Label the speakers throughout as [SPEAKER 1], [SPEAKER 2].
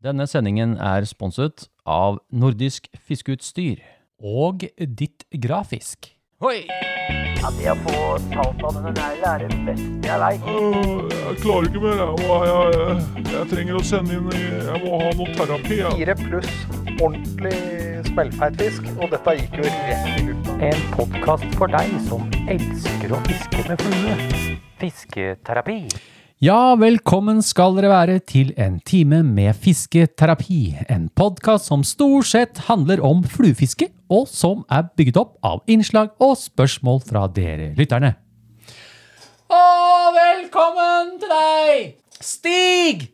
[SPEAKER 1] Denne sendingen er sponset av Nordisk Fiskeutstyr.
[SPEAKER 2] og ditt grafisk.
[SPEAKER 1] Hoi!
[SPEAKER 3] Det å få talt av denne negla er det beste jeg veit.
[SPEAKER 4] Øh, Jeg klarer ikke mer. Jeg, må- jeg, jeg, jeg trenger å sende inn i, Jeg må ha noe terapi. Jeg.
[SPEAKER 5] Fire pluss ordentlig smellfeit fisk, og dette gikk jo rett i lufta.
[SPEAKER 3] En podkast for deg som elsker å fiske med flue. Fisketerapi.
[SPEAKER 2] Ja, velkommen skal dere være til en time med fisketerapi. En podkast som stort sett handler om fluefiske, og som er bygget opp av innslag og spørsmål fra dere lytterne. Og velkommen til deg, Stig!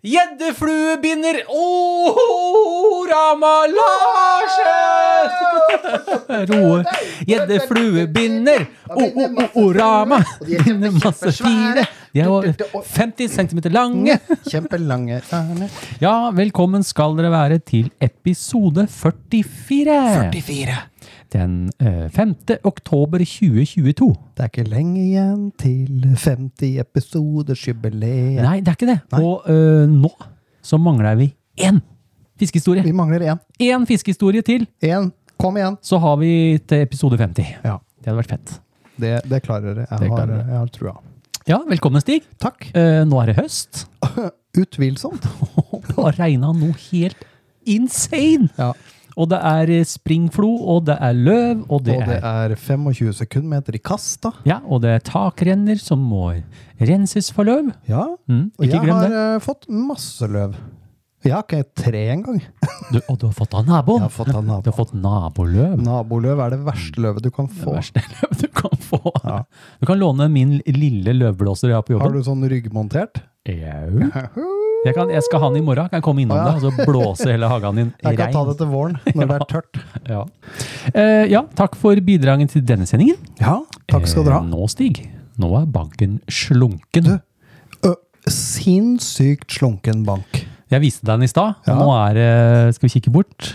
[SPEAKER 2] Gjeddefluebinder Orama Larsen! Roe gjeddefluebinder Orama.
[SPEAKER 6] Og de er
[SPEAKER 2] Binder masse fine.
[SPEAKER 6] kjempesvære.
[SPEAKER 2] De er jo 50 cm lange.
[SPEAKER 6] Kjempelange ørner.
[SPEAKER 2] Ja, velkommen skal dere være til episode 44. 44. Den eh, 5. oktober 2022.
[SPEAKER 6] Det er ikke lenge igjen til 50 episoders jubileum.
[SPEAKER 2] Nei, det er ikke det. Og eh, nå så mangler vi én fiskehistorie.
[SPEAKER 6] Vi mangler én.
[SPEAKER 2] Én fiskehistorie til,
[SPEAKER 6] Én. Kom igjen.
[SPEAKER 2] så har vi til episode 50.
[SPEAKER 6] Ja,
[SPEAKER 2] Det hadde vært fett.
[SPEAKER 6] det, det klarer jeg.
[SPEAKER 2] Det
[SPEAKER 6] Jeg har,
[SPEAKER 2] klarer jeg.
[SPEAKER 6] jeg har trua.
[SPEAKER 2] Ja, velkommen, Stig.
[SPEAKER 6] Takk.
[SPEAKER 2] Eh, nå er det høst.
[SPEAKER 6] Utvilsomt.
[SPEAKER 2] Det har regna noe helt insane.
[SPEAKER 6] Ja.
[SPEAKER 2] Og det er eh, springflo, og det er løv, og det,
[SPEAKER 6] Og det
[SPEAKER 2] er
[SPEAKER 6] er 25 sekundmeter i kast, da.
[SPEAKER 2] Ja, og det er takrenner som må renses for løv.
[SPEAKER 6] Ja.
[SPEAKER 2] Mm,
[SPEAKER 6] Og
[SPEAKER 2] ikke
[SPEAKER 6] jeg
[SPEAKER 2] glem
[SPEAKER 6] har
[SPEAKER 2] det.
[SPEAKER 6] eh, fått masse løv. Jeg har ikke tre engang.
[SPEAKER 2] Du, og du har fått av naboen.
[SPEAKER 6] Jeg har fått av naboen.
[SPEAKER 2] Du har fått naboløv.
[SPEAKER 6] Naboløv er det verste løvet du kan
[SPEAKER 2] Det
[SPEAKER 6] få.
[SPEAKER 2] verste løv du kan få.
[SPEAKER 6] Ja.
[SPEAKER 2] Du kan låne min lille løvblåser jeg har på
[SPEAKER 6] Har
[SPEAKER 2] jobben.
[SPEAKER 6] du sånn ryggmontert?
[SPEAKER 2] Jau. Jeg, kan, jeg skal ha den i morgen. Kan jeg komme innom
[SPEAKER 6] Å, ja.
[SPEAKER 2] deg og så blåse hele hagen din
[SPEAKER 6] Jeg kan ta det
[SPEAKER 2] rein?
[SPEAKER 6] til våren, når det er tørt.
[SPEAKER 2] Ja. Eh, ja, takk for bidragen til denne sendingen.
[SPEAKER 6] Ja, takk skal dere ha.
[SPEAKER 2] Eh, nå, Stig, nå er banken slunken.
[SPEAKER 6] Du. Ø, sinnssykt slunken bank.
[SPEAKER 2] Jeg viste deg den i stad, og
[SPEAKER 6] Ja.
[SPEAKER 2] nå er det Skal vi kikke bort?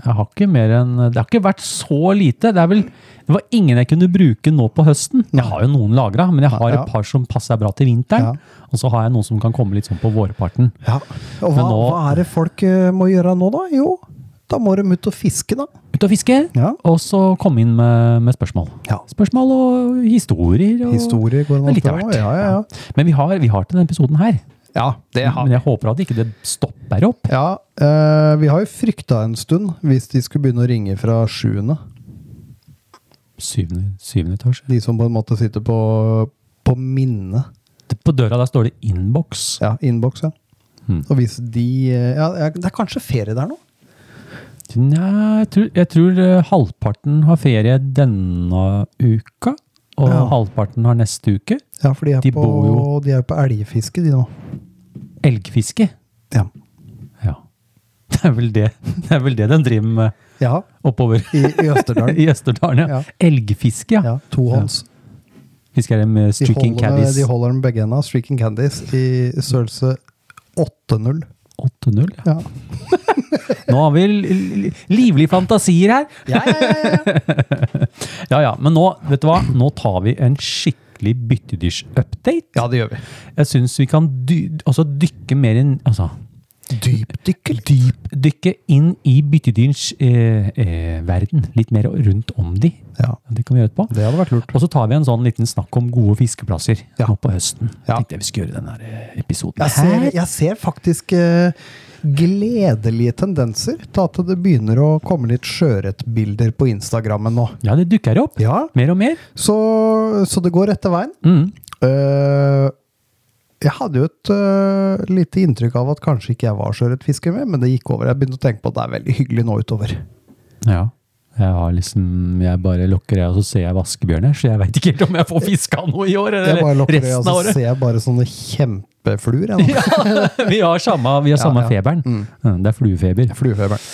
[SPEAKER 2] Jeg har ikke mer enn Det har ikke vært så lite. Det er vel Det var ingen jeg kunne bruke nå på høsten. Jeg har jo noen lagra, men jeg har
[SPEAKER 6] Ja.
[SPEAKER 2] et par som passer bra til vinteren. Og så har jeg noen som kan komme litt sånn på vårparten.
[SPEAKER 6] Ja. Og hva,
[SPEAKER 2] Men nå-
[SPEAKER 6] hva er det folk ø, må gjøre nå, da? Jo, da må de ut og fiske, da.
[SPEAKER 2] Ut og fiske,
[SPEAKER 6] Ja.
[SPEAKER 2] og så komme inn med, med spørsmål.
[SPEAKER 6] Ja.
[SPEAKER 2] Spørsmål og historier. Og
[SPEAKER 6] Historier går
[SPEAKER 2] og
[SPEAKER 6] an
[SPEAKER 2] litt av
[SPEAKER 6] å
[SPEAKER 2] hvert.
[SPEAKER 6] ta, ja, ja, ja.
[SPEAKER 2] Men vi har, vi har til denne episoden her.
[SPEAKER 6] Ja, det
[SPEAKER 2] Men jeg håper at ikke det stopper opp.
[SPEAKER 6] Ja, ø, vi har jo frykta en stund hvis de skulle begynne å ringe fra sjuende.
[SPEAKER 2] Syvende, syvende etasje.
[SPEAKER 6] De som på en måte sitter på, på minnet.
[SPEAKER 2] På døra der står det 'innboks'.
[SPEAKER 6] Ja, innboks, ja.
[SPEAKER 2] Hmm.
[SPEAKER 6] Og hvis de ø, ja, ja, det er kanskje ferie der nå?
[SPEAKER 2] Nei, jeg tror, jeg tror eh, halvparten har ferie denne uka, og
[SPEAKER 6] Ja.
[SPEAKER 2] halvparten har neste uke.
[SPEAKER 6] Ja, for de er
[SPEAKER 2] De
[SPEAKER 6] på,
[SPEAKER 2] bor jo-
[SPEAKER 6] de er på elgfiske, de nå.
[SPEAKER 2] Elgfiske.
[SPEAKER 6] Ja.
[SPEAKER 2] Ja. Det er vel det, det, er vel det den driver med
[SPEAKER 6] ja
[SPEAKER 2] oppover
[SPEAKER 6] i, I Østerdalen.
[SPEAKER 2] i Østerdalen. Ja.
[SPEAKER 6] Ja.
[SPEAKER 2] Elgfiske, ja.
[SPEAKER 6] Ja, Tohånds.
[SPEAKER 2] Fisker de med
[SPEAKER 6] De
[SPEAKER 2] streaking
[SPEAKER 6] holder, med,
[SPEAKER 2] caddies
[SPEAKER 6] de holder med begge enda. Streaking Candies i størrelse 8-0.
[SPEAKER 2] 8-0. ja.
[SPEAKER 6] Ja.
[SPEAKER 2] Nå har vi l- l- livlige fantasier her!
[SPEAKER 6] Ja, ja, ja, ja.
[SPEAKER 2] Ja ja, men nå, vet du hva? Nå tar vi en skikkelig byttedyrsupdate.
[SPEAKER 6] ja, det gjør vi.
[SPEAKER 2] Jeg syns vi kan dy altså dykke mer inn altså,
[SPEAKER 6] Dypdykkel.
[SPEAKER 2] Dypdykke inn i byttedyrs eh, eh, verden. Litt mer rundt om de.
[SPEAKER 6] Ja,
[SPEAKER 2] Det kan vi gjøre etterpå.
[SPEAKER 6] det hadde vært lurt.
[SPEAKER 2] Og så tar vi en sånn liten snakk om gode fiskeplasser
[SPEAKER 6] Ja.
[SPEAKER 2] nå på høsten.
[SPEAKER 6] Ja.
[SPEAKER 2] Tenkte jeg vi skulle gjøre denne her, eh, episoden
[SPEAKER 6] Jeg ser,
[SPEAKER 2] her.
[SPEAKER 6] jeg ser faktisk eh, gledelige tendenser til at det begynner å komme litt sjøørretbilder på Instagrammen nå.
[SPEAKER 2] Ja, det dukker opp.
[SPEAKER 6] Ja,
[SPEAKER 2] Mer og mer.
[SPEAKER 6] så, så det går rette veien.
[SPEAKER 2] Mm.
[SPEAKER 6] Eh, jeg hadde jo et eh, lite inntrykk av at kanskje ikke jeg var sjøørretfisker mer, men det gikk over. Jeg begynte å tenke på at det er veldig hyggelig nå utover.
[SPEAKER 2] Ja. Jeg har liksom, jeg bare lukker øya, og så ser jeg vaskebjørner. Så jeg veit ikke helt om jeg får fiska noe i år,
[SPEAKER 6] Jeg
[SPEAKER 2] eller
[SPEAKER 6] bare lukker øya,
[SPEAKER 2] resten
[SPEAKER 6] så
[SPEAKER 2] av året.
[SPEAKER 6] ser jeg bare sånne kjempefluer. Jeg, nå.
[SPEAKER 2] Vi har samme, vi har samme
[SPEAKER 6] ja.
[SPEAKER 2] feberen. Mm, Det er fluefeber.
[SPEAKER 6] Fluefeberen.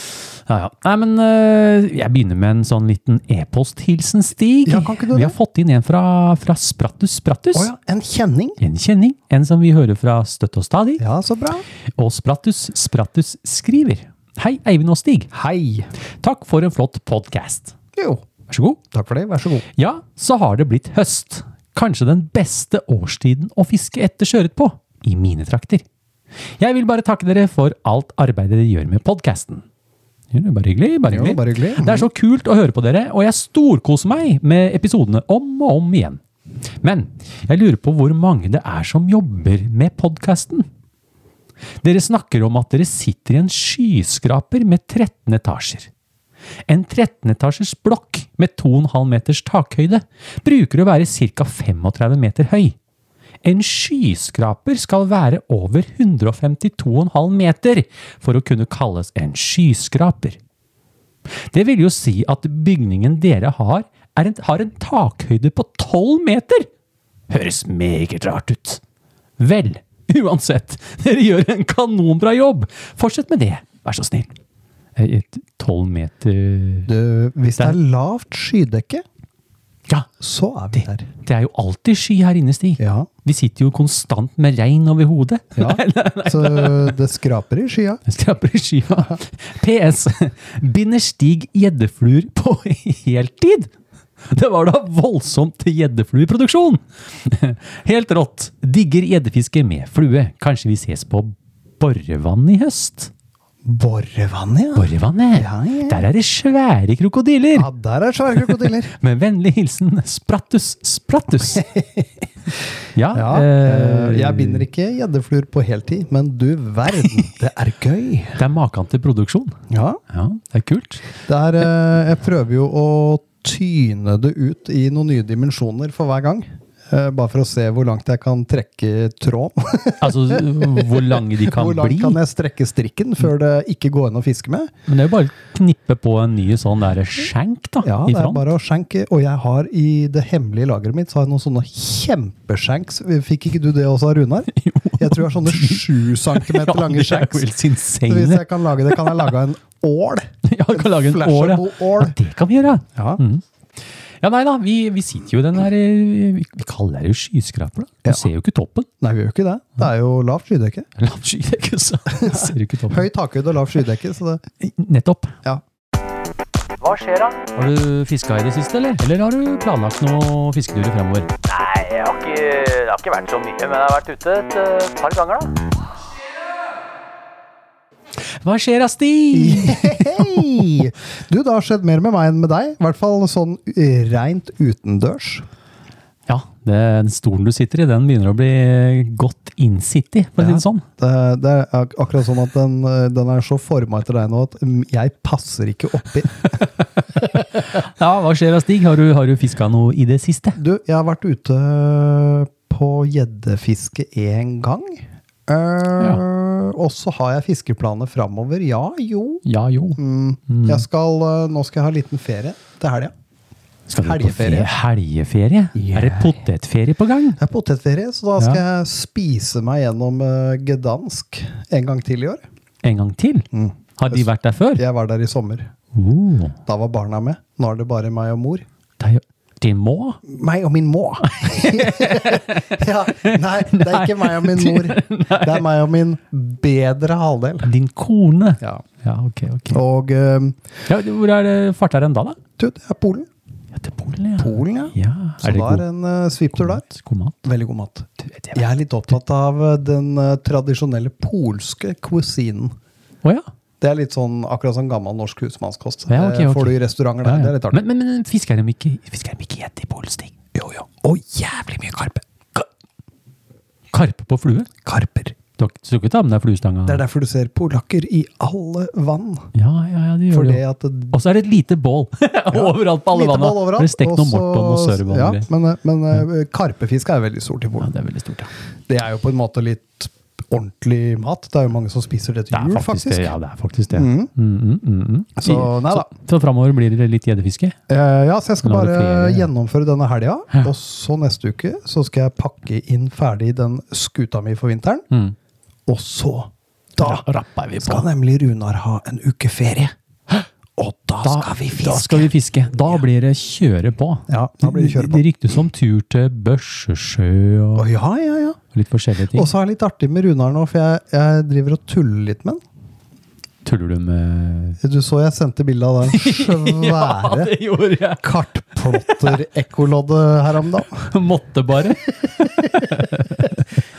[SPEAKER 2] Ja, ja. Nei, men øh, jeg begynner med en sånn liten e-posthilsen, Stig.
[SPEAKER 6] Ja, kan ikke du
[SPEAKER 2] vi
[SPEAKER 6] det?
[SPEAKER 2] har fått inn en fra, fra Sprattus Sprattus.
[SPEAKER 6] Å ja, en kjenning?
[SPEAKER 2] En kjenning, en som vi hører fra støtt og stadig.
[SPEAKER 6] Ja, så bra.
[SPEAKER 2] Og Sprattus Sprattus skriver. Hei, Eivind og Stig.
[SPEAKER 6] Hei.
[SPEAKER 2] Takk for en flott podkast.
[SPEAKER 6] Jo,
[SPEAKER 2] Vær så god.
[SPEAKER 6] takk for det. Vær så god.
[SPEAKER 2] Ja, så har det blitt høst. Kanskje den beste årstiden å fiske etter sjøørret på. I mine trakter. Jeg vil bare takke dere for alt arbeidet dere gjør med podkasten. Bare hyggelig. bare
[SPEAKER 6] Jo,
[SPEAKER 2] hyggelig.
[SPEAKER 6] bare hyggelig.
[SPEAKER 2] Det er så kult å høre på dere, og jeg storkoser meg med episodene om og om igjen. Men jeg lurer på hvor mange det er som jobber med podkasten. Dere snakker om at dere sitter i en skyskraper med 13 etasjer. En 13-etasjers blokk med 2,5 meters takhøyde bruker å være ca. 35 meter høy. En skyskraper skal være over 152,5 meter for å kunne kalles en skyskraper. Det vil jo si at bygningen dere har, er en, har en takhøyde på 12 meter! Høres meget rart ut. Vel, uansett, dere gjør en kanonbra jobb! Fortsett med det, vær så snill. Eh, et 12 meter
[SPEAKER 6] Du, hvis det er lavt skydekke,
[SPEAKER 2] Ja,
[SPEAKER 6] så er vi der.
[SPEAKER 2] det er jo alltid sky her inne, Stig.
[SPEAKER 6] Ja.
[SPEAKER 2] Vi sitter jo konstant med regn over hodet.
[SPEAKER 6] ja. Så det skraper i skya.
[SPEAKER 2] Skraper i skiva. PS. Binder Stig gjeddefluer på heltid? Det var da voldsomt til gjeddeflueproduksjon! Helt rått. Digger gjeddefiske med flue. Kanskje vi ses på Borrevann i høst?
[SPEAKER 6] Borrevann, ja.
[SPEAKER 2] Borrevannet?
[SPEAKER 6] Ja, ja. Ah.
[SPEAKER 2] Der er det svære krokodiller!
[SPEAKER 6] Ja, der er svære krokodiller.
[SPEAKER 2] Med vennlig hilsen Sprattus Sprattus. Ja,
[SPEAKER 6] Ja,
[SPEAKER 2] eh,
[SPEAKER 6] eh, jeg binder ikke gjeddefluer på heltid, men du verden, det er gøy.
[SPEAKER 2] det er maken til produksjon.
[SPEAKER 6] Ja,
[SPEAKER 2] Ja, det er kult.
[SPEAKER 6] det er, eh, jeg prøver jo å tyne det ut i noen nye dimensjoner for hver gang. eh, Bare for å se hvor langt jeg kan trekke tråden.
[SPEAKER 2] Altså hvor lange de kan
[SPEAKER 6] Hvor langt
[SPEAKER 2] bli.
[SPEAKER 6] kan jeg strekke strikken før det ikke går an å fiske med?
[SPEAKER 2] Men det er jo bare å knippe på en ny sånn der skjenk da,
[SPEAKER 6] Ja,
[SPEAKER 2] i
[SPEAKER 6] det er
[SPEAKER 2] front.
[SPEAKER 6] bare å skjenke. Og jeg har i det hemmelige lageret mitt så har jeg noen sånne kjempeskjenks. Fikk ikke du det også, Runar? Jeg tror jeg har sånne sju centimeter
[SPEAKER 2] Ja, det er
[SPEAKER 6] lange
[SPEAKER 2] jo
[SPEAKER 6] skjenks.
[SPEAKER 2] helt
[SPEAKER 6] Så hvis
[SPEAKER 2] insane.
[SPEAKER 6] jeg kan lage det, kan jeg lage en ål.
[SPEAKER 2] Ja, vi kan lage en ål, ja.
[SPEAKER 6] flashable ål.
[SPEAKER 2] ja. Det kan vi gjøre.
[SPEAKER 6] Ja.
[SPEAKER 2] Ja, nei da, vi, vi sitter jo i den her, eh, vi vi kaller det jo skyskraper da. Du
[SPEAKER 6] Ja.
[SPEAKER 2] ser jo ikke toppen.
[SPEAKER 6] Nei, vi gjør ikke det. Det er jo lavt skydekke.
[SPEAKER 2] Lav sky, det er ikke så. Du ser jo ikke toppen.
[SPEAKER 6] Høy takhøyde og lavt skydekke, så det
[SPEAKER 2] Nettopp.
[SPEAKER 6] Ja.
[SPEAKER 3] Hva skjer da?
[SPEAKER 2] Har du fisket i det siste, eller? Eller har du planlagt noe fiskedurer fremover?
[SPEAKER 3] Nei, jeg har ikke, det har ikke vært så mye, men jeg har vært ute et eh, par ganger da.
[SPEAKER 2] Hva skjer, da, Stig?
[SPEAKER 6] Hei! Du, det har skjedd mer med meg enn med deg. I hvert fall sånn rent utendørs.
[SPEAKER 2] Ja, det, den stolen du sitter i, den begynner å bli godt innsittig, for å si det sånn.
[SPEAKER 6] Det, det er ak- akkurat sånn at den, eh, den er så forma etter deg nå at mm, jeg passer ikke oppi.
[SPEAKER 2] Ja, hva skjer da, Stig? Har du, har du fiska noe i det siste?
[SPEAKER 6] Du, jeg har vært ute eh, på gjeddefiske én gang. Eh, Og så har jeg fiskeplaner framover. Ja, jo.
[SPEAKER 2] Ja, jo.
[SPEAKER 6] Mm. Jeg skal, eh, nå skal jeg ha en liten ferie til helga.
[SPEAKER 2] Skal du
[SPEAKER 6] Helgeferie.
[SPEAKER 2] På ferie? Helgeferie? Er det potetferie på gang?
[SPEAKER 6] Det er potetferie, så da skal jeg spise meg gjennom eh, Gdansk en gang til i år.
[SPEAKER 2] En gang til?
[SPEAKER 6] Mm.
[SPEAKER 2] Har de vært der før?
[SPEAKER 6] Jeg var der i sommer.
[SPEAKER 2] Oh,
[SPEAKER 6] Da var barna med. Nå er det bare meg og mor.
[SPEAKER 2] det er jo de må?
[SPEAKER 6] Meg og min må! ja, nei, det er ikke meg og min mor. Det er meg og min bedre halvdel.
[SPEAKER 2] Din kone?
[SPEAKER 6] Ja.
[SPEAKER 2] Ja, ok, ok.
[SPEAKER 6] Og eh,
[SPEAKER 2] Ja, hvor er det farter enn da, da?
[SPEAKER 6] du, det er Polen.
[SPEAKER 2] Ja, til Polen, ja.
[SPEAKER 6] Polen, ja.
[SPEAKER 2] ja.
[SPEAKER 6] Så
[SPEAKER 2] Er det
[SPEAKER 6] da er
[SPEAKER 2] god,
[SPEAKER 6] det en eh, sviptur der.
[SPEAKER 2] mat? god mat?
[SPEAKER 6] Veldig god mat.
[SPEAKER 2] det
[SPEAKER 6] Jeg er litt opptatt av eh, den eh, tradisjonelle polske cuisinen.
[SPEAKER 2] Å ja.
[SPEAKER 6] Det er litt sånn, akkurat sånn gammel norsk husmannskost.
[SPEAKER 2] Ja, ok,
[SPEAKER 6] Det
[SPEAKER 2] ok.
[SPEAKER 6] får du i restauranter
[SPEAKER 2] ja,
[SPEAKER 6] der. Det
[SPEAKER 2] ja.
[SPEAKER 6] er litt artig.
[SPEAKER 2] Men, men, men fisker de ikke fisker de ikke gjett i Polen, Stig?
[SPEAKER 6] jo, jo.
[SPEAKER 2] Å, jævlig mye karpe. Ka- Karpe på flue?
[SPEAKER 6] Karper.
[SPEAKER 2] Du har ikke- du har ikke tatt med deg fluestanga?
[SPEAKER 6] Det er derfor du ser polakker i alle vann.
[SPEAKER 2] Ja, ja, ja, det gjør
[SPEAKER 6] For
[SPEAKER 2] det
[SPEAKER 6] det
[SPEAKER 2] jo.
[SPEAKER 6] at det-
[SPEAKER 2] Og så er det et lite bål overalt på alle
[SPEAKER 6] lite
[SPEAKER 2] vanna.
[SPEAKER 6] bål overalt,
[SPEAKER 2] Det er stekt noe
[SPEAKER 6] og så-
[SPEAKER 2] morton og sørvann.
[SPEAKER 6] Ja,
[SPEAKER 2] og greier.
[SPEAKER 6] men eh, men eh, karpefiske er veldig stort i
[SPEAKER 2] ja,
[SPEAKER 6] Polen.
[SPEAKER 2] det er veldig stort, ja.
[SPEAKER 6] Det er jo på en måte litt ordentlig mat. Det er jo mange som spiser det til
[SPEAKER 2] Det er
[SPEAKER 6] jul,
[SPEAKER 2] faktisk det.
[SPEAKER 6] faktisk. Mhm.
[SPEAKER 2] Ja, det er faktisk det. Mm, mm, mm, mm.
[SPEAKER 6] Så nei da.
[SPEAKER 2] Så framover blir det litt gjeddefiske?
[SPEAKER 6] Eh, Ja, så jeg skal
[SPEAKER 2] Nå er det
[SPEAKER 6] bare
[SPEAKER 2] ferie, ja.
[SPEAKER 6] gjennomføre denne helga. Og så neste uke så skal jeg pakke inn ferdig den skuta mi for vinteren.
[SPEAKER 2] Mm.
[SPEAKER 6] Og så, da
[SPEAKER 2] rapper vi
[SPEAKER 6] skal nemlig Runar ha en uke ferie. Og da,
[SPEAKER 2] Da
[SPEAKER 6] skal vi
[SPEAKER 2] Da
[SPEAKER 6] fiske!
[SPEAKER 2] skal vi fiske. Da blir det kjøre på.
[SPEAKER 6] Ja, da blir det kjøre på.
[SPEAKER 2] Det ryktes om tur til Børsesjø og
[SPEAKER 6] Å, ja, ja, ja.
[SPEAKER 2] litt forskjellige ting.
[SPEAKER 6] Og så er det litt artig med Runar nå, for jeg, jeg driver og tuller litt med han.
[SPEAKER 2] Tuller du med
[SPEAKER 6] Du så jeg sendte bilde av den svære
[SPEAKER 2] gjorde jeg!
[SPEAKER 6] kartplotter-ekkoloddet her om dagen.
[SPEAKER 2] Måtte bare.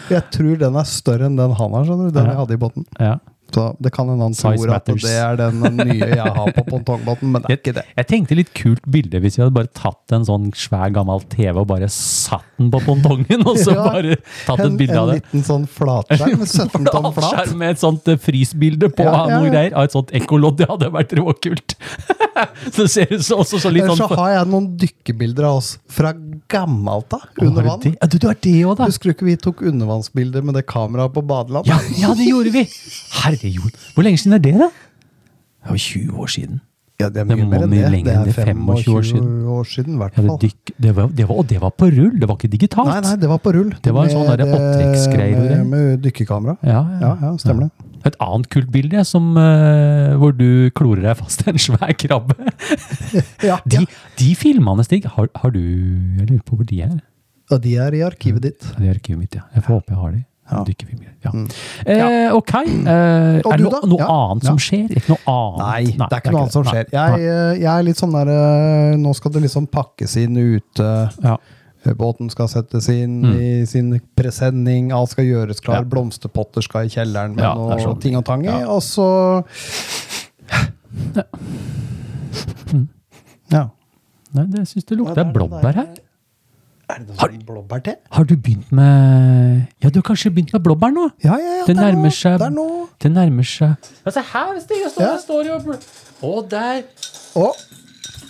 [SPEAKER 6] Jeg tror den er større enn den han har, skjønner du. Den
[SPEAKER 2] Ja.
[SPEAKER 6] jeg hadde i båten.
[SPEAKER 2] Ja.
[SPEAKER 6] Så det kan hende han
[SPEAKER 2] Size
[SPEAKER 6] tror at
[SPEAKER 2] matters.
[SPEAKER 6] det er den nye jeg har på pongtongbåten, men det er ikke det.
[SPEAKER 2] Jeg tenkte litt kult bilde hvis jeg hadde bare tatt en sånn svær gammel TV og bare satt den på pontongen, og så
[SPEAKER 6] Ja.
[SPEAKER 2] bare tatt
[SPEAKER 6] En,
[SPEAKER 2] et bilde
[SPEAKER 6] en
[SPEAKER 2] av det.
[SPEAKER 6] liten sånn flatskjerm med 17 tonn flat.
[SPEAKER 2] Avskjerm med et sånt eh, frysbilde på
[SPEAKER 6] Ja,
[SPEAKER 2] av
[SPEAKER 6] ja,
[SPEAKER 2] noe
[SPEAKER 6] ja.
[SPEAKER 2] greier av et sånt ekkolodd. Det hadde vært råkult. så det ser ut som også så litt
[SPEAKER 6] Ellers
[SPEAKER 2] sånn
[SPEAKER 6] så har jeg noen dykkebilder av oss fra gammelt av,
[SPEAKER 2] Har
[SPEAKER 6] under
[SPEAKER 2] du
[SPEAKER 6] vann.
[SPEAKER 2] det? Ja, du, du har det òg, da.
[SPEAKER 6] Husker du ikke vi tok undervannsbilder med det kameraet på badeland?
[SPEAKER 2] Ja, ja, det gjorde vi! Herrejord. Hvor lenge siden er det, da? Det var 20 år siden.
[SPEAKER 6] Ja, det er
[SPEAKER 2] Det
[SPEAKER 6] mye
[SPEAKER 2] må
[SPEAKER 6] mer enn
[SPEAKER 2] mye
[SPEAKER 6] det.
[SPEAKER 2] lenger
[SPEAKER 6] Det
[SPEAKER 2] enn
[SPEAKER 6] er
[SPEAKER 2] det,
[SPEAKER 6] 25 år siden, år siden i hvert
[SPEAKER 2] Ja, det
[SPEAKER 6] fall.
[SPEAKER 2] dykk, det var, det var, og det var på rull, det var ikke digitalt.
[SPEAKER 6] Nei, nei, det var på rull.
[SPEAKER 2] Det var en
[SPEAKER 6] Med
[SPEAKER 2] sånn der
[SPEAKER 6] det-
[SPEAKER 2] opptrekksgreier,
[SPEAKER 6] Med,
[SPEAKER 2] eller?
[SPEAKER 6] med dykkerkamera.
[SPEAKER 2] Ja,
[SPEAKER 6] Ja, ja, stemmer det.
[SPEAKER 2] Et annet kult bilde som, eh, hvor du klorer deg fast i en svær krabbe.
[SPEAKER 6] Ja,
[SPEAKER 2] De,
[SPEAKER 6] ja.
[SPEAKER 2] de filmene, Stig, har, har du Jeg lurer på hvor de er?
[SPEAKER 6] Og de er i arkivet ditt.
[SPEAKER 2] Ja, De er i arkivet mitt, ja. Jeg får håpe jeg har de.
[SPEAKER 6] Ja. Mm.
[SPEAKER 2] Dykkerfilmer, Ja. Eh, ok. Eh,
[SPEAKER 6] Og
[SPEAKER 2] er det
[SPEAKER 6] du
[SPEAKER 2] noe,
[SPEAKER 6] da?
[SPEAKER 2] noe
[SPEAKER 6] Ja.
[SPEAKER 2] annet som skjer? Ikke noe
[SPEAKER 6] Nei,
[SPEAKER 2] annet?
[SPEAKER 6] det er ikke noe annet som
[SPEAKER 2] Nei.
[SPEAKER 6] skjer. Jeg, eh, jeg er litt sånn der eh, Nå skal det liksom pakkes inn ute.
[SPEAKER 2] Nei. Ja.
[SPEAKER 6] Eh, Båten skal settes inn
[SPEAKER 2] Mm.
[SPEAKER 6] i sin presenning, alt skal gjøres klar, blomsterpotter skal i kjelleren med
[SPEAKER 2] Ja, det
[SPEAKER 6] noe
[SPEAKER 2] er sånn.
[SPEAKER 6] ting og tang i,
[SPEAKER 2] Ja.
[SPEAKER 6] og så
[SPEAKER 2] Mm.
[SPEAKER 6] Ja.
[SPEAKER 2] Nei, det syns det
[SPEAKER 6] Ja,
[SPEAKER 2] lukter
[SPEAKER 6] det er det
[SPEAKER 2] blåbær her.
[SPEAKER 6] Er det noe sånn blåbærte?
[SPEAKER 2] Har du begynt med Ja, du har kanskje begynt med blåbær nå?
[SPEAKER 6] Ja, ja, ja.
[SPEAKER 2] Det
[SPEAKER 6] er
[SPEAKER 2] nærmer
[SPEAKER 6] noe-
[SPEAKER 2] seg-
[SPEAKER 6] Det er noe.
[SPEAKER 2] Det nærmer seg Se her, Stig! Jeg står,
[SPEAKER 6] Ja.
[SPEAKER 2] jeg står jo og bl- Å, der!
[SPEAKER 6] Å,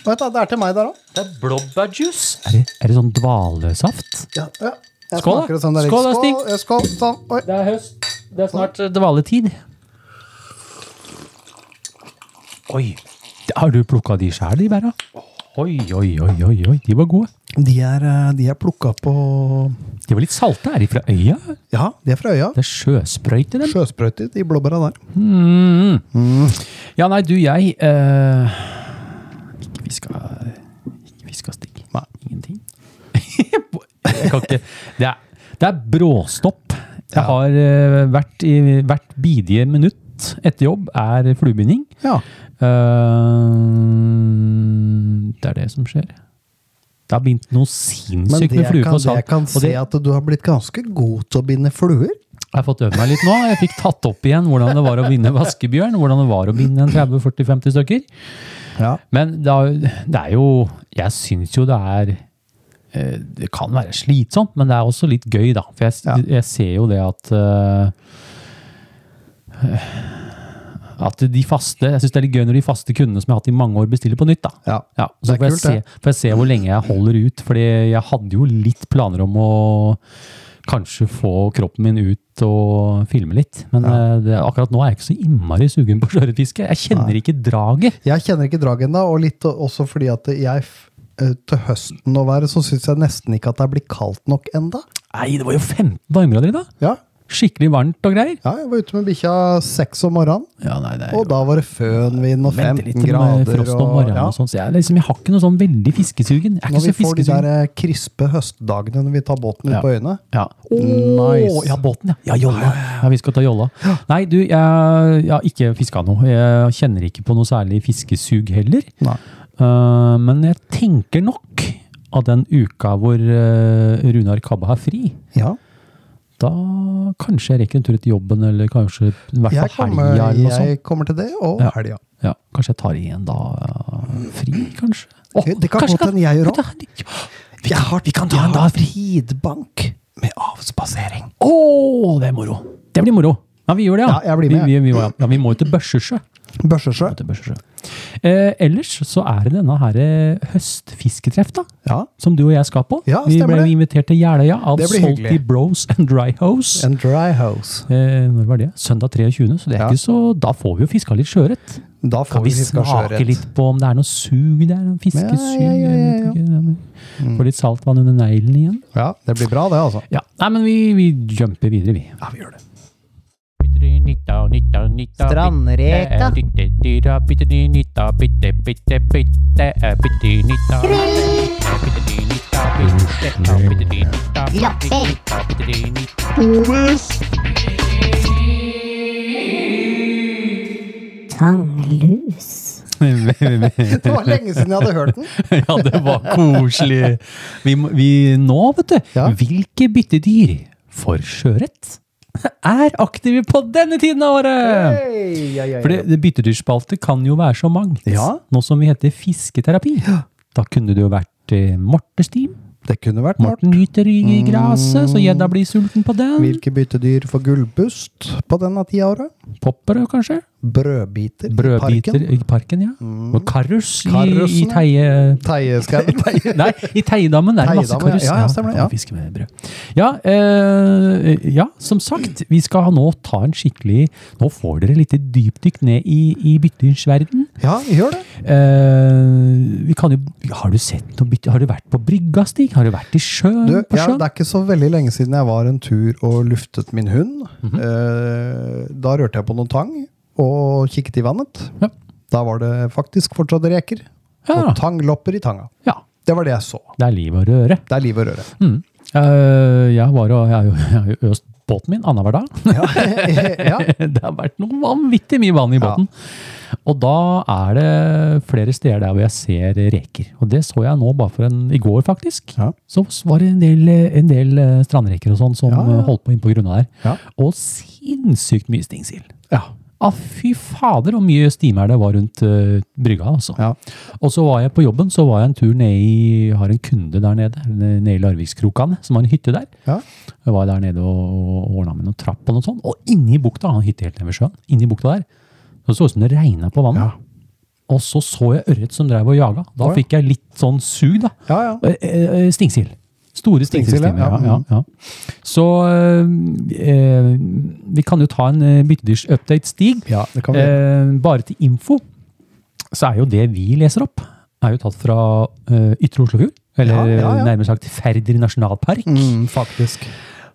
[SPEAKER 6] vent da, det er til meg der òg.
[SPEAKER 2] Det er blåbærjuice! Er, det- er det sånn dvalesaft?
[SPEAKER 6] Ja, ja. Jeg
[SPEAKER 2] Skål, da.
[SPEAKER 6] smaker det Sånn der.
[SPEAKER 2] Skål, da, Stig.
[SPEAKER 6] Skål, eh, skål, sånn. Oi.
[SPEAKER 2] Det er høst. Det er snart eh, dvaletid. Oi. Har du plukka de sjæl, de bæra? Oi, oi, oi, oi, oi. De var gode.
[SPEAKER 6] De er, eh, de er plukka på
[SPEAKER 2] De var litt salte. Er de fra øya?
[SPEAKER 6] Ja, de er fra øya.
[SPEAKER 2] Det er sjøsprøyte, dem.
[SPEAKER 6] Sjøsprøyter i blåbæra der.
[SPEAKER 2] Mm. Ja, nei, du, jeg eh, Ikke vi skal Ikke vi skal stikke.
[SPEAKER 6] Nei.
[SPEAKER 2] Ingenting. jeg kan ikke Det er, det er bråstopp. Jeg
[SPEAKER 6] Ja.
[SPEAKER 2] har eh, vært i hvert bidige minutt etter jobb er fluebinding.
[SPEAKER 6] Ja.
[SPEAKER 2] Eh, det er det som skjer. Det har begynt noe
[SPEAKER 6] Men
[SPEAKER 2] sinnssykt
[SPEAKER 6] det
[SPEAKER 2] med
[SPEAKER 6] jeg
[SPEAKER 2] fluer
[SPEAKER 6] kan,
[SPEAKER 2] på
[SPEAKER 6] det
[SPEAKER 2] salg.
[SPEAKER 6] jeg kan
[SPEAKER 2] og
[SPEAKER 6] se
[SPEAKER 2] det
[SPEAKER 6] at du har blitt ganske god til å binde fluer.
[SPEAKER 2] jeg har fått øve meg litt nå. Jeg fikk tatt opp igjen hvordan det var å binde vaskebjørn, hvordan det var å binde en 30-40-50 stykker.
[SPEAKER 6] Ja.
[SPEAKER 2] Men det er, jo- det er jo Jeg syns jo det er eh, Det kan være slitsomt, men det er også litt gøy, da. For jeg,
[SPEAKER 6] Ja.
[SPEAKER 2] jeg ser jo det at eh, eh, At de faste Jeg syns det er litt gøy når de faste kundene som jeg har hatt i mange år, bestiller på nytt. da.
[SPEAKER 6] Ja.
[SPEAKER 2] Ja, så
[SPEAKER 6] Det er
[SPEAKER 2] får jeg,
[SPEAKER 6] kult,
[SPEAKER 2] se,
[SPEAKER 6] det.
[SPEAKER 2] får jeg se hvor lenge jeg holder ut. Fordi jeg hadde jo litt planer om å kanskje få kroppen min ut og filme litt. Men eh, det, akkurat nå er jeg ikke så innmari sugen på sjøørretfiske. Jeg kjenner ikke draget.
[SPEAKER 6] Jeg kjenner ikke draget ennå, og litt også fordi at jeg f- eh, til høsten å være, så syns jeg nesten ikke at det er blitt kaldt nok enda.
[SPEAKER 2] Nei, det var jo 15 varmegrader i dag!
[SPEAKER 6] Ja.
[SPEAKER 2] Skikkelig varmt og greier.
[SPEAKER 6] ja, jeg var ute med bikkja seks om morgenen,
[SPEAKER 2] Ja, nei, det er jo-
[SPEAKER 6] og da var det fønvind og
[SPEAKER 2] Venter litt
[SPEAKER 6] 15
[SPEAKER 2] til med
[SPEAKER 6] grader.
[SPEAKER 2] frost om
[SPEAKER 6] Og,
[SPEAKER 2] morgenen
[SPEAKER 6] ja.
[SPEAKER 2] og sånn. Så jeg, er liksom, jeg har ikke noe sånn veldig fiskesugen. Jeg er
[SPEAKER 6] Når
[SPEAKER 2] ikke
[SPEAKER 6] vi
[SPEAKER 2] så
[SPEAKER 6] får de
[SPEAKER 2] fiskesugen.
[SPEAKER 6] der eh, krispe høstdagene når vi tar båten ut
[SPEAKER 2] Ja.
[SPEAKER 6] på øyene.
[SPEAKER 2] Ja.
[SPEAKER 6] Nice.
[SPEAKER 2] Ja, båten, ja. Ja, jolla. Ja, vi skal ta jolla. Nei, du, jeg, jeg har ikke fiska noe. Jeg kjenner ikke på noe særlig fiskesug heller.
[SPEAKER 6] Nei.
[SPEAKER 2] Eh, men jeg tenker nok av den uka hvor eh, Runar Kabbe har fri,
[SPEAKER 6] Ja.
[SPEAKER 2] da kanskje jeg rekker en tur til jobben, eller kanskje i hvert
[SPEAKER 6] Jeg,
[SPEAKER 2] fall
[SPEAKER 6] kommer,
[SPEAKER 2] helga, eller noe sånt.
[SPEAKER 6] jeg kommer til det, og
[SPEAKER 2] Ja.
[SPEAKER 6] helga.
[SPEAKER 2] Ja, kanskje jeg tar igjen da eh, fri, kanskje. Å,
[SPEAKER 6] Det kan
[SPEAKER 2] kanskje
[SPEAKER 6] godt hende jeg gjør òg.
[SPEAKER 2] Ja,
[SPEAKER 6] Vi, har, vi kan
[SPEAKER 2] ta en dag fri.
[SPEAKER 6] Tidbank med avspasering.
[SPEAKER 2] Å, det er moro! Det blir moro. Ja, vi gjør det, ja.
[SPEAKER 6] Ja, jeg blir med.
[SPEAKER 2] Vi, vi, vi, må- ja, vi må jo til Børsesjø.
[SPEAKER 6] Børsesjø.
[SPEAKER 2] til Børsesjø. Eh, ellers så er det denne her eh, høstfisketreff, da.
[SPEAKER 6] Ja.
[SPEAKER 2] Som du og jeg skal på.
[SPEAKER 6] Ja,
[SPEAKER 2] vi
[SPEAKER 6] stemmer
[SPEAKER 2] ble
[SPEAKER 6] det.
[SPEAKER 2] jo invitert til Jeløya av
[SPEAKER 6] Det blir
[SPEAKER 2] Salty
[SPEAKER 6] hyggelig.
[SPEAKER 2] Bros and Dry House.
[SPEAKER 6] En dry house.
[SPEAKER 2] Eh, når var det? Søndag 23., så det er
[SPEAKER 6] Ja.
[SPEAKER 2] ikke så Da får vi jo fiska litt sjøørret.
[SPEAKER 6] Da får
[SPEAKER 2] Kan vi
[SPEAKER 6] vi fiska
[SPEAKER 2] smake
[SPEAKER 6] sjøørret.
[SPEAKER 2] litt på om det er noe sug der? noe Fiskesug?
[SPEAKER 6] Ja, ja, ja, Mm. ja, ja.
[SPEAKER 2] jeg vet ikke. Få litt saltvann under neglen igjen.
[SPEAKER 6] Ja, det blir bra, det, altså.
[SPEAKER 2] Ja, Nei, men vi, vi jumper videre, vi.
[SPEAKER 6] Ja, vi gjør det.
[SPEAKER 7] Strandreka.
[SPEAKER 2] eh,
[SPEAKER 8] Tanglus.
[SPEAKER 6] Det var lenge siden jeg hadde hørt den.
[SPEAKER 2] Ja, det var koselig. Vi, må- vi, nå, vet du.
[SPEAKER 6] Ja.
[SPEAKER 2] Hvilke byttedyr for sjøørret er aktive på denne tiden av året!
[SPEAKER 6] Hey, ja, ja, ja.
[SPEAKER 2] For det, det byttedyrspalte kan jo være så mangt.
[SPEAKER 6] Ja.
[SPEAKER 2] Nå som vi heter fisketerapi, da kunne det jo vært eh, mortestim.
[SPEAKER 6] det kunne vært mart.
[SPEAKER 2] Morten nyter
[SPEAKER 6] Mm.
[SPEAKER 2] i gresset, så gjedda blir sulten på den.
[SPEAKER 6] Hvilke byttedyr får gullpust på denne tida av året?
[SPEAKER 2] Poppere, kanskje?
[SPEAKER 6] Brødbiter,
[SPEAKER 2] Brødbiter
[SPEAKER 6] i parken.
[SPEAKER 2] i parken,
[SPEAKER 6] Mm.
[SPEAKER 2] ja. Og karus i, i
[SPEAKER 6] Karusen.
[SPEAKER 2] teie...
[SPEAKER 6] Teieskauen.
[SPEAKER 2] Nei, i Teidammen er det masse
[SPEAKER 6] Teidammen, ja.
[SPEAKER 2] karus.
[SPEAKER 6] Ja, ja, stemmer det, ja.
[SPEAKER 2] og fiske med brød. Ja, eh, ja, som sagt, vi skal nå ta en skikkelig Nå får dere litt dypdykk ned i, i byttedyrsverden.
[SPEAKER 6] Ja, gjør det.
[SPEAKER 2] Eh, vi kan jo, har du sett noe bytte? Har du vært på brygga, Stig? Har du vært i sjøen?
[SPEAKER 6] Du,
[SPEAKER 2] på
[SPEAKER 6] ja,
[SPEAKER 2] sjøen?
[SPEAKER 6] det er ikke så veldig lenge siden jeg var en tur og luftet min hund. Eh, da rørte jeg på noen tang og kikket i vannet.
[SPEAKER 2] Ja.
[SPEAKER 6] Da var det faktisk fortsatt reker.
[SPEAKER 2] Ja.
[SPEAKER 6] Og tanglopper i tanga.
[SPEAKER 2] ja,
[SPEAKER 6] Det var det jeg så.
[SPEAKER 2] det er liv og røre.
[SPEAKER 6] Det er liv og røre.
[SPEAKER 2] Mm. Eh, jeg, var, og- jeg har jo- jeg har jo øst båten min annenhver dag.
[SPEAKER 6] ja.
[SPEAKER 2] det har vært noe vanvittig mye vann i
[SPEAKER 6] Ja.
[SPEAKER 2] båten. Og da er det flere steder der hvor jeg ser reker. Og det så jeg nå bare for en, i går, faktisk.
[SPEAKER 6] Ja.
[SPEAKER 2] Så var det en del, en del eh, strandreker og sånn som
[SPEAKER 6] Ja, ja.
[SPEAKER 2] eh, holdt på innpå grunna der.
[SPEAKER 6] Ja.
[SPEAKER 2] Og sinnssykt mye stingsild. Ah, fy fader, hvor mye stimer det var rundt eh, brygga. altså.
[SPEAKER 6] Ja.
[SPEAKER 2] Og så var jeg på jobben, så var jeg en tur ned i Har en kunde der nede, nede i Larvikskrokane, som har en hytte der.
[SPEAKER 6] Ja.
[SPEAKER 2] Jeg var der nede og, og ordna med noen trapp og noe sånt. Og inni bukta, han har hytte helt nede ved sjøen, inni bukta der, så så det ut som det regna på vannet.
[SPEAKER 6] Ja.
[SPEAKER 2] Og så så jeg ørret som drev og jaga. Da
[SPEAKER 6] Å, ja.
[SPEAKER 2] fikk jeg litt sånn sug, da.
[SPEAKER 6] Ja, ja.
[SPEAKER 2] Eh, eh, eh, Stingsild. Store
[SPEAKER 6] Stingsild, ja.
[SPEAKER 2] stingsildstimer. Ja, ja, ja. Så eh, eh, vi kan jo ta en eh, byttedyrsupdate, Stig.
[SPEAKER 6] Ja, det kan vi gjøre.
[SPEAKER 2] Eh, bare til info, så er jo det vi leser opp, er jo tatt fra eh, Ytre Oslofjord. Eller
[SPEAKER 6] Ja, ja, ja.
[SPEAKER 2] nærmere sagt Færder nasjonalpark.
[SPEAKER 6] Mm, faktisk.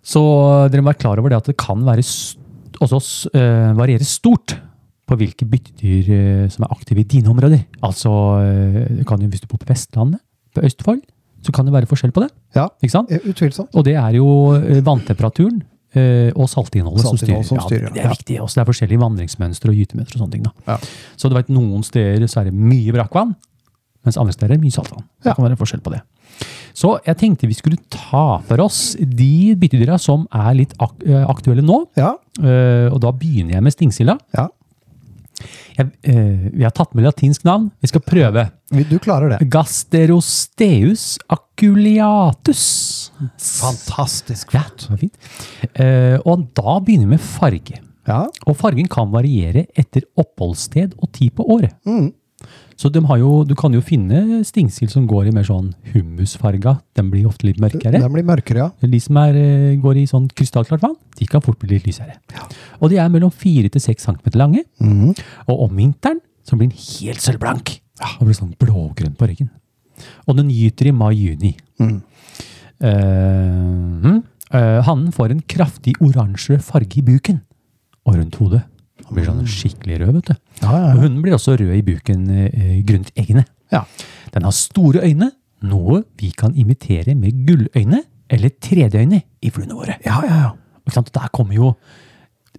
[SPEAKER 2] Så dere må være klar over det at det kan være st også s- eh, variere stort på hvilke byttedyr eh, som er aktive i dine områder. Altså, eh, det kan jo, hvis du bor på Vestlandet, på Østfold, så kan det være forskjell på det.
[SPEAKER 6] Ja,
[SPEAKER 2] Ikke sant?
[SPEAKER 6] eh, utvilsomt.
[SPEAKER 2] Og det er jo eh, vanntemperaturen eh, og saltinnholdet som styrer.
[SPEAKER 6] Saltinnholdet som
[SPEAKER 2] ja,
[SPEAKER 6] styrer,
[SPEAKER 2] det
[SPEAKER 6] ja.
[SPEAKER 2] er viktig. Også det er forskjellige vandringsmønstre og gytemønstre og sånne ting. Da.
[SPEAKER 6] Ja.
[SPEAKER 2] Så du vet, noen steder så er det mye brakkvann, mens andre steder er det mye saltvann. Det
[SPEAKER 6] Ja.
[SPEAKER 2] kan være forskjell på det. Så jeg tenkte vi skulle ta for oss de byttedyra som er litt ak eh, aktuelle nå.
[SPEAKER 6] Ja,
[SPEAKER 2] Eh, og da begynner jeg med stingsilda.
[SPEAKER 6] ja.
[SPEAKER 2] Jeg, eh, vi har tatt med latinsk navn. Vi skal prøve.
[SPEAKER 6] Vi- Du klarer det.
[SPEAKER 2] Gasterosteus aculeatus.
[SPEAKER 6] Fantastisk.
[SPEAKER 2] Ja, det var fint. Eh, og da begynner vi med farge.
[SPEAKER 6] Ja,
[SPEAKER 2] Og fargen kan variere etter oppholdssted og tid på året. Så de har jo, du kan jo finne stingsild som går i mer sånn hummusfarga. Den blir ofte litt mørkere.
[SPEAKER 6] den blir mørkere, ja.
[SPEAKER 2] De som er, eh, går i sånn krystallklart vann, de kan fort bli litt lysere. Og de er mellom 4 til 6 cm lange.
[SPEAKER 6] Mm.
[SPEAKER 2] Og om vinteren så blir den helt sølvblank. Og blir sånn blågrønn på ryggen. Og den gyter i mai-juni. Eh, hm. Eh, hannen får en kraftig oransje farge i buken og rundt hodet. Han blir sånn skikkelig rød, vet du. Og hunden blir også rød i buken eh, grunnet eggene.
[SPEAKER 6] Ja.
[SPEAKER 2] Den har store øyne, noe vi kan imitere med gulløyne eller tredjeøyne i fluene våre.
[SPEAKER 6] Ja, ja, ja.
[SPEAKER 2] Ikke sant? Og Der kommer jo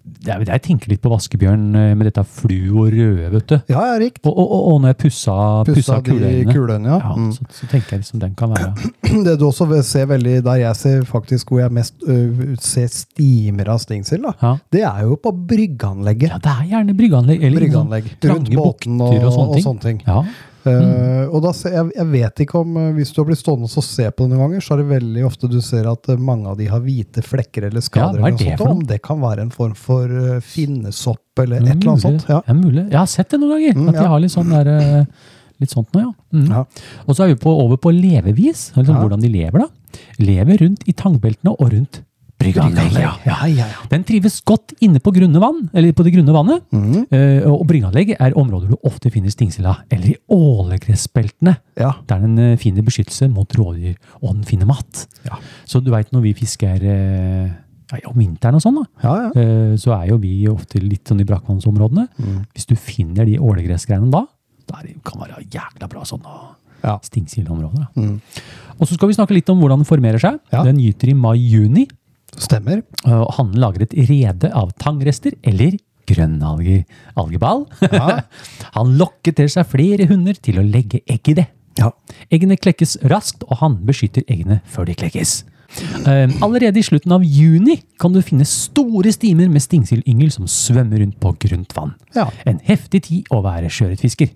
[SPEAKER 2] det er, Jeg tenker litt på vaskebjørn eh, med dette flu og røde, vet du.
[SPEAKER 6] Ja, ja, riktig.
[SPEAKER 2] Og, og, og, og når jeg pussa, pussa,
[SPEAKER 6] Pussa de
[SPEAKER 2] kuleøynene.
[SPEAKER 6] kuleøynene, ja.
[SPEAKER 2] Ja,
[SPEAKER 6] Mm.
[SPEAKER 2] så, så tenker jeg liksom den kan være
[SPEAKER 6] Det du også ser veldig, der jeg ser faktisk hvor jeg mest ø, ser stimer av stingsild, da,
[SPEAKER 2] Ja.
[SPEAKER 6] det er jo på bryggeanlegget.
[SPEAKER 2] Ja, det er gjerne bryggeanlegg. Eller
[SPEAKER 6] Bryggeanlegg.
[SPEAKER 2] sånn trange
[SPEAKER 6] Rundt båten og-
[SPEAKER 2] bukter
[SPEAKER 6] og sånne ting.
[SPEAKER 2] Ja.
[SPEAKER 6] Eh, og da ser jeg, jeg vet ikke om eh, Hvis du har blitt stående og se på det noen ganger, så er det veldig ofte du ser at eh, mange av de har hvite flekker eller
[SPEAKER 2] Ja,
[SPEAKER 6] skader.
[SPEAKER 2] hva er
[SPEAKER 6] eller noe
[SPEAKER 2] det
[SPEAKER 6] sånt,
[SPEAKER 2] for
[SPEAKER 6] og
[SPEAKER 2] noe?
[SPEAKER 6] om det kan være en form for eh, finnesopp eller et eller annet sånt. Ja.
[SPEAKER 2] Mm. Ja. mulig. Jeg har sett det noen ganger.
[SPEAKER 6] Mm,
[SPEAKER 2] at
[SPEAKER 6] ja.
[SPEAKER 2] de har litt sånn der, eh, litt sånt nå, ja. Mm.
[SPEAKER 6] Ja.
[SPEAKER 2] Og så er vi på, over på levevis. Eller sånn,
[SPEAKER 6] Ja.
[SPEAKER 2] Hvordan de lever, da. Lever rundt i tangbeltene og rundt bryggeanlegg. Ja. Ja.
[SPEAKER 6] ja,
[SPEAKER 2] Den trives godt inne på, grunne vann, eller på det grunne vannet.
[SPEAKER 6] Mhm.
[SPEAKER 2] eh, Og bryggeanlegg er områder du ofte finner stingsilda. Eller i ålegressbeltene.
[SPEAKER 6] ja.
[SPEAKER 2] Der den eh, finner beskyttelse mot rovdyr, og den finner mat.
[SPEAKER 6] Ja.
[SPEAKER 2] Så du veit når vi fisker eh, ja, om vinteren og sånn, da,
[SPEAKER 6] ja, ja.
[SPEAKER 2] eh, så er jo vi ofte litt sånn i brakkvannsområdene.
[SPEAKER 6] Mm.
[SPEAKER 2] Hvis du finner de ålegressgreiene da, da er det- kan det være jækla bra sånne
[SPEAKER 6] Ja. Mm.
[SPEAKER 2] stingsildområder. da. Og så skal vi snakke litt om hvordan den formerer seg.
[SPEAKER 6] Ja.
[SPEAKER 2] Den gyter i mai-juni.
[SPEAKER 6] Stemmer.
[SPEAKER 2] og Hannen lager et rede av tangrester eller grønnalger. Algeball. Han lokker til seg flere hunder til å legge egg i det.
[SPEAKER 6] Ja.
[SPEAKER 2] Eggene klekkes raskt, og hannen beskytter eggene før de klekkes. Eh, Allerede i slutten av juni kan du finne store stimer med stingsildyngel som svømmer rundt på grunt vann.
[SPEAKER 6] Ja.
[SPEAKER 2] En heftig tid å være sjøørretfisker.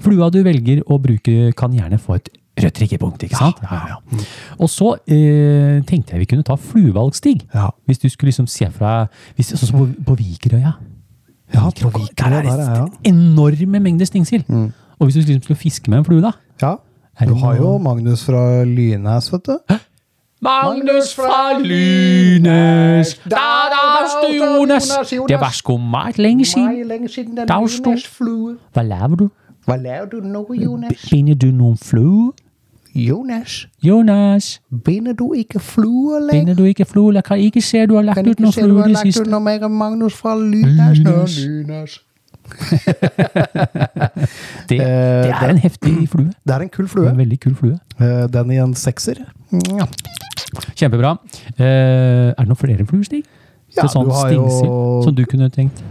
[SPEAKER 2] Flua du velger å bruke, kan gjerne få et rødt trikkepunkt. ikke sant? Ja, ja, ja. Og så eh, tenkte jeg vi kunne ta fluevalgstig.
[SPEAKER 6] Ja.
[SPEAKER 2] Hvis du skulle liksom se fra hvis, Sånn som på, på Vikerøya.
[SPEAKER 6] Ja, på
[SPEAKER 2] Vikerøya,
[SPEAKER 6] Vikerøya
[SPEAKER 2] der er
[SPEAKER 6] der, ja.
[SPEAKER 2] enorme mengder stingsild. Og hvis du liksom skulle fiske med en flue, da
[SPEAKER 6] ja.
[SPEAKER 2] Er
[SPEAKER 6] Du
[SPEAKER 2] det
[SPEAKER 6] har jo
[SPEAKER 2] noe-
[SPEAKER 6] Magnus fra Lynæs, vet du.
[SPEAKER 2] Magnus fra Lynes, der er Jonas. Det var skummelt lenge siden.
[SPEAKER 5] lenge siden den
[SPEAKER 2] Da sto-
[SPEAKER 5] flue.
[SPEAKER 2] Hva laver du?
[SPEAKER 5] Hva lærer du nå, Jonas?
[SPEAKER 2] Binder du noen flue?
[SPEAKER 5] Jonas,
[SPEAKER 2] Jonas,
[SPEAKER 5] binder du ikke flue lenger?
[SPEAKER 2] binder du ikke flue? Jeg kan ikke se du har lagt
[SPEAKER 5] Kan
[SPEAKER 2] ut
[SPEAKER 5] ikke
[SPEAKER 2] noen
[SPEAKER 5] se du
[SPEAKER 2] flue
[SPEAKER 5] har
[SPEAKER 2] i det
[SPEAKER 5] lagt ut
[SPEAKER 2] siste. Mm.
[SPEAKER 5] noe mer om Magnus fra Lynæs. nå, Lynæs.
[SPEAKER 2] Det, det er en heftig flue.
[SPEAKER 6] Det er en kul
[SPEAKER 2] Det er
[SPEAKER 6] flue.
[SPEAKER 2] En veldig kul flue.
[SPEAKER 6] Eh, Den i en sekser. Ja,
[SPEAKER 2] Kjempebra. Eh, er det noen flere fluer, Stig?
[SPEAKER 6] Ja,
[SPEAKER 2] Til sånn
[SPEAKER 6] du har jo-
[SPEAKER 2] stingsild som du kunne tenkt?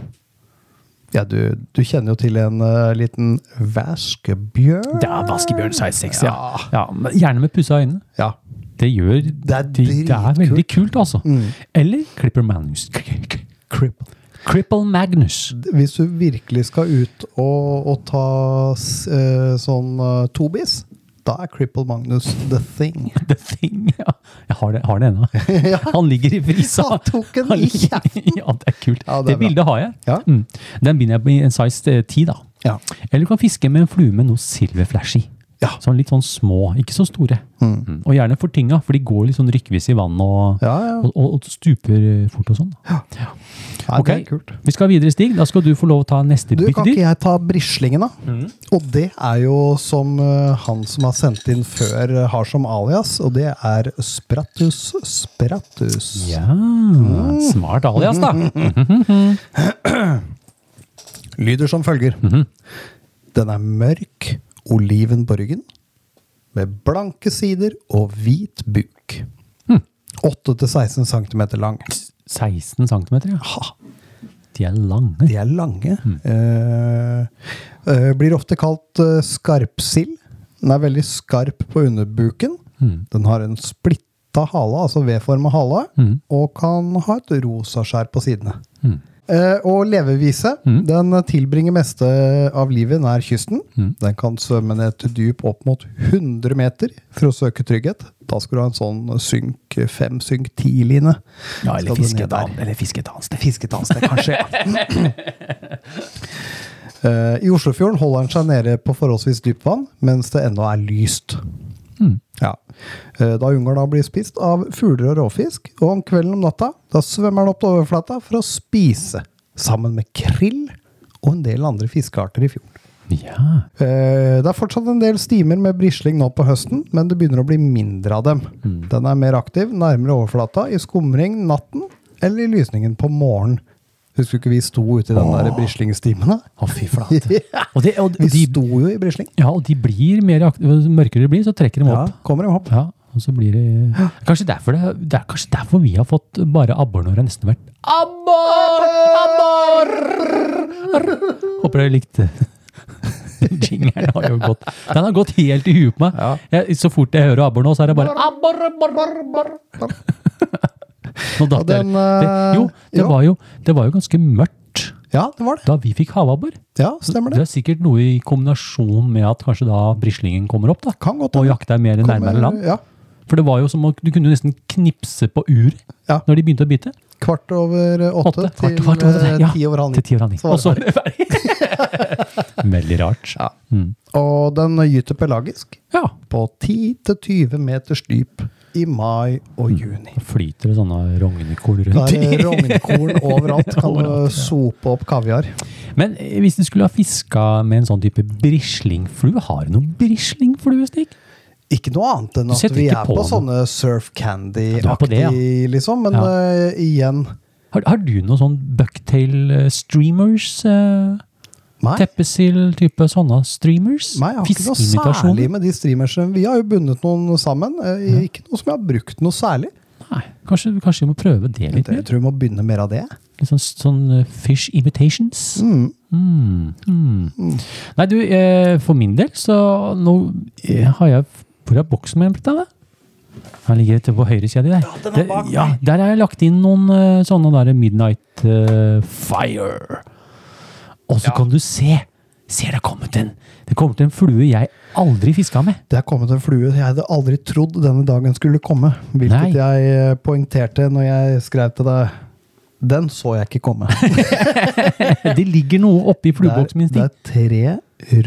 [SPEAKER 6] ja du, du kjenner jo til en eh, liten vaskebjørn.
[SPEAKER 2] Det er vaskebjørn size 6, ja. ja. men Gjerne med pussa øyne.
[SPEAKER 6] Ja.
[SPEAKER 2] Det gjør
[SPEAKER 6] er
[SPEAKER 2] de- det er veldig kult, altså. Eller Clipper Magnus.
[SPEAKER 6] Cripple.
[SPEAKER 2] Cripple Magnus.
[SPEAKER 6] Hvis du virkelig skal ut og, og ta s- eh, sånn eh, tobis, da er Cripple Magnus the thing.
[SPEAKER 2] The Thing. Ja. Jeg har det, har det ennå. Han ligger i frisa.
[SPEAKER 6] Han tok den
[SPEAKER 2] Han
[SPEAKER 6] i
[SPEAKER 2] ligger-
[SPEAKER 6] kjeften.
[SPEAKER 2] Ja, det er kult.
[SPEAKER 6] Ja, det
[SPEAKER 2] det
[SPEAKER 6] er bra.
[SPEAKER 2] bildet har jeg.
[SPEAKER 6] Ja.
[SPEAKER 2] Mm. Den binder jeg på i en size 10, da.
[SPEAKER 6] Ja.
[SPEAKER 2] Eller du kan fiske med en flue med noe silverflash i.
[SPEAKER 6] Ja.
[SPEAKER 2] Sånn litt sånn små, ikke så store. Mm. Og gjerne for tinga, for de går litt sånn rykkvis i vann og,
[SPEAKER 6] Ja, ja.
[SPEAKER 2] og, og, og stuper eh, fort og sånn.
[SPEAKER 6] Ja,
[SPEAKER 2] Ok,
[SPEAKER 6] Det er kult.
[SPEAKER 2] Vi skal videre, Stig. Da skal du få lov å ta neste
[SPEAKER 6] Du, kan ikke
[SPEAKER 2] byttedyr.
[SPEAKER 6] jeg ta brislingen, da? Og det er jo som eh, han som har sendt inn før, eh, har som alias, og det er Spratus Spratus.
[SPEAKER 2] Ja, smart
[SPEAKER 6] Mm.
[SPEAKER 2] alias, da. Mhm.
[SPEAKER 6] Lyder som følger. Den er mørk olivenborgen med blanke sider og hvit buk. 8-16 cm lang.
[SPEAKER 2] 16 cm, ja. De er lange.
[SPEAKER 6] De er lange. Eh, eh, blir ofte kalt eh, skarpsild. Den er veldig skarp på underbuken.
[SPEAKER 2] Mm.
[SPEAKER 6] Den har en splitta hale, altså V-forma hale,
[SPEAKER 2] Mm.
[SPEAKER 6] og kan ha et rosa skjær på sidene. Eh, og levevise. Den tilbringer meste av livet nær kysten. Den kan svømme ned til dyp opp mot 100 meter for å søke trygghet. Da skal du ha en sånn synk 5, synk 10-line.
[SPEAKER 2] Ja, eller
[SPEAKER 6] Skal du
[SPEAKER 2] fiske
[SPEAKER 6] ned
[SPEAKER 2] et
[SPEAKER 6] der?
[SPEAKER 2] annet- eller fiske et annet sted.
[SPEAKER 6] fisket hans det kan skje. Eh, I Oslofjorden holder han seg nede på forholdsvis dypt vann, mens det ennå er lyst. Ja. Eh, Da unger da blir spist av fugler og rovfisk, og om kvelden om natta da svømmer han opp til overflata for å spise, sammen med krill og en del andre fiskearter i fjorden.
[SPEAKER 2] Ja.
[SPEAKER 6] Eh, Det er fortsatt en del stimer med brisling nå på høsten, men det begynner å bli mindre av dem.
[SPEAKER 2] Mm.
[SPEAKER 6] Den er mer aktiv, nærmere overflata, i skumring natten eller i lysningen på morgenen. Husker du ikke vi sto ute i den der brislingstimen? da?
[SPEAKER 2] Å, fy flate.
[SPEAKER 6] Ja.
[SPEAKER 2] Og, det, og,
[SPEAKER 6] Vi
[SPEAKER 2] de,
[SPEAKER 6] sto jo i brisling.
[SPEAKER 2] ja, og de blir mer akt- jo mørkere det blir, så trekker de
[SPEAKER 6] Ja,
[SPEAKER 2] opp.
[SPEAKER 6] kommer i hopp.
[SPEAKER 2] Ja, og så blir det Kanskje derfor, det, det er kanskje derfor vi har fått bare abbor når det nesten har vært Abbor! Abbor! Håper dere likte Jingeren har jo gått Den har gått helt i huet på meg. Jeg, så fort jeg hører abbor nå, så er det bare abbor, abbor, abbor, abbor. Nå
[SPEAKER 6] Og
[SPEAKER 2] datt jeg
[SPEAKER 6] den, eh,
[SPEAKER 2] det, jo, det
[SPEAKER 6] ja.
[SPEAKER 2] var jo, det var jo ganske mørkt
[SPEAKER 6] Ja, det var det.
[SPEAKER 2] da vi fikk havabbor.
[SPEAKER 6] Ja, stemmer
[SPEAKER 2] Det
[SPEAKER 6] det.
[SPEAKER 2] er sikkert noe i kombinasjon med at kanskje da brislingen kommer opp da,
[SPEAKER 6] Kan godt
[SPEAKER 2] og
[SPEAKER 6] hende.
[SPEAKER 2] jakter mer
[SPEAKER 6] Kommer-
[SPEAKER 2] nærmere land.
[SPEAKER 6] Ja,
[SPEAKER 2] For det var jo som å, du kunne jo nesten knipse på uret
[SPEAKER 6] Ja.
[SPEAKER 2] når de begynte å bite.
[SPEAKER 6] Kvart over eh, åtte,
[SPEAKER 2] Åtte,
[SPEAKER 6] til
[SPEAKER 2] kvart, kvart, over åtte,
[SPEAKER 6] eh,
[SPEAKER 2] ja,
[SPEAKER 6] ti over halv
[SPEAKER 2] Til ti over halv ni.
[SPEAKER 6] Så var
[SPEAKER 2] Og
[SPEAKER 6] det
[SPEAKER 2] så var det ferdig. Veldig rart. Ja. Mm.
[SPEAKER 6] Og den gyter pelagisk
[SPEAKER 2] ja.
[SPEAKER 6] på 10-20 meters dyp i mai og juni.
[SPEAKER 2] Da flyter det sånne rognekorn
[SPEAKER 6] Da
[SPEAKER 2] rundt.
[SPEAKER 6] er det rognkorn overalt. Kan
[SPEAKER 2] Overalt, ja.
[SPEAKER 6] du sope opp kaviar?
[SPEAKER 2] Men eh, hvis du skulle ha fiska med en sånn type brislingflue, har du noen brislingflue, Stig?
[SPEAKER 6] Ikke noe annet enn
[SPEAKER 2] Du
[SPEAKER 6] at
[SPEAKER 2] setter
[SPEAKER 6] vi
[SPEAKER 2] ikke
[SPEAKER 6] er
[SPEAKER 2] på
[SPEAKER 6] på,
[SPEAKER 2] den.
[SPEAKER 6] sånne surf
[SPEAKER 2] Ja, du er på det,
[SPEAKER 6] candy-aktig,
[SPEAKER 2] ja.
[SPEAKER 6] liksom. Men
[SPEAKER 2] Ja.
[SPEAKER 6] eh, igjen
[SPEAKER 2] Har, har du noen sånn bucktail eh, streamers? eh,
[SPEAKER 6] Nei.
[SPEAKER 2] Teppesild-type sånne streamers?
[SPEAKER 6] Nei, jeg har ikke noe
[SPEAKER 2] Fiskeimitasjoner?
[SPEAKER 6] særlig med de streamersene. Vi har jo bundet noen sammen. eh, Ikke noe som jeg har brukt noe særlig.
[SPEAKER 2] Nei, kanskje, kanskje vi må prøve det litt
[SPEAKER 6] Jeg
[SPEAKER 2] mer?
[SPEAKER 6] tror vi må begynne mer av det.
[SPEAKER 2] Litt sånn, sånn eh, fish imitations? Mm, mm. Nei, du, eh, for min del så nå eh, har jeg Hvor er boksen min blitt av? da? Han ligger til på høyre sida di der.
[SPEAKER 6] den er bak
[SPEAKER 2] Det- ja, der har jeg lagt inn noen eh, sånne der Midnight eh, Fire. Og så kan du se! Ser det kommet en Det kommer til en flue jeg aldri fiska med.
[SPEAKER 6] Det er kommet en flue jeg hadde aldri trodd denne dagen skulle komme.
[SPEAKER 2] Nei.
[SPEAKER 6] Hvilket jeg eh, poengterte når jeg skrev til deg. Den så jeg ikke komme.
[SPEAKER 2] Det ligger noe oppi
[SPEAKER 6] Det er,
[SPEAKER 2] flueboksen min. Stig.
[SPEAKER 6] det er tre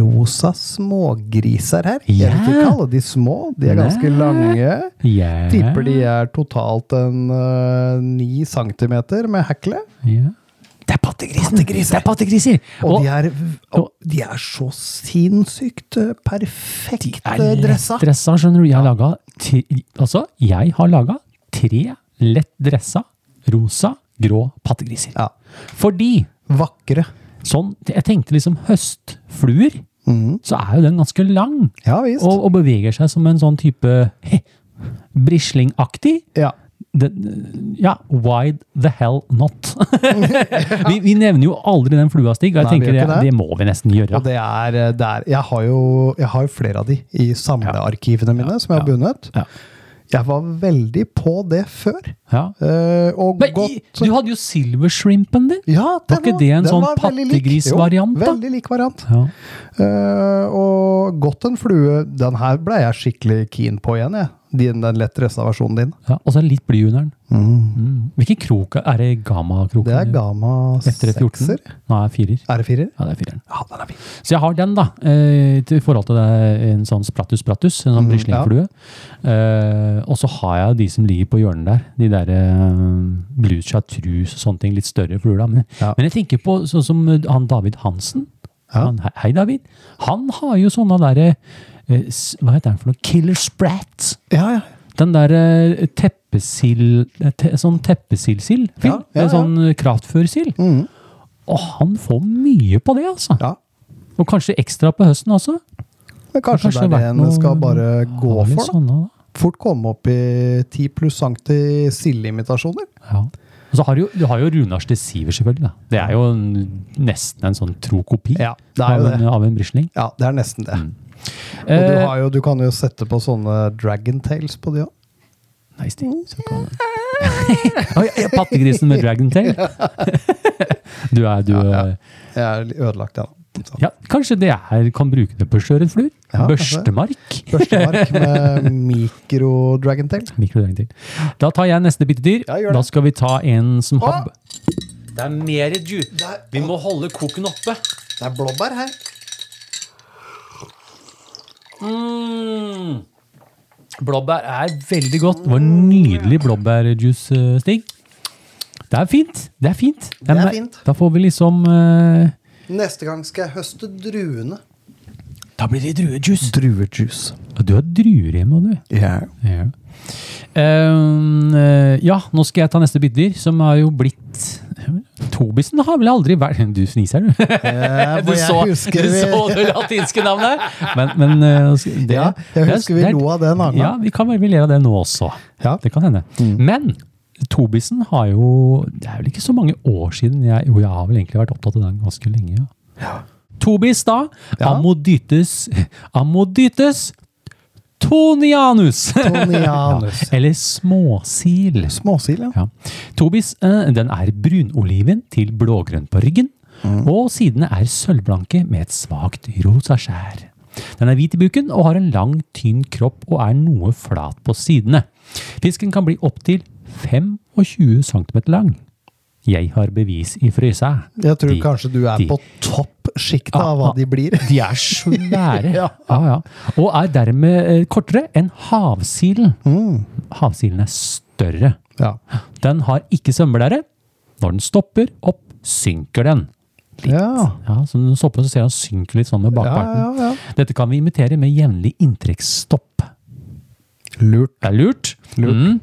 [SPEAKER 6] rosa smågriser her. Jeg vil ikke
[SPEAKER 2] Ja.
[SPEAKER 6] kalle de små. De er ganske
[SPEAKER 2] Nei.
[SPEAKER 6] lange.
[SPEAKER 2] Ja,
[SPEAKER 6] Tipper de er totalt en eh, ni centimeter med hekle.
[SPEAKER 2] ja. Det er pattegriser! Det er pattegriser!
[SPEAKER 6] Og,
[SPEAKER 2] Og
[SPEAKER 6] de, er, og
[SPEAKER 2] og-
[SPEAKER 6] de er så sinnssykt eh, perfekt
[SPEAKER 2] er
[SPEAKER 6] eh,
[SPEAKER 2] lett
[SPEAKER 6] dressa.
[SPEAKER 2] dressa, skjønner du. Jeg har laga Altså, jeg har laga tre lett dressa, rosa, grå pattegriser.
[SPEAKER 6] Ja.
[SPEAKER 2] Fordi
[SPEAKER 6] Vakre.
[SPEAKER 2] sånn Jeg tenkte liksom høstfluer, så er jo den ganske lang.
[SPEAKER 6] Mhm. Ja visst.
[SPEAKER 2] Og, og beveger seg som en sånn type heh, brislingaktig.
[SPEAKER 6] ja.
[SPEAKER 2] Den- Ja, why the hell not? vi, vi nevner jo aldri den flua, Stig. Og jeg
[SPEAKER 6] Nei, vi
[SPEAKER 2] tenker
[SPEAKER 6] gjør
[SPEAKER 2] det,
[SPEAKER 6] ikke
[SPEAKER 2] det.
[SPEAKER 6] det.
[SPEAKER 2] må vi nesten gjøre.
[SPEAKER 6] Og det er, eh, det er jeg, har jo, jeg har jo flere av de i samlearkivene mine som jeg har bundet.
[SPEAKER 2] Ja.
[SPEAKER 6] Jeg var veldig på det før.
[SPEAKER 2] Ja.
[SPEAKER 6] eh, og
[SPEAKER 2] Men i,
[SPEAKER 6] godt
[SPEAKER 2] du hadde jo silvershrimpen din!
[SPEAKER 6] ja,
[SPEAKER 2] var ikke det en
[SPEAKER 6] den
[SPEAKER 2] sånn
[SPEAKER 6] var veldig lik.
[SPEAKER 2] pattegrisvariant,
[SPEAKER 6] Jo,
[SPEAKER 2] da?
[SPEAKER 6] Veldig lik variant.
[SPEAKER 2] Ja.
[SPEAKER 6] Eh, og godt en flue. Den her ble jeg skikkelig keen på igjen, jeg. Din, den lett dressa versjonen din.
[SPEAKER 2] Ja, og så er det litt bly under den. Mm. Hvilken krok er- er det? Gamma-kroken?
[SPEAKER 6] Det er gamma
[SPEAKER 2] Etter 14?
[SPEAKER 6] sekser.
[SPEAKER 2] Nei, firer.
[SPEAKER 6] Er det firer?
[SPEAKER 2] Ja, det er fireren.
[SPEAKER 6] Ja, den er fin.
[SPEAKER 2] Så jeg har den, da. eh, til- I forhold til det, en sånn Sprattus Sprattus, en sånn
[SPEAKER 6] Mm,
[SPEAKER 2] brislingflue. Eh, og så har jeg de som ligger på hjørnet der. De der eh, blues chartreuse og sånne ting. Litt større fluer, da. Men,
[SPEAKER 6] Ja.
[SPEAKER 2] men jeg tenker på sånn som eh, han David Hansen.
[SPEAKER 6] Ja.
[SPEAKER 2] Han, hei, David. Han har jo sånne derre Hva heter den for noe? Killer Sprat.
[SPEAKER 6] Ja, ja.
[SPEAKER 2] Den der eh, teppesild te, Sånn teppesildsild. Ja,
[SPEAKER 6] Ja, ja, ja.
[SPEAKER 2] Sånn eh, kraftførsild. Og han får mye på det, altså.
[SPEAKER 6] Mm. ja.
[SPEAKER 2] Og kanskje ekstra på høsten også.
[SPEAKER 6] Men kanskje,
[SPEAKER 2] Kanskje det
[SPEAKER 6] det
[SPEAKER 2] har
[SPEAKER 6] er
[SPEAKER 2] vært
[SPEAKER 6] det en
[SPEAKER 2] noe-
[SPEAKER 6] skal bare gå
[SPEAKER 2] Har litt sånn
[SPEAKER 6] for, da.
[SPEAKER 2] Sånne, da.
[SPEAKER 6] Fort komme opp i 10 pluss sankt i sildeimitasjoner.
[SPEAKER 2] Ja. Og så har du jo, du har jo Runars til Siver, selvfølgelig. Da. Det er jo en, nesten en sånn tro kopi
[SPEAKER 6] Ja, det er
[SPEAKER 2] av,
[SPEAKER 6] jo
[SPEAKER 2] en, av en brisling.
[SPEAKER 6] Ja, det er nesten det. Og du,
[SPEAKER 2] Mm. Eh,
[SPEAKER 6] har jo, du kan jo sette på sånne dragon tails på de òg.
[SPEAKER 2] Nei, Stig. Se på den. Oi, jeg er Pattegrisen med dragontail. du er du eh,
[SPEAKER 6] Jeg er litt ødelagt ennå. Så.
[SPEAKER 2] ja, Kanskje det her kan bruke det på sjøørretfluer?
[SPEAKER 6] Ja, kanskje det.
[SPEAKER 2] Børstemark?
[SPEAKER 6] Børstemark med mikro-dragon tail.
[SPEAKER 2] Mikrodøgn til. Da tar jeg neste byttedyr.
[SPEAKER 6] Ja, gjør det.
[SPEAKER 2] da skal vi ta en som har Det er mer du. Vi må holde koken oppe.
[SPEAKER 6] Det er blåbær her.
[SPEAKER 2] Mm. Blåbær er veldig godt. Det var nydelig blåbærjuice, eh, Stig. Det er fint. Det er fint.
[SPEAKER 6] er
[SPEAKER 2] Men
[SPEAKER 6] fint.
[SPEAKER 2] Da får vi liksom eh,
[SPEAKER 6] Neste gang skal jeg høste druene.
[SPEAKER 2] Da blir det druejuice.
[SPEAKER 6] Druejuice.
[SPEAKER 2] Du har druer hjemme, du.
[SPEAKER 6] Ja.
[SPEAKER 2] Ja. Ehm, eh, ja, nå skal jeg ta neste byttedyr, som har jo blitt Tobisen har vel aldri vært Du fniser, du. Eh, Du så, du så det latinske navnet! Men, men eh, nå skal- det,
[SPEAKER 6] Ja, jeg
[SPEAKER 2] det er-
[SPEAKER 6] husker vi
[SPEAKER 2] er-
[SPEAKER 6] lo av det en annen gang.
[SPEAKER 2] Ja, vi kan vel vel gjøre det nå også.
[SPEAKER 6] Ja. Mm.
[SPEAKER 2] Det kan hende. Men Tobisen har jo Det er vel ikke så mange år siden jeg Jo, jeg har vel egentlig vært opptatt av den ganske lenge, ja. Tobis, da.
[SPEAKER 6] Ja.
[SPEAKER 2] Amodytes Amodytes tonianus!
[SPEAKER 6] Tonianus.
[SPEAKER 2] Eller småsil.
[SPEAKER 6] Småsil, ja.
[SPEAKER 2] Ja. Tobis eh, den er brunoliven til blågrønn på ryggen, og sidene er sølvblanke med et svakt rosa skjær. Den er hvit i buken og har en lang, tynn kropp og er noe flat på sidene. Fisken kan bli opptil 25 cm lang. Jeg har bevis i frysa.
[SPEAKER 6] Jeg tror
[SPEAKER 2] De-
[SPEAKER 6] kanskje du er
[SPEAKER 2] de-
[SPEAKER 6] på toppsjiktet
[SPEAKER 2] Ja,
[SPEAKER 6] av hva
[SPEAKER 2] ja.
[SPEAKER 6] de blir.
[SPEAKER 2] De er svære. ja.
[SPEAKER 6] Ja.
[SPEAKER 2] Ja, Og er dermed eh, kortere enn havsilen. Havsilen er større.
[SPEAKER 6] Ja.
[SPEAKER 2] Den har ikke svømmeblære. Når den stopper opp, synker den.
[SPEAKER 6] Ja.
[SPEAKER 2] Ja, så når den stopper, så ser han synker litt sånn med bakparten.
[SPEAKER 6] Ja, ja, ja.
[SPEAKER 2] Dette kan vi imitere med jevnlig inntrekksstopp.
[SPEAKER 6] Lurt.
[SPEAKER 2] Det er lurt. Mm.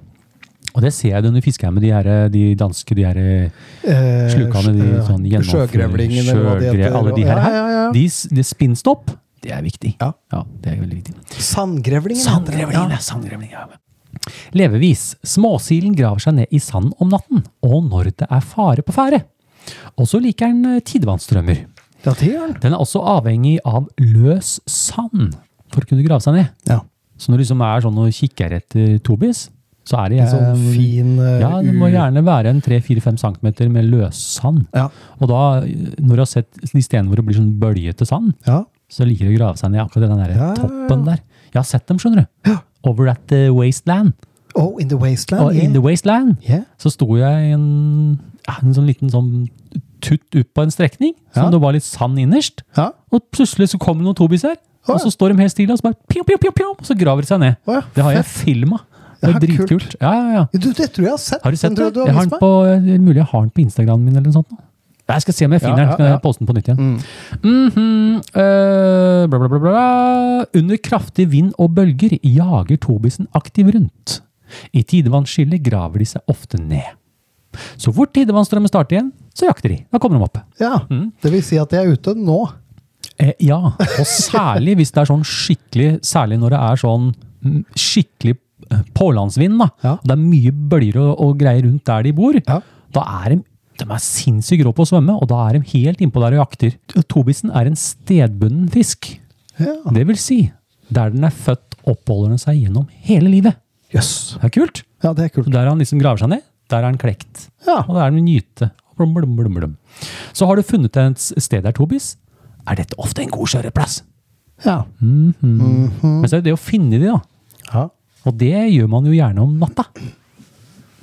[SPEAKER 2] Og det ser jeg det når fisker jeg med de, her, de danske de her,
[SPEAKER 6] Eh,
[SPEAKER 2] slukene. De
[SPEAKER 6] ja,
[SPEAKER 2] sånn gjennomfører-
[SPEAKER 6] Sjøgrevlingene, eller hva de
[SPEAKER 2] sjøgre-
[SPEAKER 6] heter.
[SPEAKER 2] Alle de her.
[SPEAKER 6] Ja,
[SPEAKER 2] her.
[SPEAKER 6] ja, ja.
[SPEAKER 2] De, s- de spinnstopp, det er viktig.
[SPEAKER 6] Ja.
[SPEAKER 2] det er veldig viktig.
[SPEAKER 6] Sandgrevlingen. heter det.
[SPEAKER 2] Sandgrevling, ja. Sandgrevling, ja. Levevis. Småsilen graver seg ned i sanden om natten, og når det er fare på ferde. Og så liker den eh, tidevannsstrømmer.
[SPEAKER 6] Ja, det gjør den.
[SPEAKER 2] Den er også avhengig av løs sand for å kunne grave seg ned.
[SPEAKER 6] Ja.
[SPEAKER 2] Så når du liksom er sånn og kikker etter tobis, så er det
[SPEAKER 6] En sånn
[SPEAKER 2] eh,
[SPEAKER 6] fin eh,
[SPEAKER 2] Ja, det må
[SPEAKER 6] u-
[SPEAKER 2] gjerne være en 3-4-5 cm med løssand.
[SPEAKER 6] Ja.
[SPEAKER 2] Og da, når du har sett de stedene hvor det blir sånn bøljete sand,
[SPEAKER 6] ja.
[SPEAKER 2] så liker de å grave seg ned i akkurat den der
[SPEAKER 6] Ja, ja, ja.
[SPEAKER 2] toppen der. Jeg har sett dem, skjønner du. Over at the wasteland.
[SPEAKER 6] Oh, in the wasteland.
[SPEAKER 2] Og in the wasteland
[SPEAKER 6] yeah.
[SPEAKER 2] så sto jeg i en, ja, en sånn liten sånn tutt ut på en strekning, som
[SPEAKER 6] Ja.
[SPEAKER 2] det var litt sand innerst.
[SPEAKER 6] Ja.
[SPEAKER 2] Og plutselig så kommer det noen tobis her,
[SPEAKER 6] Å,
[SPEAKER 2] og
[SPEAKER 6] ja.
[SPEAKER 2] så står de helt stille, og så bare pjom, pjom, pjom, pjom, og så graver de seg ned.
[SPEAKER 6] Å, ja.
[SPEAKER 2] Det har jeg filma. Det
[SPEAKER 6] Ja,
[SPEAKER 2] er
[SPEAKER 6] kult.
[SPEAKER 2] dritkult. Ja, ja, ja.
[SPEAKER 6] Du, det tror jeg jeg har sett.
[SPEAKER 2] Har du sett
[SPEAKER 6] tror
[SPEAKER 2] det?
[SPEAKER 6] jeg Du har
[SPEAKER 2] Jeg har
[SPEAKER 6] vist
[SPEAKER 2] den
[SPEAKER 6] meg.
[SPEAKER 2] på, eh, det er mulig jeg har den på Instagramen min eller noe sånt. nå. Nei, Jeg skal se om jeg finner
[SPEAKER 6] Ja,
[SPEAKER 2] den.
[SPEAKER 6] ja,
[SPEAKER 2] Skal
[SPEAKER 6] ja. Mm.
[SPEAKER 2] jeg poste den på nytt igjen. Mhm, øh, bla, bla, bla, bla. Under kraftig vind og bølger jager tobisen aktiv rundt. I tidevannsskillet graver de seg ofte ned. Så fort tidevannsstrømmen starter igjen, så jakter de. Da kommer de opp.
[SPEAKER 6] Ja. Det vil si at jeg er ute nå.
[SPEAKER 2] Eh, ja, og særlig hvis det er sånn skikkelig Særlig når det er sånn mm, skikkelig eh, pålandsvind, da.
[SPEAKER 6] Ja.
[SPEAKER 2] Og det er mye bølger og, og greier rundt der de bor.
[SPEAKER 6] Ja.
[SPEAKER 2] Da er de, de er sinnssykt rå på å svømme, og da er de helt innpå der og jakter. Tobisen er en stedbunden fisk.
[SPEAKER 6] Ja.
[SPEAKER 2] Det vil si, der den er født, oppholder den seg gjennom hele livet.
[SPEAKER 6] Yes.
[SPEAKER 2] Det er kult.
[SPEAKER 6] Ja, det er
[SPEAKER 2] Så
[SPEAKER 6] kult.
[SPEAKER 2] Der han liksom graver seg ned, der er han klekt.
[SPEAKER 6] Ja.
[SPEAKER 2] Og der er han nyte. Blum, blum, blum, blum. Så har du funnet et sted der, Tobis, er dette ofte en god kjøreplass.
[SPEAKER 6] Ja.
[SPEAKER 2] Mhm.
[SPEAKER 6] Mhm.
[SPEAKER 2] Men så er det det å finne de, da.
[SPEAKER 6] ja.
[SPEAKER 2] Og det gjør man jo gjerne om natta.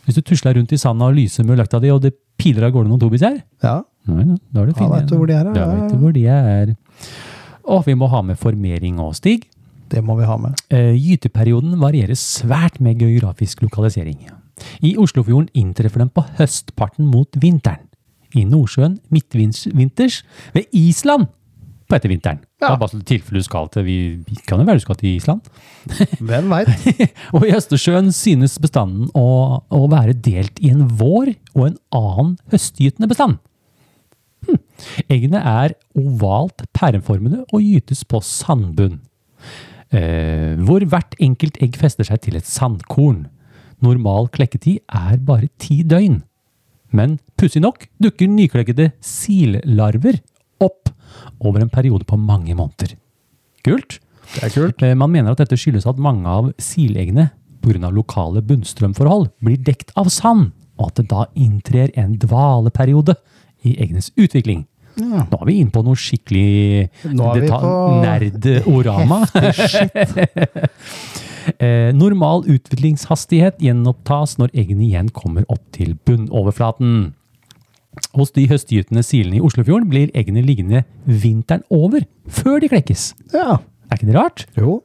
[SPEAKER 2] Hvis du tusler rundt i sanda og lyser med løkta di, og det piler av gårde noen tobiser,
[SPEAKER 6] ja.
[SPEAKER 2] da er det
[SPEAKER 6] Ja, vet du hvor de er, ja.
[SPEAKER 2] Da vet du hvor de er. Og vi må ha med formering og stig.
[SPEAKER 6] Det må vi ha med.
[SPEAKER 2] Eh, Gyteperioden varierer svært med geografisk lokalisering. I Oslofjorden inntreffer den på høstparten mot vinteren. I Nordsjøen midtvinters, ved Island på ettervinteren. Det er bare så tilfelle du skal til, vi, vi kan jo være du skal til Island.
[SPEAKER 6] Hvem veit?
[SPEAKER 2] Og i Østersjøen synes bestanden å, å være delt i en vår og en annen høstgytende bestand. Hm. Eggene er ovalt pæreformede og gytes på sandbunn, eh, hvor hvert enkelt egg fester seg til et sandkorn. Normal klekketid er bare ti døgn. Men pussig nok dukker nyklekkede sillarver opp over en periode på mange måneder. Kult!
[SPEAKER 6] Det er kult.
[SPEAKER 2] Eh, Man mener at dette skyldes at mange av sileggene pga. lokale bunnstrømforhold blir dekt av sand, og at det da inntrer en dvaleperiode i eggenes utvikling. Nå er vi inne på noe skikkelig
[SPEAKER 6] Nå er vi
[SPEAKER 2] deta-
[SPEAKER 6] på-
[SPEAKER 2] nerd-orama. Eh, Normal utviklingshastighet gjenopptas når eggene igjen kommer opp til bunnoverflaten. Hos de høstgytende silene i Oslofjorden blir eggene liggende vinteren over før de klekkes.
[SPEAKER 6] Ja.
[SPEAKER 2] Er ikke det rart?
[SPEAKER 6] Jo.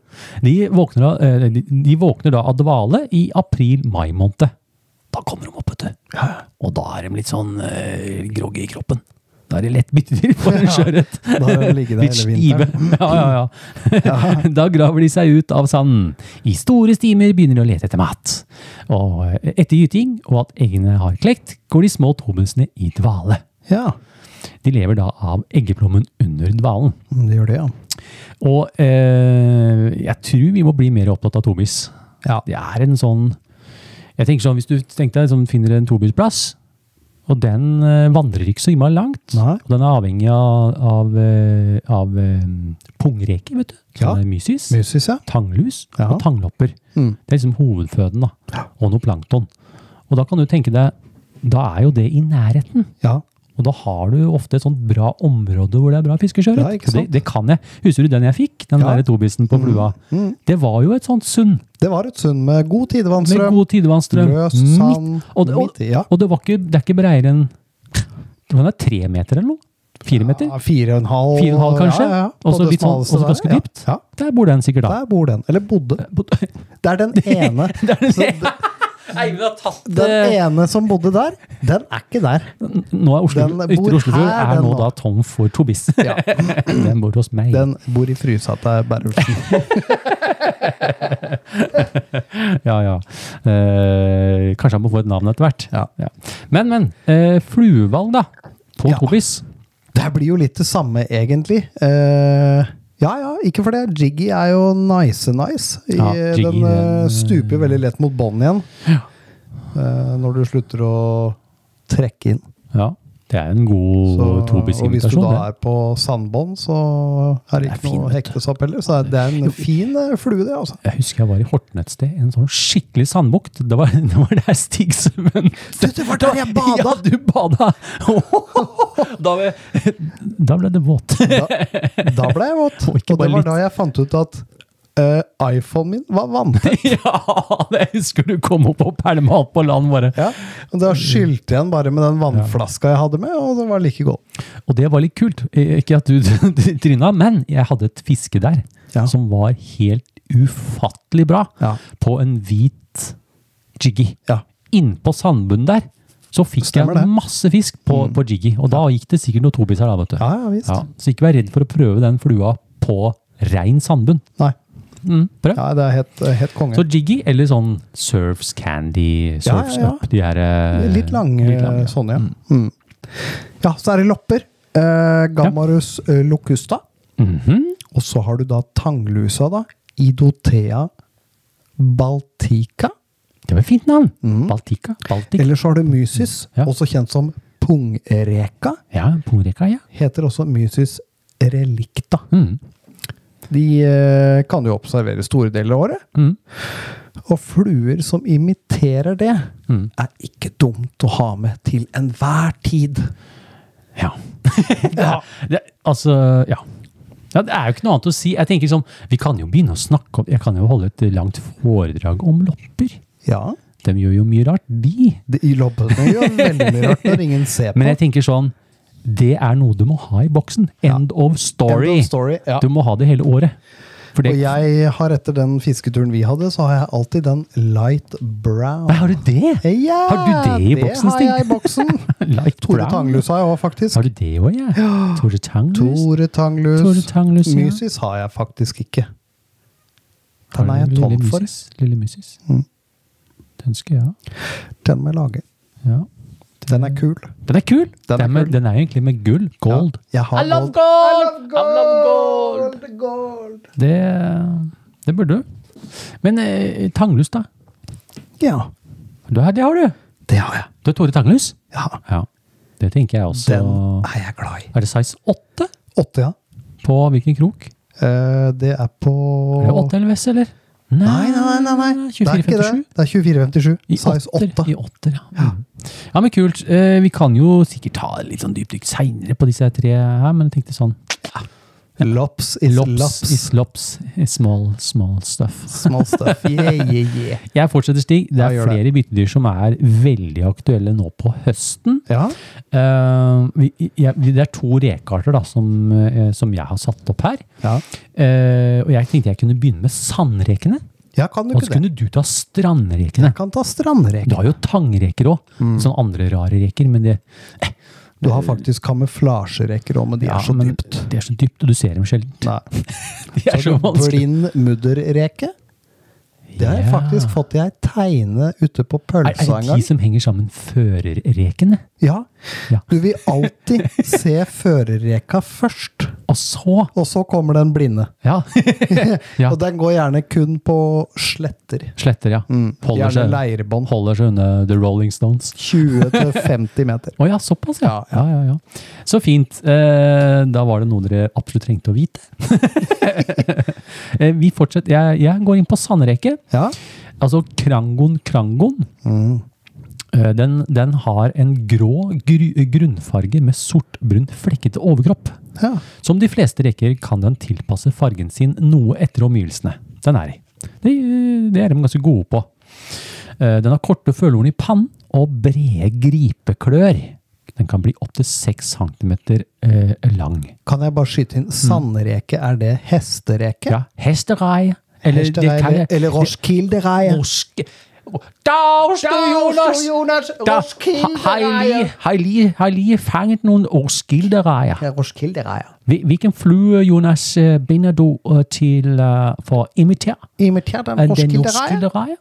[SPEAKER 2] De våkner, av- eh, de, de våkner da av dvale i april-mai måned. Da kommer de opp, vet du. Og da er de litt sånn eh, groggy i kroppen. Da er det lett bytte til for en sjøørret.
[SPEAKER 6] Da har de ligget der
[SPEAKER 2] Litt
[SPEAKER 6] hele
[SPEAKER 2] stive.
[SPEAKER 6] vinteren.
[SPEAKER 2] Ja, ja, ja. Da graver de seg ut av sanden. I store stimer begynner de å lete etter mat. Og eh, etter gyting og at eggene har klekt, går de små tobusene i dvale.
[SPEAKER 6] Ja.
[SPEAKER 2] De lever da av eggeplommen under dvalen.
[SPEAKER 6] Mm, Det gjør det, ja.
[SPEAKER 2] Og eh, jeg tror vi må bli mer opptatt av tobis.
[SPEAKER 6] Ja.
[SPEAKER 2] Det er en sånn Jeg tenker sånn, Hvis du tenker deg sånn, finner en tobisplass, og den eh, vandrer ikke så innmari langt
[SPEAKER 6] Nei.
[SPEAKER 2] Og den er avhengig av, av, eh, av eh, pungreker, vet du.
[SPEAKER 6] Ja.
[SPEAKER 2] Som er mysis.
[SPEAKER 6] Musis, ja.
[SPEAKER 2] Tanglus
[SPEAKER 6] Ja.
[SPEAKER 2] og tanglopper.
[SPEAKER 6] Mm.
[SPEAKER 2] Det er liksom hovedføden. da. Og noe plankton. Og da kan du tenke deg Da er jo det i nærheten.
[SPEAKER 6] Ja.
[SPEAKER 2] Og da har du ofte et sånt bra område hvor det er bra fiskeskjøret.
[SPEAKER 6] Ja, ikke
[SPEAKER 2] det,
[SPEAKER 6] sant?
[SPEAKER 2] det kan jeg. Husker du den jeg fikk? Den
[SPEAKER 6] Ja. Mm.
[SPEAKER 2] der tobisen på flua. Det var jo et sånt sund
[SPEAKER 6] Det var et sund med god
[SPEAKER 2] med
[SPEAKER 6] tidevannsstrøm.
[SPEAKER 2] god tidevannsstrøm.
[SPEAKER 6] Løs
[SPEAKER 2] Midt-
[SPEAKER 6] sand,
[SPEAKER 2] og, det- og,
[SPEAKER 6] midt i, ja.
[SPEAKER 2] og det, var ikke, det er ikke breiere enn Det var da tre meter eller noe? Fire meter?
[SPEAKER 6] Ja, fire og en halv.
[SPEAKER 2] Fire og en halv, kanskje?
[SPEAKER 6] Ja, ja, ja.
[SPEAKER 2] Og så
[SPEAKER 6] På det
[SPEAKER 2] litt sånn-
[SPEAKER 6] smaleste
[SPEAKER 2] og så ganske
[SPEAKER 6] der, ja.
[SPEAKER 2] dypt.
[SPEAKER 6] Ja.
[SPEAKER 2] Der bor den sikkert, da.
[SPEAKER 6] Der bor den. Eller bodde. Det er den ene. Så d-
[SPEAKER 2] Eivind har tatt eh,
[SPEAKER 6] den ene som bodde der, den er ikke der.
[SPEAKER 2] Nå er Oslo,
[SPEAKER 6] Den bor
[SPEAKER 2] Ytre Oslofjord
[SPEAKER 6] her,
[SPEAKER 2] er
[SPEAKER 6] den
[SPEAKER 2] nå
[SPEAKER 6] nå.
[SPEAKER 2] da tom for tobis. Den bor hos meg.
[SPEAKER 6] Den bor i frysa til Berulfsen.
[SPEAKER 2] Ja, ja. Eh, kanskje han må få et navn etter hvert.
[SPEAKER 6] Ja.
[SPEAKER 2] Men, men. Eh, fluevalg, da. På
[SPEAKER 6] Ja.
[SPEAKER 2] tobis.
[SPEAKER 6] Det her blir jo litt det samme, egentlig. Eh, ja, ja, ikke for det. Jiggy er jo nice-nice.
[SPEAKER 2] Ja, Jiggy,
[SPEAKER 6] den eh,
[SPEAKER 2] den,
[SPEAKER 6] stuper veldig lett mot bånd igjen. Eh, når du slutter å trekke inn.
[SPEAKER 2] Ja. Det er en god
[SPEAKER 6] Så- og hvis du
[SPEAKER 2] tobissinvitasjon.
[SPEAKER 6] da
[SPEAKER 2] det.
[SPEAKER 6] er på sandbånd, så er det
[SPEAKER 2] Det er
[SPEAKER 6] ikke noe å
[SPEAKER 2] fint, vet du.
[SPEAKER 6] hektes opp heller. Så det er en fin eh, flue, det, altså.
[SPEAKER 2] Jeg husker jeg var i Horten et sted, i en sånn skikkelig sandbukt. Det var, det var der Stig Sømmen
[SPEAKER 6] det var der jeg badet!
[SPEAKER 2] Ja, du bada! da, ble, da ble det våt.
[SPEAKER 6] Da ble jeg våt.
[SPEAKER 2] Og
[SPEAKER 6] Og
[SPEAKER 2] ikke
[SPEAKER 6] det
[SPEAKER 2] bare
[SPEAKER 6] var
[SPEAKER 2] litt.
[SPEAKER 6] da jeg fant ut at eh, iPhonen min var vanntett.
[SPEAKER 2] ja, det husker du kom opp og pælma opp på land, bare.
[SPEAKER 6] Ja. Og da skylte jeg den bare med den vannflaska jeg hadde med, og den var like god.
[SPEAKER 2] Og det var litt kult. Eh, Ikke at du tryna, men jeg hadde et fiske der
[SPEAKER 6] Ja.
[SPEAKER 2] som var helt ufattelig bra.
[SPEAKER 6] Ja.
[SPEAKER 2] På en hvit jiggy.
[SPEAKER 6] Ja.
[SPEAKER 2] Innpå sandbunnen der så fikk
[SPEAKER 6] Stemmer
[SPEAKER 2] jeg
[SPEAKER 6] det. Mm.
[SPEAKER 2] masse fisk på, på jiggy. Og da gikk det sikkert noen tobiser her, da, vet du.
[SPEAKER 6] Ja, ja visst.
[SPEAKER 2] Ja, så ikke vær redd for å prøve den flua på rein sandbunn.
[SPEAKER 6] Nei.
[SPEAKER 2] Mm, prøv.
[SPEAKER 6] Nei, det er helt, helt konge.
[SPEAKER 2] Så jiggy eller sånn surfs candy,
[SPEAKER 6] Ja,
[SPEAKER 2] surfs
[SPEAKER 6] ja, ja.
[SPEAKER 2] up, de her eh,
[SPEAKER 6] litt lange,
[SPEAKER 2] litt lange, ja.
[SPEAKER 6] sånne, ja. Mm. Ja, så er det lopper. Eh, Gammarus eh, locusta.
[SPEAKER 2] Mhm.
[SPEAKER 6] Og så har du da tanglusa, da. Idothea baltica.
[SPEAKER 2] Det var et fint navn!
[SPEAKER 6] Mm.
[SPEAKER 2] Baltica. Baltic.
[SPEAKER 6] Eller så har du mysis,
[SPEAKER 2] Ja.
[SPEAKER 6] også kjent som pungreka.
[SPEAKER 2] Ja, pungreka, ja.
[SPEAKER 6] Heter også mysis relicta.
[SPEAKER 2] Mm.
[SPEAKER 6] De eh, kan jo observere store deler av året.
[SPEAKER 2] Mm.
[SPEAKER 6] Og fluer som imiterer det,
[SPEAKER 2] Mm.
[SPEAKER 6] er ikke dumt å ha med til enhver tid.
[SPEAKER 2] Ja. det, altså, ja. ja. Det er jo ikke noe annet å si. Jeg tenker sånn, Vi kan jo begynne å snakke om Jeg kan jo holde et langt foredrag om lopper.
[SPEAKER 6] Ja.
[SPEAKER 2] De gjør jo mye rart, de.
[SPEAKER 6] Det, I lobbene gjør veldig mye rart når ingen ser på.
[SPEAKER 2] Men jeg tenker sånn Det er noe du må ha i boksen. End of story.
[SPEAKER 6] End of story, ja.
[SPEAKER 2] Du må ha det hele året. For det,
[SPEAKER 6] Og jeg har etter den fisketuren vi hadde, så har jeg alltid den light brown. Eh,
[SPEAKER 2] Nei, har du det?
[SPEAKER 6] Ja,
[SPEAKER 2] Har du det i boksen, Stig?
[SPEAKER 6] Det har jeg i boksen.
[SPEAKER 2] Light
[SPEAKER 6] Tore
[SPEAKER 2] brown.
[SPEAKER 6] Tanglus har jeg òg, faktisk.
[SPEAKER 2] Har du det òg, ja? Tore Tanglus?
[SPEAKER 6] Tore Tanglus.
[SPEAKER 2] Tore Tanglus, ja.
[SPEAKER 6] Mysis har jeg faktisk ikke.
[SPEAKER 2] Har
[SPEAKER 6] Den er
[SPEAKER 2] du
[SPEAKER 6] jeg tom
[SPEAKER 2] Lille
[SPEAKER 6] for. Mm.
[SPEAKER 2] Mysis? Lille Mysis. Den skal jeg ha.
[SPEAKER 6] Den må jeg lage.
[SPEAKER 2] Ja.
[SPEAKER 6] Den er kul.
[SPEAKER 2] Den er kul!
[SPEAKER 6] Den
[SPEAKER 2] Den
[SPEAKER 6] er
[SPEAKER 2] er, med,
[SPEAKER 6] kul.
[SPEAKER 2] den er egentlig med gull. Gold.
[SPEAKER 6] Ja, jeg har gold.
[SPEAKER 2] Det, det burde du. Men eh, Tanglus, da?
[SPEAKER 6] Ja,
[SPEAKER 2] Du, har- det har du!
[SPEAKER 6] det har jeg.
[SPEAKER 2] Du er Tore Tanglus?
[SPEAKER 6] Ja,
[SPEAKER 2] Ja. Det tenker jeg også.
[SPEAKER 6] Den er jeg glad i.
[SPEAKER 2] Er det size 8?
[SPEAKER 6] Åtte, ja.
[SPEAKER 2] På hvilken krok?
[SPEAKER 6] Eh, Det er på
[SPEAKER 2] Er det 8 LVS, eller?
[SPEAKER 6] Nei, nei, nei. nei, nei. Det er ikke det.
[SPEAKER 2] 2457.
[SPEAKER 6] Det er 2457.
[SPEAKER 2] I
[SPEAKER 6] Size
[SPEAKER 2] åtter,
[SPEAKER 6] 8.
[SPEAKER 2] I åtter, ja. Mm. ja, men kult. Eh, Vi kan jo sikkert ta litt sånn dypdykk seinere på disse tre her, men jeg tenkte sånn
[SPEAKER 6] Lops is
[SPEAKER 2] Lops,
[SPEAKER 6] lops.
[SPEAKER 2] is lops is small, small stuff.
[SPEAKER 6] Small stuff. Yeah, yeah, yeah.
[SPEAKER 2] Jeg fortsetter, Stig. Det er
[SPEAKER 6] Ja, gjør det.
[SPEAKER 2] flere byttedyr som er veldig aktuelle nå på høsten.
[SPEAKER 6] Ja,
[SPEAKER 2] Eh, vi, jeg, vi- det er to rekearter da, som, eh, som jeg har satt opp her.
[SPEAKER 6] ja.
[SPEAKER 2] Eh, og jeg tenkte jeg kunne begynne med sandrekene.
[SPEAKER 6] ja kan du
[SPEAKER 2] Og
[SPEAKER 6] ikke
[SPEAKER 2] så
[SPEAKER 6] det?
[SPEAKER 2] kunne du ta strandrekene.
[SPEAKER 6] Jeg kan ta
[SPEAKER 2] Du
[SPEAKER 6] strandreker.
[SPEAKER 2] har jo tangreker òg.
[SPEAKER 6] Mm.
[SPEAKER 2] Sånne andre rare reker, men det
[SPEAKER 6] Du har faktisk kamuflasjereker òg, men de
[SPEAKER 2] Ja,
[SPEAKER 6] er så
[SPEAKER 2] men
[SPEAKER 6] dypt.
[SPEAKER 2] Det er så dypt, og du ser dem sjelden.
[SPEAKER 6] Nei.
[SPEAKER 2] De er så
[SPEAKER 6] Så har du
[SPEAKER 2] vanskelig.
[SPEAKER 6] Sånn blind mudderreke. Det har jeg
[SPEAKER 2] Ja.
[SPEAKER 6] faktisk fått i ei teine ute på
[SPEAKER 2] Er, er
[SPEAKER 6] pølsa en
[SPEAKER 2] det de
[SPEAKER 6] gang.
[SPEAKER 2] som henger sammen førerrekene?
[SPEAKER 6] Ja.
[SPEAKER 2] Ja.
[SPEAKER 6] Du vil alltid se førerreka først,
[SPEAKER 2] Og så
[SPEAKER 6] og så kommer den blinde.
[SPEAKER 2] Ja. ja.
[SPEAKER 6] Og Mm. den går gjerne kun på sletter.
[SPEAKER 2] Sletter, ja. Mm, Holder
[SPEAKER 6] Gjerne
[SPEAKER 2] seg,
[SPEAKER 6] leirbånd.
[SPEAKER 2] holder seg unna The Rolling Stones.
[SPEAKER 6] 20-50 meter.
[SPEAKER 2] Å ja, såpass, ja.
[SPEAKER 6] Ja,
[SPEAKER 2] Ja, ja, ja. Så fint. Eh, da var det noe dere absolutt trengte å vite. eh, vi fortsetter. Jeg, jeg går inn på sandreke.
[SPEAKER 6] Ja. Mm.
[SPEAKER 2] Altså Krangon Krangon. Eh, Den, den har en grå gru, grunnfarge med sortbrun flekkete overkropp.
[SPEAKER 6] Ja.
[SPEAKER 2] Som de fleste reker kan den tilpasse fargen sin noe etter omgivelsene den er i. Det, eh, det er de ganske gode på. Eh, Den har korte følehorn i pannen og brede gripeklør. Den kan bli opptil 6 cm eh, lang.
[SPEAKER 6] Kan jeg bare skyte inn? Sandreke, er det hestereke?
[SPEAKER 2] Mm. Ja, hesterei. Eller, det
[SPEAKER 6] Hestereie,
[SPEAKER 2] kan jeg-
[SPEAKER 6] eller roskildereie?
[SPEAKER 2] Roske... Dauste, Jonas! Roskildereier! Har lige fanget noen roskildereier.
[SPEAKER 6] Ja, roskildereie.
[SPEAKER 2] Hvil- Hvilken flue, Jonas, eh, binder du eh, til eh, for å imitere
[SPEAKER 6] Imitert
[SPEAKER 2] eh,
[SPEAKER 6] en
[SPEAKER 2] den
[SPEAKER 6] roskildereie?
[SPEAKER 2] roskildereia?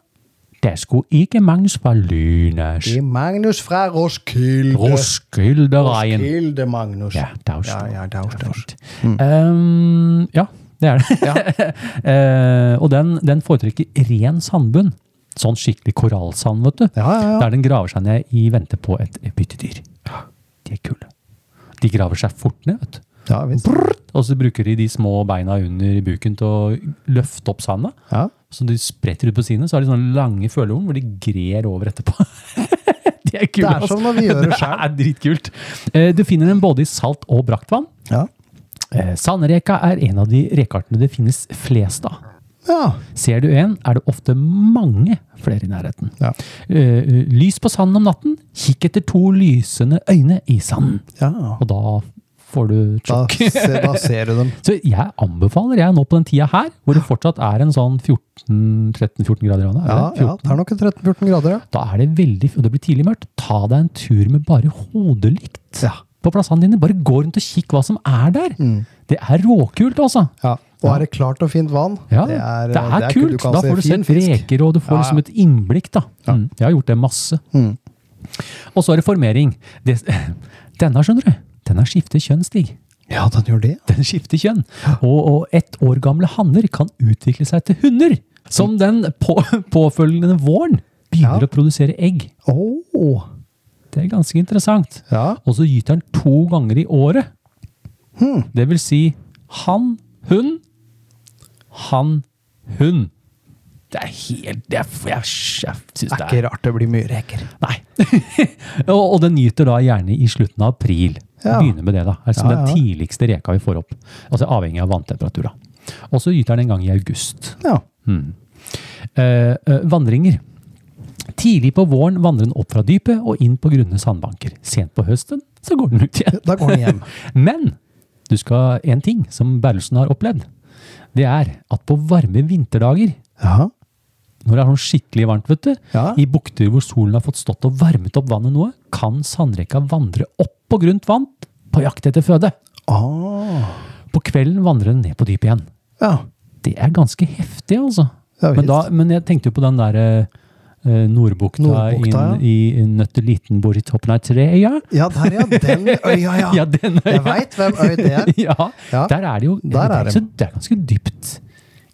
[SPEAKER 2] Det skulle ikke manges fra Lynas.
[SPEAKER 6] Det er Magnus fra Roskilde.
[SPEAKER 2] Roskildereien.
[SPEAKER 6] Roskilde, Magnus.
[SPEAKER 2] Ja, Dauste.
[SPEAKER 6] Ja, Hm. ja, Dauste.
[SPEAKER 2] Ehm, ja, det er det. Eh, og den, den foretrekker ren sandbunn. Sånn skikkelig korallsand, vet du.
[SPEAKER 6] Ja, ja, ja.
[SPEAKER 2] Der den graver seg ned i vente på et byttedyr. De vanvittige kulde. De graver seg fort ned, vet du.
[SPEAKER 6] Ja visst.
[SPEAKER 2] Og så bruker de de små beina under buken til å løfte opp sanda.
[SPEAKER 6] Ja.
[SPEAKER 2] Så de spretter ut på sidene, så har de sånne lange følehorn hvor de grer over etterpå. de er kule, altså.
[SPEAKER 6] Det er som når vi gjør det
[SPEAKER 2] Det er dritkult. Eh, Du finner dem både i salt og braktvann.
[SPEAKER 6] Ja.
[SPEAKER 2] Eh, Sandreka er en av de rekeartene det finnes flest av.
[SPEAKER 6] ja.
[SPEAKER 2] Ser du en, er det ofte mange flere i nærheten.
[SPEAKER 6] Ja.
[SPEAKER 2] Eh, Lys på sanden om natten. Kikk etter to lysende øyne i sanden.
[SPEAKER 6] ja.
[SPEAKER 2] Og da får du et
[SPEAKER 6] Da,
[SPEAKER 2] sjokk.
[SPEAKER 6] se, da ser du dem.
[SPEAKER 2] Så jeg anbefaler jeg nå på den tida her, hvor det fortsatt er en sånn 14 13-14 grader i vannet. er
[SPEAKER 6] Ja,
[SPEAKER 2] det?
[SPEAKER 6] ja,
[SPEAKER 2] 14?
[SPEAKER 6] det er nok en 13-14 grader, ja.
[SPEAKER 2] Da er det veldig, og det blir tidlig mørkt, ta deg en tur med bare hodelykt på plassene dine. Bare gå rundt og kikk hva som er der.
[SPEAKER 6] Mm.
[SPEAKER 2] Det er råkult, altså.
[SPEAKER 6] ja. Og er det klart og fint vann?
[SPEAKER 2] Ja, det
[SPEAKER 6] eh,
[SPEAKER 2] er,
[SPEAKER 6] det er
[SPEAKER 2] kult.
[SPEAKER 6] du kan
[SPEAKER 2] da får du
[SPEAKER 6] fin
[SPEAKER 2] sett reker, og du får
[SPEAKER 6] Ja, Mm. ja.
[SPEAKER 2] liksom et innblikk. da. Mm, jeg har gjort det masse. Og så er det formering. Det, denne, skjønner du, den har skiftet kjønn, Stig.
[SPEAKER 6] Ja, den gjør det.
[SPEAKER 2] Den skifter kjønn. Og, og ett år gamle hanner kan utvikle seg til hunder, som den på, påfølgende våren begynner
[SPEAKER 6] Ja.
[SPEAKER 2] å produsere egg.
[SPEAKER 6] Åh.
[SPEAKER 2] Det er ganske interessant.
[SPEAKER 6] Ja.
[SPEAKER 2] Og så gyter han to ganger i året.
[SPEAKER 6] Hmm.
[SPEAKER 2] Det vil si han, hun, han, hun. Det er helt det er, Jeg, jeg syns
[SPEAKER 6] Det er ikke rart det blir mye reker.
[SPEAKER 2] Nei. og, og den nyter da gjerne i slutten av april.
[SPEAKER 6] Ja.
[SPEAKER 2] Begynner med det, da. Altså
[SPEAKER 6] Ja, ja.
[SPEAKER 2] den tidligste reka vi får opp. Altså avhengig av vanntemperatur, da. Og så gyter den en gang i august. Hmm.
[SPEAKER 6] Ja.
[SPEAKER 2] Eh, eh, vandringer. Tidlig på våren vandrer den opp fra dypet og inn på grunne sandbanker. Sent på høsten så går den ut igjen.
[SPEAKER 6] Da går den hjem.
[SPEAKER 2] Men du skal en ting som Berlesen har opplevd. Det er at på varme vinterdager,
[SPEAKER 6] Ja.
[SPEAKER 2] når det er sånn skikkelig varmt, vet du,
[SPEAKER 6] Ja.
[SPEAKER 2] i bukter hvor solen har fått stått og varmet opp vannet noe, kan sandrekka vandre opp på grunt vann på jakt etter føde.
[SPEAKER 6] Ah.
[SPEAKER 2] På kvelden vandrer den ned på dypet igjen.
[SPEAKER 6] Ja.
[SPEAKER 2] Det er ganske heftig, altså.
[SPEAKER 6] Ah. Ja,
[SPEAKER 2] men, da,
[SPEAKER 6] visst.
[SPEAKER 2] men jeg tenkte jo på den derre eh, Nordbukta,
[SPEAKER 6] Nordbukta,
[SPEAKER 2] inn, i Nøtteliten bor i toppen av et tre, ja.
[SPEAKER 6] ja, der ja. Den øya, ja.
[SPEAKER 2] Ja, den øya.
[SPEAKER 6] Jeg veit hvem øy det er.
[SPEAKER 2] ja,
[SPEAKER 6] Ja,
[SPEAKER 2] der er det jo
[SPEAKER 6] der
[SPEAKER 2] det,
[SPEAKER 6] er
[SPEAKER 2] er ikke
[SPEAKER 6] det.
[SPEAKER 2] så, det er ganske dypt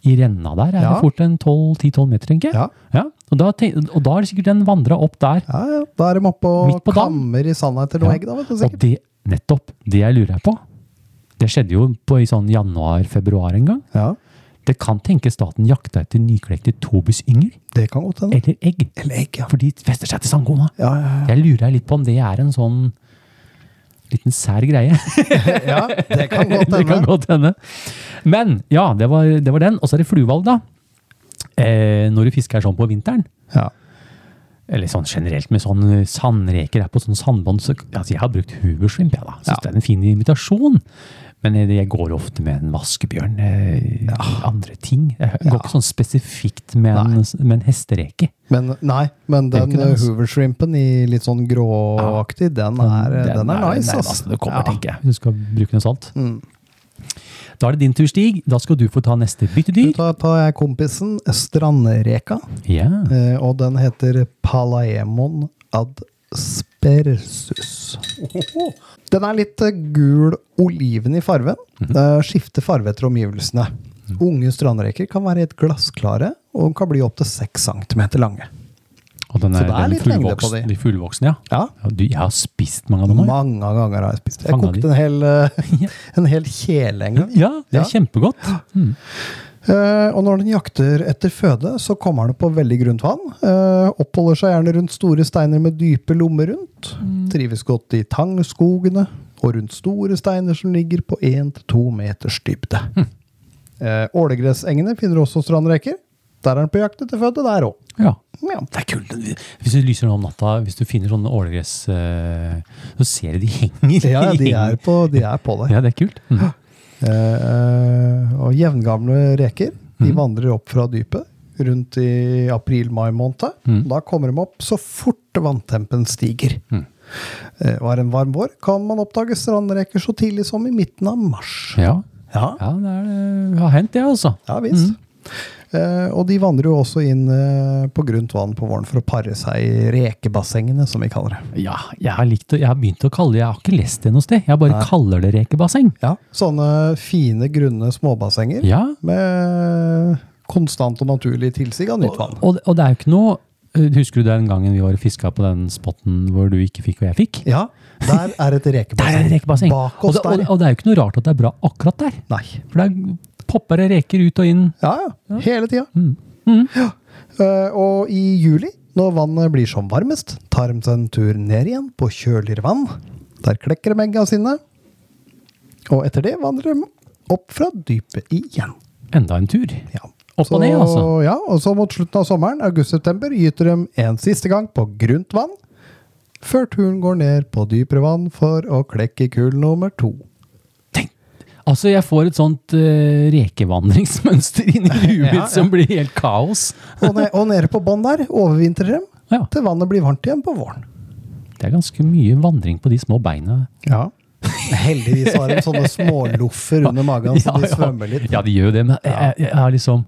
[SPEAKER 2] i renna der. Er
[SPEAKER 6] Ja.
[SPEAKER 2] det fort en 12 10-12 meter, tenker jeg?
[SPEAKER 6] Ja.
[SPEAKER 2] og, da, tenk- og da er det sikkert den vandra opp der.
[SPEAKER 6] Ja, ja. Da er de oppe og
[SPEAKER 2] Midt på dam.
[SPEAKER 6] kammer i sanda etter noe
[SPEAKER 2] Ja.
[SPEAKER 6] egg, da, vet du
[SPEAKER 2] Og
[SPEAKER 6] sikkert.
[SPEAKER 2] det, nettopp, det jeg lurer på Det skjedde jo på, i sånn januar-februar en gang.
[SPEAKER 6] Ja.
[SPEAKER 2] Det kan tenke staten jakta etter nyklekte tobusyngel
[SPEAKER 6] Det kan godt hende.
[SPEAKER 2] eller egg.
[SPEAKER 6] Eller egg, ja.
[SPEAKER 2] For de fester seg til sandkona.
[SPEAKER 6] Ja, ja, ja.
[SPEAKER 2] Jeg lurer litt på om det er en sånn liten sær greie.
[SPEAKER 6] ja. Det kan godt
[SPEAKER 2] det kan
[SPEAKER 6] hende.
[SPEAKER 2] godt hende. Men ja, det var, det var den. Og så er det fluevalg, da. Eh, når du fisker sånn på vinteren,
[SPEAKER 6] Ja.
[SPEAKER 2] eller sånn generelt med sånn eh, sandreker her på sånn sandbånd, så altså, jeg har brukt hubershrimp, jeg da. Syns
[SPEAKER 6] Ja.
[SPEAKER 2] det er en fin invitasjon. Men eh, jeg går ofte med en vaskebjørn. Eh,
[SPEAKER 6] Ah.
[SPEAKER 2] Andre ting. Jeg går ikke sånn spesifikt med en, med en hestereke.
[SPEAKER 6] Men nei, men
[SPEAKER 2] Det er
[SPEAKER 6] den eh,
[SPEAKER 2] ikke den, altså.
[SPEAKER 6] hoovershrimpen i litt sånn gråaktig, den er, Mm, eh, den er nice, altså,
[SPEAKER 2] det
[SPEAKER 6] ass.
[SPEAKER 2] nærmeste du kommer,
[SPEAKER 6] Ja. Mm.
[SPEAKER 2] tenker jeg. Hvis du skal bruke noe sånt. Da er det din tur, Stig. Da skal du få ta neste byttedyr.
[SPEAKER 6] Da tar jeg kompisen Strandreka,
[SPEAKER 2] Ja.
[SPEAKER 6] eh, og den heter Palaemon adspersus. Den er litt eh, gul oliven i farven. eh, Skifter farve etter omgivelsene. Unge strandreker kan være helt glassklare, og kan bli opptil 6 cm lange.
[SPEAKER 2] Og den
[SPEAKER 6] Så
[SPEAKER 2] er,
[SPEAKER 6] det er
[SPEAKER 2] den
[SPEAKER 6] litt lengde på
[SPEAKER 2] fullvoksen-
[SPEAKER 6] de.
[SPEAKER 2] de fullvoksne, ja.
[SPEAKER 6] Ja.
[SPEAKER 2] Ja, du, jeg har spist mange av dem. også.
[SPEAKER 6] Mange ganger har jeg spist. Jeg
[SPEAKER 2] Fanga de.
[SPEAKER 6] kokte en hel, eh, en hel kjele en gang.
[SPEAKER 2] Ja, det er
[SPEAKER 6] Ja.
[SPEAKER 2] kjempegodt.
[SPEAKER 6] Eh, og når den jakter etter føde, så kommer den på veldig grunt vann. Eh, oppholder seg gjerne rundt store steiner med dype lommer rundt. Trives godt i tangskogene og rundt store steiner som ligger på 1-2 meters dybde. Eh, Ålegressengene finner også strandreker. Der er den på jakt etter føde, der òg.
[SPEAKER 2] Ja.
[SPEAKER 6] Ja.
[SPEAKER 2] Det er kult. Hvis du lyser nå om natta, hvis du finner sånne ålegress, eh, så ser du de henger.
[SPEAKER 6] Ja, de er på, de er på Hm. det.
[SPEAKER 2] Ja, det er kult. Mm.
[SPEAKER 6] Eh, og jevngamle reker de
[SPEAKER 2] Mhm.
[SPEAKER 6] vandrer opp fra dypet rundt i april-mai måned.
[SPEAKER 2] Mhm.
[SPEAKER 6] Da kommer de opp så fort vanntempen stiger. Eh, og er en varm vår, kan man oppdage strandreker så tidlig som i midten av mars.
[SPEAKER 2] Ja.
[SPEAKER 6] Ja,
[SPEAKER 2] ja, det er, det har hendt, det, altså.
[SPEAKER 6] ja visst. Eh, og de vandrer jo også inn eh, på grunt vann på våren for å pare seg i rekebassengene, som vi kaller det.
[SPEAKER 2] Ja, jeg har, likt, å- jeg har begynt å kalle det Jeg har ikke lest det noe sted. Jeg bare kaller det rekebasseng.
[SPEAKER 6] Ja, Sånne fine, grunne småbassenger
[SPEAKER 2] Ja,
[SPEAKER 6] med konstant og naturlig tilsig av nytt vann.
[SPEAKER 2] og, og det eh, er jo ikke noe Husker du den gangen vi var og fiska på den spotten hvor du ikke fikk og jeg fikk?
[SPEAKER 6] Ja, Der er et
[SPEAKER 2] Der er
[SPEAKER 6] rekebasseng.
[SPEAKER 2] det rekebasseng.
[SPEAKER 6] Bak
[SPEAKER 2] Og
[SPEAKER 6] oss
[SPEAKER 2] det, og,
[SPEAKER 6] der.
[SPEAKER 2] og det er jo ikke noe rart at det er bra akkurat der.
[SPEAKER 6] Nei.
[SPEAKER 2] For der popper det reker ut og inn.
[SPEAKER 6] Ja, ja. Hele tida.
[SPEAKER 2] Mm.
[SPEAKER 6] Ja. Eh, og i juli, når vannet blir som varmest, tar de seg en tur ned igjen på kjøligere vann. Der klekker de egga sine. Og etter det vandrer de opp fra dypet igjen.
[SPEAKER 2] Enda en tur.
[SPEAKER 6] Ja.
[SPEAKER 2] Opp og ned, altså.
[SPEAKER 6] Ja, og så mot slutten av sommeren, august-september, gyter de en siste gang på grunt vann. Før turen går ned på dypere vann for å klekke kull nummer to.
[SPEAKER 2] Altså, jeg får et sånt eh, rekevandringsmønster inn i huet mitt som blir helt kaos.
[SPEAKER 6] Og, ned, og nede på bånn der overvintrer de
[SPEAKER 2] Ja,
[SPEAKER 6] til vannet blir varmt igjen på våren.
[SPEAKER 2] det er ganske mye vandring på de små beina.
[SPEAKER 6] Ja. Heldigvis har de sånne småloffer under magen, så de svømmer litt.
[SPEAKER 2] Ja, de gjør jo det, men jeg, jeg, jeg har liksom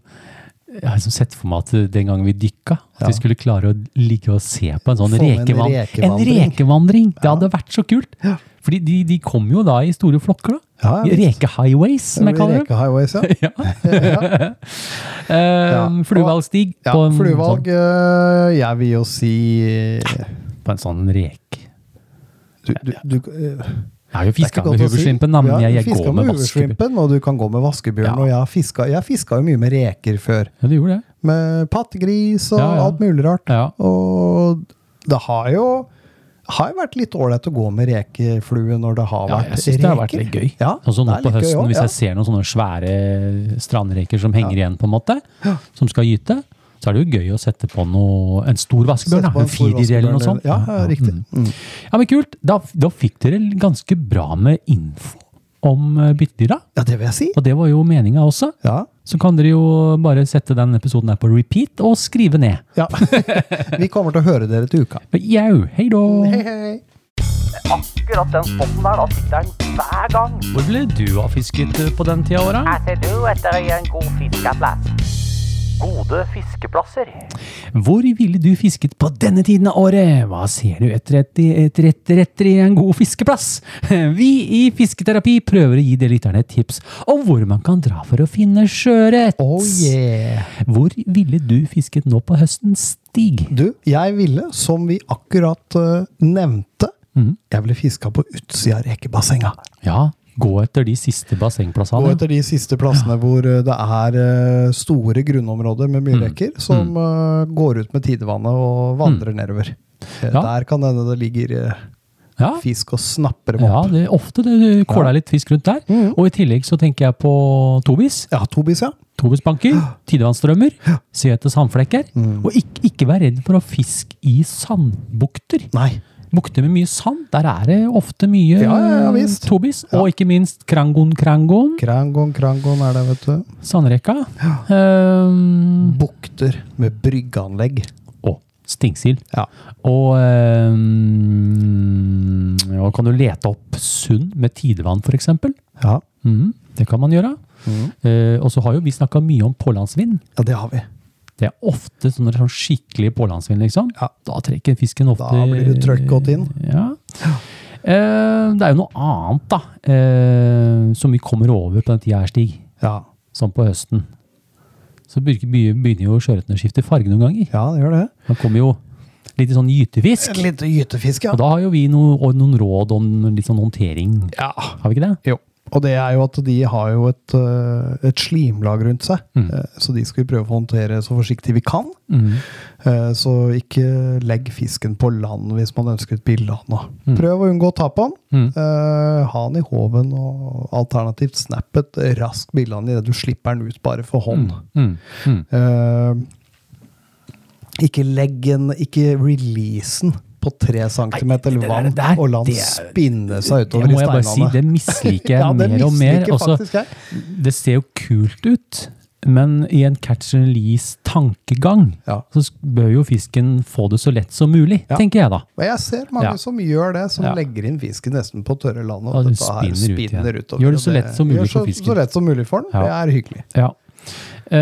[SPEAKER 2] jeg har liksom sett for meg at den gangen vi dykka, at vi skulle klare å ligge og se på en sånn
[SPEAKER 6] Få med en
[SPEAKER 2] rekevand en
[SPEAKER 6] rekevandring.
[SPEAKER 2] rekevandring! Det hadde vært så kult! Fordi de, de kom jo da i store flokker, da.
[SPEAKER 6] Ja, ja, visst.
[SPEAKER 2] Rekehighways, som
[SPEAKER 6] Det
[SPEAKER 2] jeg
[SPEAKER 6] blir
[SPEAKER 2] kaller dem.
[SPEAKER 6] rekehighways, ja.
[SPEAKER 2] Ja. Ehm, Fluvalgstig
[SPEAKER 6] Ja,
[SPEAKER 2] på, en
[SPEAKER 6] fluevalg øh, Jeg vil jo si
[SPEAKER 2] Sånn, på en sånn rek.
[SPEAKER 6] du, du, du, øh,
[SPEAKER 2] Jeg har jo
[SPEAKER 6] det er ikke
[SPEAKER 2] fiska med
[SPEAKER 6] godt å si.
[SPEAKER 2] huveslimpen, da, men
[SPEAKER 6] Ja,
[SPEAKER 2] jeg,
[SPEAKER 6] du
[SPEAKER 2] jeg
[SPEAKER 6] fisker
[SPEAKER 2] går med vaskebjørn.
[SPEAKER 6] huveslimpen, og du kan gå med vaskebjørn.
[SPEAKER 2] Ja.
[SPEAKER 6] Og jeg har fiska- jeg fiska jo mye med reker før.
[SPEAKER 2] Ja, du gjorde det.
[SPEAKER 6] Med pattegris og
[SPEAKER 2] Ja, ja.
[SPEAKER 6] alt mulig rart.
[SPEAKER 2] Ja.
[SPEAKER 6] Og det har jo har jo vært litt ålreit å gå med rekeflue når det har
[SPEAKER 2] Ja,
[SPEAKER 6] vært
[SPEAKER 2] jeg syns det har vært litt gøy.
[SPEAKER 6] Ja,
[SPEAKER 2] sånn som nå
[SPEAKER 6] det er
[SPEAKER 2] på
[SPEAKER 6] litt gøy
[SPEAKER 2] høsten,
[SPEAKER 6] også,
[SPEAKER 2] hvis
[SPEAKER 6] ja.
[SPEAKER 2] jeg ser noen sånne svære strandreker som henger igjen, på en måte, som skal gyte, så er det jo gøy å sette på noe, en stor vaskebjørn.
[SPEAKER 6] Sette
[SPEAKER 2] da,
[SPEAKER 6] på
[SPEAKER 2] En
[SPEAKER 6] en stor
[SPEAKER 2] firer eller noe
[SPEAKER 6] vaskebjørn,
[SPEAKER 2] sånt.
[SPEAKER 6] ja, ja, riktig.
[SPEAKER 2] Mm. Ja, men kult. Da, da fikk dere ganske bra med info om eh, byttedyra.
[SPEAKER 6] Ja, det vil jeg si.
[SPEAKER 2] Og det var jo meninga også.
[SPEAKER 6] Ja.
[SPEAKER 2] Så kan dere jo bare sette den episoden her på repeat og skrive ned.
[SPEAKER 6] ja. Vi kommer til å høre dere til uka.
[SPEAKER 2] Men Jau, hei da!
[SPEAKER 6] Hei, hei.
[SPEAKER 3] Akkurat den spotten der, da sitter den hver gang.
[SPEAKER 2] Hvor ble du av fisket eh, på den tida åra?
[SPEAKER 3] Her ser du etter en god fiskeplass. Gode fiskeplasser.
[SPEAKER 2] Hvor ville du fisket på denne tiden av året? Hva ser du etter etter, etter, etter, etter i en god fiskeplass? Vi i Fisketerapi prøver å gi dere lytterne et tips om hvor man kan dra for å finne sjøørret.
[SPEAKER 6] Oh yeah!
[SPEAKER 2] Hvor ville du fisket nå på høsten, Stig?
[SPEAKER 6] Du, jeg ville, som vi akkurat eh, nevnte, jeg ville fiska på utsida av rekebassenga.
[SPEAKER 2] Mm. Ja, gå etter de siste
[SPEAKER 6] Gå
[SPEAKER 2] bassengplassene.
[SPEAKER 6] etter de siste plassene hvor eh, det er eh, store grunnområder med
[SPEAKER 2] Mm.
[SPEAKER 6] mye reker, som eh, går ut med tidevannet og vandrer nedover. Eh,
[SPEAKER 2] Mm. Ja.
[SPEAKER 6] Der kan hende det ligger eh,
[SPEAKER 2] Ja.
[SPEAKER 6] fisk og snapper dem
[SPEAKER 2] Ja,
[SPEAKER 6] opp.
[SPEAKER 2] det er ofte det du kåler litt fisk rundt der.
[SPEAKER 6] Mm.
[SPEAKER 2] Og i tillegg så tenker jeg på tobis.
[SPEAKER 6] Ja, Tobis, ja.
[SPEAKER 2] Tobisbanker, tidevannsstrømmer, se etter sandflekker.
[SPEAKER 6] Mm.
[SPEAKER 2] Og ikke, ikke vær redd for å fiske i sandbukter.
[SPEAKER 6] Nei.
[SPEAKER 2] Bukter med mye sand, der er det ofte mye
[SPEAKER 6] Ja, ja, ja, visst.
[SPEAKER 2] tobis. Og ikke minst krangon krangon,
[SPEAKER 6] Krangon, krangon er det, vet du.
[SPEAKER 2] sandrekka. Ehm,
[SPEAKER 6] Bukter med bryggeanlegg.
[SPEAKER 2] og stingsild.
[SPEAKER 6] Ja.
[SPEAKER 2] Og ehm, ja, kan du lete opp sund med tidevann, for eksempel.
[SPEAKER 6] Ja,
[SPEAKER 2] Mhm, det kan man gjøre.
[SPEAKER 6] Mm.
[SPEAKER 2] Eh, og så har jo vi snakka mye om pålandsvind.
[SPEAKER 6] ja det har vi.
[SPEAKER 2] Det er ofte sånn når det er sånn skikkelig pålandsvind, liksom.
[SPEAKER 6] Ja.
[SPEAKER 2] Da trekker fisken ofte
[SPEAKER 6] Da blir det trøkk godt inn.
[SPEAKER 2] Ja. Eh, det er jo noe annet, da, eh, som vi kommer over på den tida her, Stig.
[SPEAKER 6] Ja,
[SPEAKER 2] Sånn på høsten. Så begy- begy- begynner jo sjøørreten å skifte farge noen ganger.
[SPEAKER 6] ja det gjør det.
[SPEAKER 2] Man kommer jo litt i sånn gytefisk.
[SPEAKER 6] Et lite gytefiske, ja.
[SPEAKER 2] Og da har jo vi noe, og noen råd om litt sånn håndtering.
[SPEAKER 6] ja.
[SPEAKER 2] Har vi ikke det?
[SPEAKER 6] Jo. Og det er jo at de har jo et, øh, et slimlag rundt seg,
[SPEAKER 2] Mm.
[SPEAKER 6] Eh, så de skal vi prøve å håndtere så forsiktig vi kan. Eh, Så ikke legg fisken på land hvis man ønsker et bilde av den.
[SPEAKER 2] Mm.
[SPEAKER 6] da. Prøv å unngå å ta på den. Eh, Ha den i håven, og alternativt snap et raskt bilde av den idet du slipper den ut bare for hånd.
[SPEAKER 2] mm,
[SPEAKER 6] Eh, Ikke legg den, ikke release den på tre centimeter
[SPEAKER 2] det der-
[SPEAKER 6] vann,
[SPEAKER 2] det der-
[SPEAKER 6] og la den
[SPEAKER 2] det-
[SPEAKER 6] spinne seg
[SPEAKER 2] Det
[SPEAKER 6] utover i
[SPEAKER 2] må jeg bare si,
[SPEAKER 6] steinene.
[SPEAKER 2] det misliker jeg
[SPEAKER 6] Ja, det
[SPEAKER 2] mer og mer.
[SPEAKER 6] misliker
[SPEAKER 2] Altså,
[SPEAKER 6] faktisk jeg.
[SPEAKER 2] det ser jo kult ut, men i en catch and release-tankegang
[SPEAKER 6] Ja.
[SPEAKER 2] så sk- bør jo fisken få det så lett som mulig,
[SPEAKER 6] Ja.
[SPEAKER 2] tenker jeg da.
[SPEAKER 6] Og jeg ser mange
[SPEAKER 2] Ja.
[SPEAKER 6] som gjør det, som
[SPEAKER 2] Ja.
[SPEAKER 6] legger inn fisken nesten på tørre land. Og
[SPEAKER 2] Ja, den
[SPEAKER 6] dette her
[SPEAKER 2] spinner ut
[SPEAKER 6] spinner
[SPEAKER 2] igjen.
[SPEAKER 6] utover.
[SPEAKER 2] Gjør det
[SPEAKER 6] og
[SPEAKER 2] så lett som mulig
[SPEAKER 6] gjør
[SPEAKER 2] for
[SPEAKER 6] så-
[SPEAKER 2] fisken.
[SPEAKER 6] Så lett som mulig for den.
[SPEAKER 2] Ja.
[SPEAKER 6] Det er hyggelig.
[SPEAKER 2] Ja.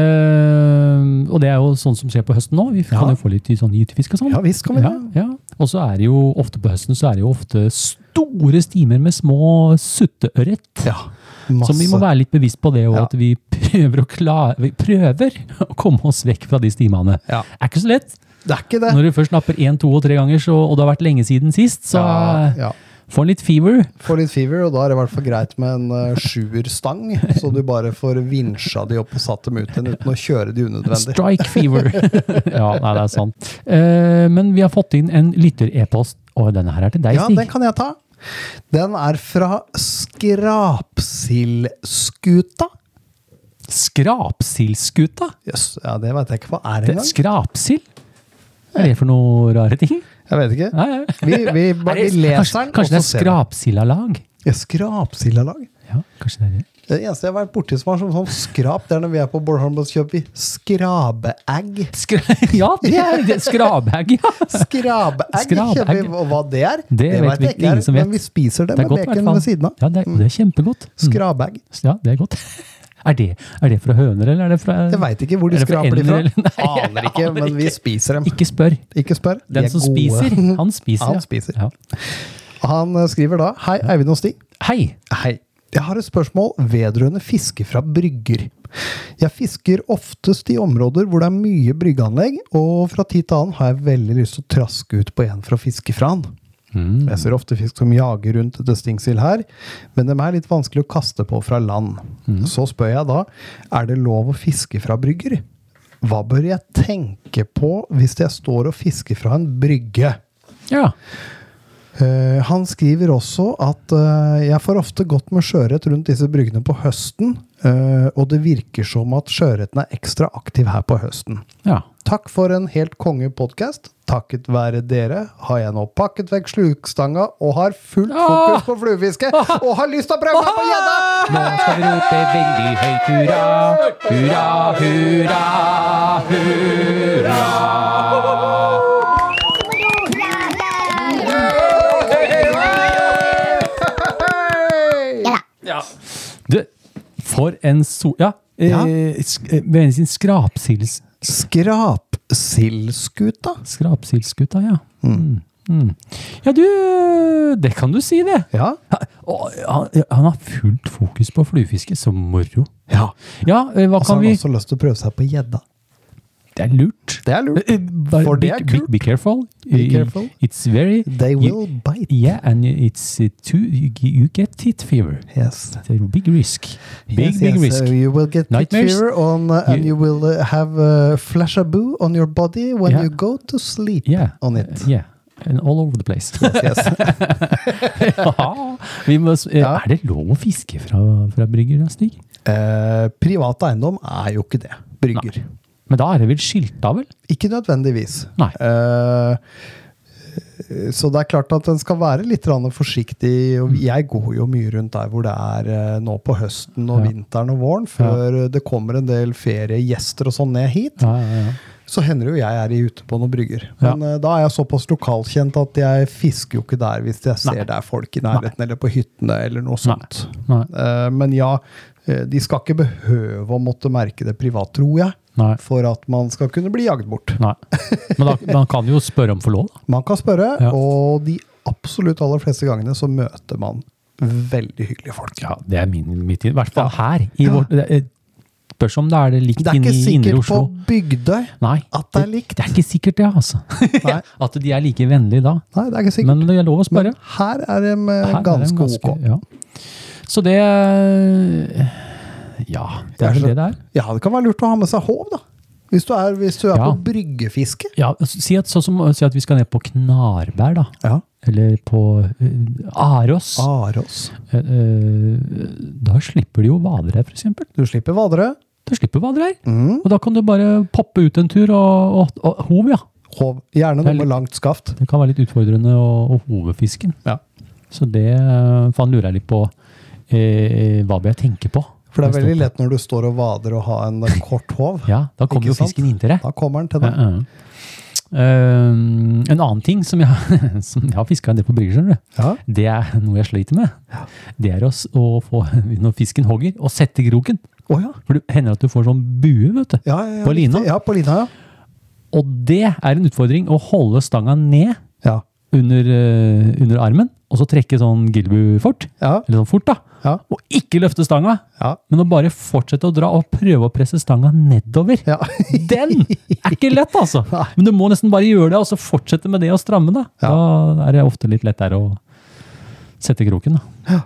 [SPEAKER 2] Eh, og det er jo sånn som skjer på høsten nå. Vi kan
[SPEAKER 6] Ja.
[SPEAKER 2] jo få litt sånn gytefisk og sånn.
[SPEAKER 6] Ja visst kan vi
[SPEAKER 2] Ja,
[SPEAKER 6] det.
[SPEAKER 2] ja. Og så er det jo ofte på høsten så er det jo ofte store stimer med små sutteørret.
[SPEAKER 6] Ja, masse.
[SPEAKER 2] Så vi må være litt bevisst på det, og
[SPEAKER 6] Ja.
[SPEAKER 2] at vi prøver, å klare, vi prøver å komme oss vekk fra de stimene.
[SPEAKER 6] Ja.
[SPEAKER 2] Er ikke så lett.
[SPEAKER 6] Det er ikke det.
[SPEAKER 2] Når du først napper én, to og tre ganger, så, og det har vært lenge siden sist, så,
[SPEAKER 6] Ja, ja.
[SPEAKER 2] Får en litt fever.
[SPEAKER 6] Får litt fever, og da er det i hvert fall greit med en eh, sjuerstang, så du bare får vinsja de opp og satt dem ut igjen uten å kjøre de unødvendig.
[SPEAKER 2] Strike fever. ja, nei, det er sant. Eh, men vi har fått inn en lytter-e-post, og denne her er til deg,
[SPEAKER 6] Ja, den
[SPEAKER 2] Stig.
[SPEAKER 6] kan jeg ta. Den er fra Skrapsildskuta.
[SPEAKER 2] Skrapsildskuta?
[SPEAKER 6] Jøss, ja, det veit jeg ikke hva er
[SPEAKER 2] Det-
[SPEAKER 6] engang.
[SPEAKER 2] Skrapsild? Hva er det for noe rare ting?
[SPEAKER 6] Jeg vet ikke.
[SPEAKER 2] Nei, nei.
[SPEAKER 6] Vi, vi, bare, vi leser
[SPEAKER 2] kanskje, kanskje
[SPEAKER 6] den, og
[SPEAKER 2] det
[SPEAKER 6] så
[SPEAKER 2] er
[SPEAKER 6] ser vi.
[SPEAKER 2] skrapsildalag?
[SPEAKER 6] Ja, Skrapsildalag.
[SPEAKER 2] Ja, kanskje det er det.
[SPEAKER 6] Det eneste jeg har vært borti som har sånn, sånn skrap, det er når vi er på Bornholm og kjøper vi skrabeegg.
[SPEAKER 2] Skra ja, det er det. Skrabhag, ja.
[SPEAKER 6] Skrabeegg
[SPEAKER 2] Skrabeegg.
[SPEAKER 6] kjøper vi, og hva det er,
[SPEAKER 2] Det vet
[SPEAKER 6] vet
[SPEAKER 2] vi
[SPEAKER 6] jeg
[SPEAKER 2] ikke, ingen som vet.
[SPEAKER 6] men vi spiser det,
[SPEAKER 2] Det er
[SPEAKER 6] med
[SPEAKER 2] godt, i hvert
[SPEAKER 6] bacon
[SPEAKER 2] fall.
[SPEAKER 6] ved siden av.
[SPEAKER 2] Ja, det er, det er kjempegodt. Mm.
[SPEAKER 6] Skrabeegg.
[SPEAKER 2] Ja, det er godt. Er det, er det fra høner, eller er det fra
[SPEAKER 6] Jeg veit ikke hvor de
[SPEAKER 2] Er det for
[SPEAKER 6] skraper de
[SPEAKER 2] ender,
[SPEAKER 6] fra.
[SPEAKER 2] eller? Nei, jeg
[SPEAKER 6] aner ikke,
[SPEAKER 2] aner
[SPEAKER 6] men vi
[SPEAKER 2] ikke.
[SPEAKER 6] spiser dem.
[SPEAKER 2] Ikke spør.
[SPEAKER 6] Ikke spør. de
[SPEAKER 2] Den
[SPEAKER 6] er
[SPEAKER 2] som
[SPEAKER 6] gode.
[SPEAKER 2] spiser, han spiser.
[SPEAKER 6] Han
[SPEAKER 2] ja.
[SPEAKER 6] spiser.
[SPEAKER 2] Ja.
[SPEAKER 6] Han eh, skriver da Hei, Eivind og Stig.
[SPEAKER 2] Hei!
[SPEAKER 6] Hei. Jeg har et spørsmål vedrørende fiske fra brygger. Jeg fisker oftest i områder hvor det er mye bryggeanlegg, og fra tid til annen har jeg veldig lyst til å traske ut på en for å fiske fra den. Jeg ser ofte fisk som jager rundt etter stingsild her, men dem er litt vanskelig å kaste på fra land. Så spør jeg da, er det lov å fiske fra brygger? Hva bør jeg tenke på hvis jeg står og fisker fra en brygge?
[SPEAKER 2] Ja.
[SPEAKER 6] Eh, han skriver også at eh, jeg får ofte godt med sjøørret rundt disse bryggene på høsten, eh, og det virker som at sjøørreten er ekstra aktiv her på høsten.
[SPEAKER 2] ja.
[SPEAKER 6] Takk for en helt konge podkast. Takket være dere har jeg nå pakket vekk slukstanga og har fullt
[SPEAKER 2] Ah!
[SPEAKER 6] fokus på fluefiske og har lyst til å prøve meg på gjedda!
[SPEAKER 2] Nå skal vi rope veldig høyt hurra, hurra, hurra, hurra. Ja. Du, for en sol... Ja. Eh,
[SPEAKER 6] Ja.
[SPEAKER 2] sk- eh, Ved en sin skrapsils...
[SPEAKER 6] Skrapsildskuta?
[SPEAKER 2] Skrapsildsgutta, ja. Mm. Mm. Ja, du Det kan du si, det.
[SPEAKER 6] Ja.
[SPEAKER 2] Ha- å, Han, han har fullt fokus på fluefiske. Så moro.
[SPEAKER 6] ja.
[SPEAKER 2] Ja, eh, hva
[SPEAKER 6] Og så
[SPEAKER 2] kan
[SPEAKER 6] har han
[SPEAKER 2] vi
[SPEAKER 6] også lyst til å prøve seg på gjedda.
[SPEAKER 2] Det er lurt.
[SPEAKER 6] Det er lurt.
[SPEAKER 2] Eh, eh, bare
[SPEAKER 6] For det
[SPEAKER 2] be-
[SPEAKER 6] er
[SPEAKER 2] be-
[SPEAKER 6] kult.
[SPEAKER 2] Be, careful.
[SPEAKER 6] Be
[SPEAKER 2] Eh,
[SPEAKER 6] careful.
[SPEAKER 2] It's very
[SPEAKER 6] They will bite.
[SPEAKER 2] Yeah, and it's uh, too you, you get heat fever.
[SPEAKER 6] Yes.
[SPEAKER 2] It's a big risk. Big,
[SPEAKER 6] Yes,
[SPEAKER 2] big
[SPEAKER 6] yes,
[SPEAKER 2] risk.
[SPEAKER 6] uh, you will get heat
[SPEAKER 2] Nightmares.
[SPEAKER 6] fever on, uh, and
[SPEAKER 2] You-
[SPEAKER 6] you, will uh, have uh, flashaboo on your body when
[SPEAKER 2] Yeah.
[SPEAKER 6] you go to sleep
[SPEAKER 2] yeah.
[SPEAKER 6] on
[SPEAKER 2] Uh,
[SPEAKER 6] it.
[SPEAKER 2] yeah. And all over the place.
[SPEAKER 6] Yes.
[SPEAKER 2] ja, vi må, s- eh,
[SPEAKER 6] Ja.
[SPEAKER 2] Er det lov å fiske fra, fra brygger, da, Stig?
[SPEAKER 6] Eh, privat eiendom er jo ikke det. Brygger.
[SPEAKER 2] Men da er det vel skilta, vel?
[SPEAKER 6] Ikke nødvendigvis.
[SPEAKER 2] Nei.
[SPEAKER 6] Eh, så det er klart at en skal være litt grann forsiktig.
[SPEAKER 2] Mm.
[SPEAKER 6] og Jeg går jo mye rundt der hvor det er eh, nå på høsten og
[SPEAKER 2] Ja.
[SPEAKER 6] vinteren og våren, før eh, det kommer en del feriegjester og sånn ned hit.
[SPEAKER 2] Ja, ja, ja.
[SPEAKER 6] så hender det jo jeg er i- ute på noen brygger.
[SPEAKER 2] Ja.
[SPEAKER 6] Men eh, da er jeg såpass lokalkjent at jeg fisker jo ikke der hvis jeg ser det er folk i nærheten eller på hyttene eller noe sånt.
[SPEAKER 2] Nei.
[SPEAKER 6] Eh, Men ja, eh, de skal ikke behøve å måtte merke det privat, tror jeg,
[SPEAKER 2] Nei.
[SPEAKER 6] for at man skal kunne bli jagd bort.
[SPEAKER 2] Nei. Men da, man kan jo spørre om å få lov, da.
[SPEAKER 6] Man kan spørre,
[SPEAKER 2] Ja.
[SPEAKER 6] og de absolutt aller fleste gangene så møter man veldig hyggelige folk.
[SPEAKER 2] Ja, det er min, mitt I hvert fall her. I vårt, det er- spørs om det er det likt
[SPEAKER 6] Det er
[SPEAKER 2] inne
[SPEAKER 6] ikke
[SPEAKER 2] i indre
[SPEAKER 6] sikkert på
[SPEAKER 2] Oslo.
[SPEAKER 6] Bygdøy
[SPEAKER 2] Nei,
[SPEAKER 6] at det er likt.
[SPEAKER 2] det er ikke sikkert det, altså.
[SPEAKER 6] Nei.
[SPEAKER 2] At de er like vennlige da.
[SPEAKER 6] Nei, det er ikke sikkert.
[SPEAKER 2] Men det er lov å spørre.
[SPEAKER 6] Men her er de eh,
[SPEAKER 2] Her er de
[SPEAKER 6] ganske ok.
[SPEAKER 2] ja. Så det eh, Ja, det
[SPEAKER 6] Jeg
[SPEAKER 2] er vel det
[SPEAKER 6] skjønner.
[SPEAKER 2] det er.
[SPEAKER 6] Ja, det kan være lurt å ha med seg håv, da. Hvis du er, hvis du er
[SPEAKER 2] Ja.
[SPEAKER 6] på bryggefiske.
[SPEAKER 2] Ja, si, at, sånn som, si at vi skal ned på Knarberg, da.
[SPEAKER 6] Ja.
[SPEAKER 2] Eller på eh, Aros.
[SPEAKER 6] Aros.
[SPEAKER 2] Eh, eh, da slipper de jo vadere, for eksempel.
[SPEAKER 6] Du slipper vadere.
[SPEAKER 2] Da slipper vadere her.
[SPEAKER 6] Mm.
[SPEAKER 2] Og da kan du bare poppe ut en tur og, og, og hov, ja.
[SPEAKER 6] Håv. Gjerne
[SPEAKER 2] Det er
[SPEAKER 6] noe med langt skaft.
[SPEAKER 2] Det kan være litt utfordrende å, å hove fisken.
[SPEAKER 6] Ja.
[SPEAKER 2] Så det eh, faen lurer jeg litt på. Eh, hva bør jeg tenke på?
[SPEAKER 6] For det er veldig lett når du står og vader og har en eh, kort håv.
[SPEAKER 2] Ja, da kommer
[SPEAKER 6] Ikke
[SPEAKER 2] jo
[SPEAKER 6] sant?
[SPEAKER 2] fisken inntil deg.
[SPEAKER 6] Da kommer den til deg.
[SPEAKER 2] Ja, ja. Ehm, en annen ting som jeg, som jeg har fiska en del på brygger, skjønner du.
[SPEAKER 6] Ja.
[SPEAKER 2] Det er noe jeg sliter med. Det er å, s- å få, når fisken hogger, å sette kroken.
[SPEAKER 6] Å ja.
[SPEAKER 2] For det hender at du får sånn bue, vet du.
[SPEAKER 6] Ja, ja, ja,
[SPEAKER 2] På lina.
[SPEAKER 6] riktig. Ja, på lina, ja.
[SPEAKER 2] Og det er en utfordring å holde stanga ned
[SPEAKER 6] Ja.
[SPEAKER 2] under, eh, under armen, og så trekke sånn gilbu fort.
[SPEAKER 6] Ja.
[SPEAKER 2] Eller sånn fort, da.
[SPEAKER 6] Ja.
[SPEAKER 2] Og ikke løfte stanga,
[SPEAKER 6] Ja.
[SPEAKER 2] men å bare fortsette å dra og prøve å presse stanga nedover.
[SPEAKER 6] Ja.
[SPEAKER 2] Den er ikke lett, altså! Men du må nesten bare gjøre det, og så fortsette med det og stramme. Da, da er det ofte litt lett der å sette kroken, da.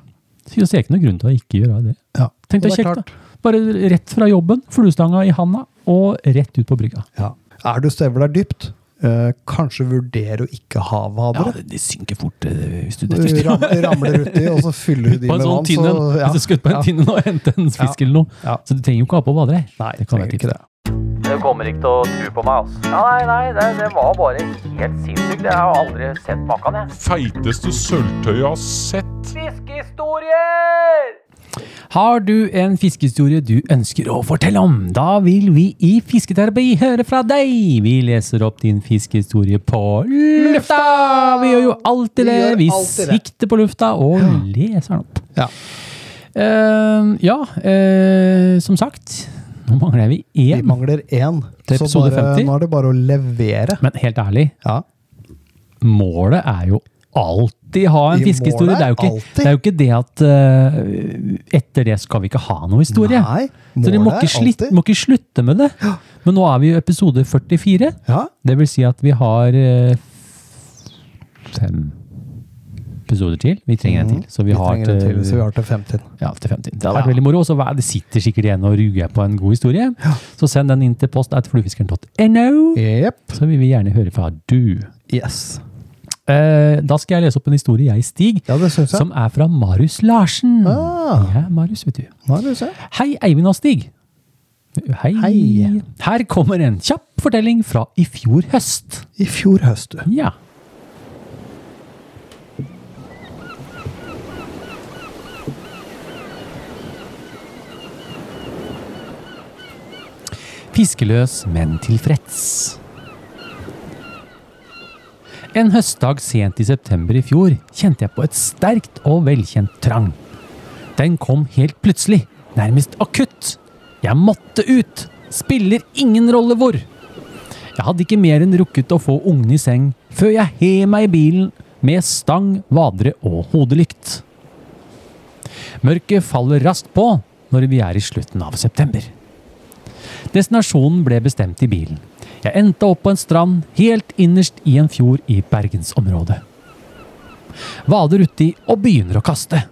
[SPEAKER 2] Synes det er ikke noe grunn til å ikke gjøre det.
[SPEAKER 6] Ja.
[SPEAKER 2] Tenk deg
[SPEAKER 6] Og det er
[SPEAKER 2] kjekt, da. Bare rett fra jobben, fluestanga i handa, og rett ut på brygga.
[SPEAKER 6] Ja. Er du støvler der dypt, eh, kanskje vurdere å ikke ha vadere.
[SPEAKER 2] det, synker fort eh, hvis du
[SPEAKER 6] Du ram, ramler uti, og så fyller du de
[SPEAKER 2] På en
[SPEAKER 6] med
[SPEAKER 2] sånn
[SPEAKER 6] vann.
[SPEAKER 2] tinne,
[SPEAKER 6] Så, ja.
[SPEAKER 2] hvis du skal ut på en tinne nå og hente en fisk eller noe.
[SPEAKER 6] Ja.
[SPEAKER 2] Så du trenger jo ikke ha på vadere.
[SPEAKER 6] Nei,
[SPEAKER 2] Det kan
[SPEAKER 6] trenger
[SPEAKER 2] jeg tipse.
[SPEAKER 6] ikke det.
[SPEAKER 3] Du kommer ikke til å tro på meg, altså. Nei, nei, det, det var bare helt sinnssykt. Jeg har aldri sett maken, jeg.
[SPEAKER 4] Feiteste sølvtøyet jeg har sett.
[SPEAKER 3] Fiskehistorier!
[SPEAKER 2] Har du en fiskehistorie du ønsker å fortelle om? Da vil vi i Fisketerapi høre fra deg! Vi leser opp din fiskehistorie på lufta! Vi gjør jo alltid det.
[SPEAKER 6] Vi gjør
[SPEAKER 2] Vi
[SPEAKER 6] alltid det.
[SPEAKER 2] sikter på lufta og leser den opp.
[SPEAKER 6] Ja.
[SPEAKER 2] Eh, ja, eh, som sagt. Nå mangler vi
[SPEAKER 6] Vi
[SPEAKER 2] én.
[SPEAKER 6] mangler én.
[SPEAKER 2] Til
[SPEAKER 6] Så
[SPEAKER 2] episode
[SPEAKER 6] bare,
[SPEAKER 2] 50.
[SPEAKER 6] nå er det bare å levere.
[SPEAKER 2] Men helt ærlig,
[SPEAKER 6] Ja.
[SPEAKER 2] målet er jo alltid ha en
[SPEAKER 6] I
[SPEAKER 2] fiskehistorie.
[SPEAKER 6] målet
[SPEAKER 2] Det er, jo ikke,
[SPEAKER 6] alltid.
[SPEAKER 2] det er jo ikke det at eh, etter det skal vi ikke ha noe historie.
[SPEAKER 6] Nei,
[SPEAKER 2] Så dere må
[SPEAKER 6] målet
[SPEAKER 2] ikke,
[SPEAKER 6] er
[SPEAKER 2] slitt,
[SPEAKER 6] alltid-
[SPEAKER 2] må ikke slutte med det. Men nå er vi i episode 44.
[SPEAKER 6] Ja.
[SPEAKER 2] Det vil si at vi har eh, fem episoder til. Vi trenger en til. Så vi, har
[SPEAKER 6] trenger en
[SPEAKER 2] til,
[SPEAKER 6] til, så Mhm. vi har til 50.
[SPEAKER 2] Ja, til 50. Det har vært
[SPEAKER 6] Ja.
[SPEAKER 2] veldig moro. Og så hva- det sitter sikkert igjen og ruger på en god historie. Så send den inn til post at fluefiskeren.no.
[SPEAKER 6] Jepp.
[SPEAKER 2] Så vil vi gjerne høre fra du.
[SPEAKER 6] Yes.
[SPEAKER 2] Eh, da skal jeg lese opp en historie jeg, Stig,
[SPEAKER 6] Ja, det syns jeg.
[SPEAKER 2] som er fra Marius Larsen.
[SPEAKER 6] Ah.
[SPEAKER 2] Ja, Marius, vet du.
[SPEAKER 6] Nå er det se.
[SPEAKER 2] Hei, Eivind og Stig. Hei.
[SPEAKER 6] Hei.
[SPEAKER 2] Her kommer en kjapp fortelling fra i fjor høst.
[SPEAKER 6] I fjor høst, du.
[SPEAKER 2] Ja. Fiskeløs, men tilfreds. En høstdag sent i september i fjor kjente jeg på et sterkt og velkjent trang. Den kom helt plutselig, nærmest akutt. Jeg måtte ut! Spiller ingen rolle hvor! Jeg hadde ikke mer enn rukket å få ungene i seng før jeg hev meg i bilen med stang, vadere og hodelykt. Mørket faller raskt på når vi er i slutten av september. Destinasjonen ble bestemt i bilen. Jeg endte opp på en strand helt innerst i en fjord i bergensområdet. Vader uti og begynner å kaste.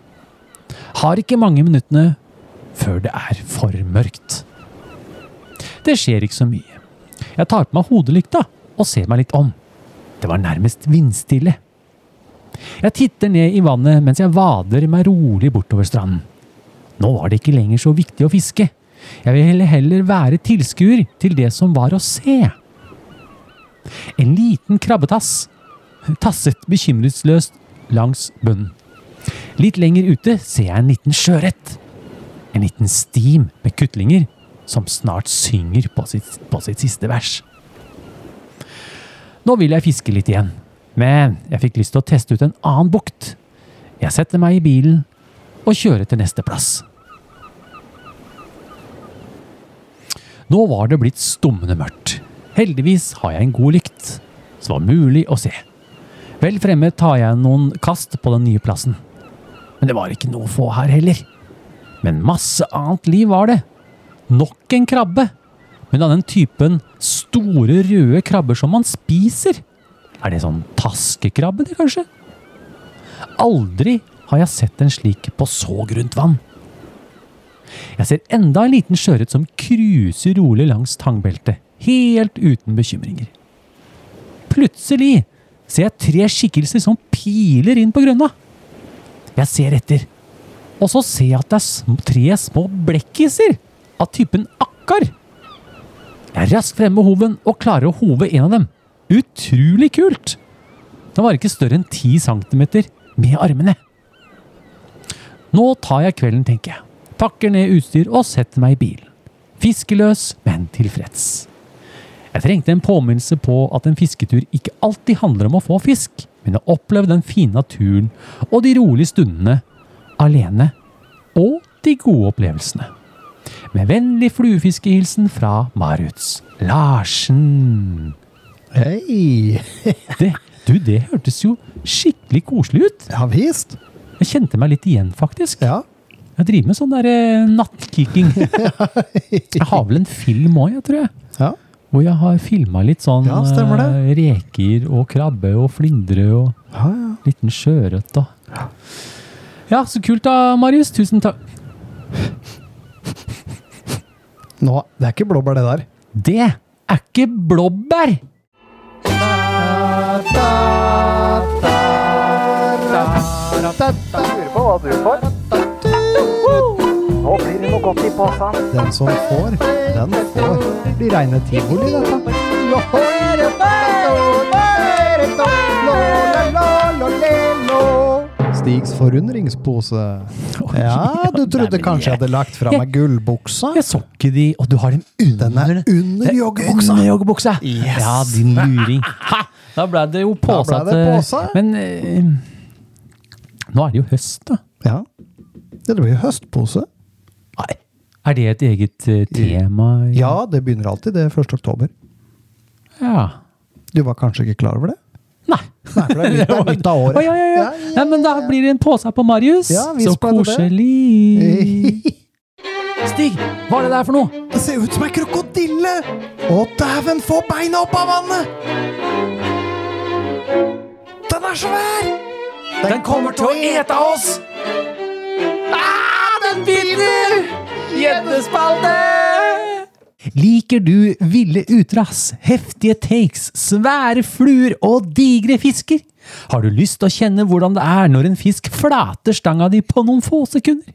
[SPEAKER 2] Har ikke mange minuttene før det er for mørkt. Det skjer ikke så mye. Jeg tar på meg hodelykta og ser meg litt om. Det var nærmest vindstille. Jeg titter ned i vannet mens jeg vader meg rolig bortover stranden. Nå var det ikke lenger så viktig å fiske. Jeg ville heller- heller være tilskuer til det som var å se. En liten krabbetass tasset bekymringsløst langs bunnen. Litt lenger ute ser jeg en liten sjøørret. En liten stim med kutlinger som snart synger på sitt, på sitt siste vers. Nå vil jeg fiske litt igjen, men jeg fikk lyst til å teste ut en annen bukt. Jeg setter meg i bilen og kjører til neste plass. Nå var det blitt stummende mørkt. Heldigvis har jeg en god lykt, så det var mulig å se. Vel fremme tar jeg noen kast på den nye plassen. Men det var ikke noe å få her heller. Men masse annet liv var det. Nok en krabbe. Men av den typen store, røde krabber som man spiser. Er det sånn taskekrabbe, det kanskje? Aldri har jeg sett en slik på så grunt vann. Jeg ser enda en liten sjøørret som cruiser rolig langs tangbeltet, helt uten bekymringer. Plutselig ser jeg tre skikkelser som piler inn på grønna. Jeg ser etter, og så ser jeg at det er sm tre små blekkiser av typen akkar. Jeg er raskt fremme med hoven og klarer å hove en av dem. Utrolig kult! Den var ikke større enn 10 cm med armene. Nå tar jeg kvelden, tenker jeg. Pakker ned utstyr og setter meg i bilen. Fiskeløs, men tilfreds. Jeg trengte en påminnelse på at en fisketur ikke alltid handler om å få fisk, men å oppleve den fine naturen og de rolige stundene alene, og de gode opplevelsene. Med vennlig fluefiskehilsen fra Marius Larsen.
[SPEAKER 6] Hei!
[SPEAKER 2] Det, du, det hørtes jo skikkelig koselig ut.
[SPEAKER 6] Ja visst.
[SPEAKER 2] Jeg kjente meg litt igjen, faktisk.
[SPEAKER 6] Ja.
[SPEAKER 2] Jeg driver med sånn der eh, nattkikking. Jeg har vel en film òg, jeg tror jeg.
[SPEAKER 6] ja.
[SPEAKER 2] Hvor jeg har filma litt sånn
[SPEAKER 6] Ja, stemmer det.
[SPEAKER 2] eh, reker og krabbe og flyndre og
[SPEAKER 6] Ja, ja.
[SPEAKER 2] liten sjøørret og Ja, så kult da, Marius. Tusen takk.
[SPEAKER 6] Nå, det er ikke blåbær, det der.
[SPEAKER 2] Det er ikke blåbær!
[SPEAKER 5] Lurer på hva du får. Nå blir det noe godt i posen.
[SPEAKER 6] Den som får, den får. Det blir reine tivoli, dette. Stigs forundringspose. Ja, du trodde kanskje jeg hadde lagt fra meg gullbuksa?
[SPEAKER 2] Jeg så ikke de Og du har dem
[SPEAKER 6] Den
[SPEAKER 2] under Eh,
[SPEAKER 6] er under joggebuksa!
[SPEAKER 2] Under joggebuksa. Ja, din luring. Ha! Da ble det jo påsa
[SPEAKER 6] Da ble det
[SPEAKER 2] til-
[SPEAKER 6] påsa.
[SPEAKER 2] Men eh, nå er det jo høst, da.
[SPEAKER 6] Ja. Det blir jo høstpose.
[SPEAKER 2] Er det et eget eh, tema? i-
[SPEAKER 6] Ja, det begynner alltid det 1. oktober.
[SPEAKER 2] ja.
[SPEAKER 6] Du var kanskje ikke klar over det?
[SPEAKER 2] Nei.
[SPEAKER 6] Nei, for det er midt, det er midt av
[SPEAKER 2] Å,
[SPEAKER 6] året.
[SPEAKER 2] ja, ja, ja. Nei, men da blir det en påse på Marius.
[SPEAKER 6] Ja, vi
[SPEAKER 2] Så
[SPEAKER 6] spredde det.
[SPEAKER 2] koselig. Stig, hva er det der for noe?
[SPEAKER 6] Det ser ut som ei krokodille! Å, dæven, få beina opp av vannet! Den er svær! Den kommer til å ete oss!
[SPEAKER 2] Den vinner! Gjeddespalte! Liker du ville utrass, heftige takes, svære fluer og digre fisker? Har du lyst til å kjenne hvordan det er når en fisk flater stanga di på noen få sekunder?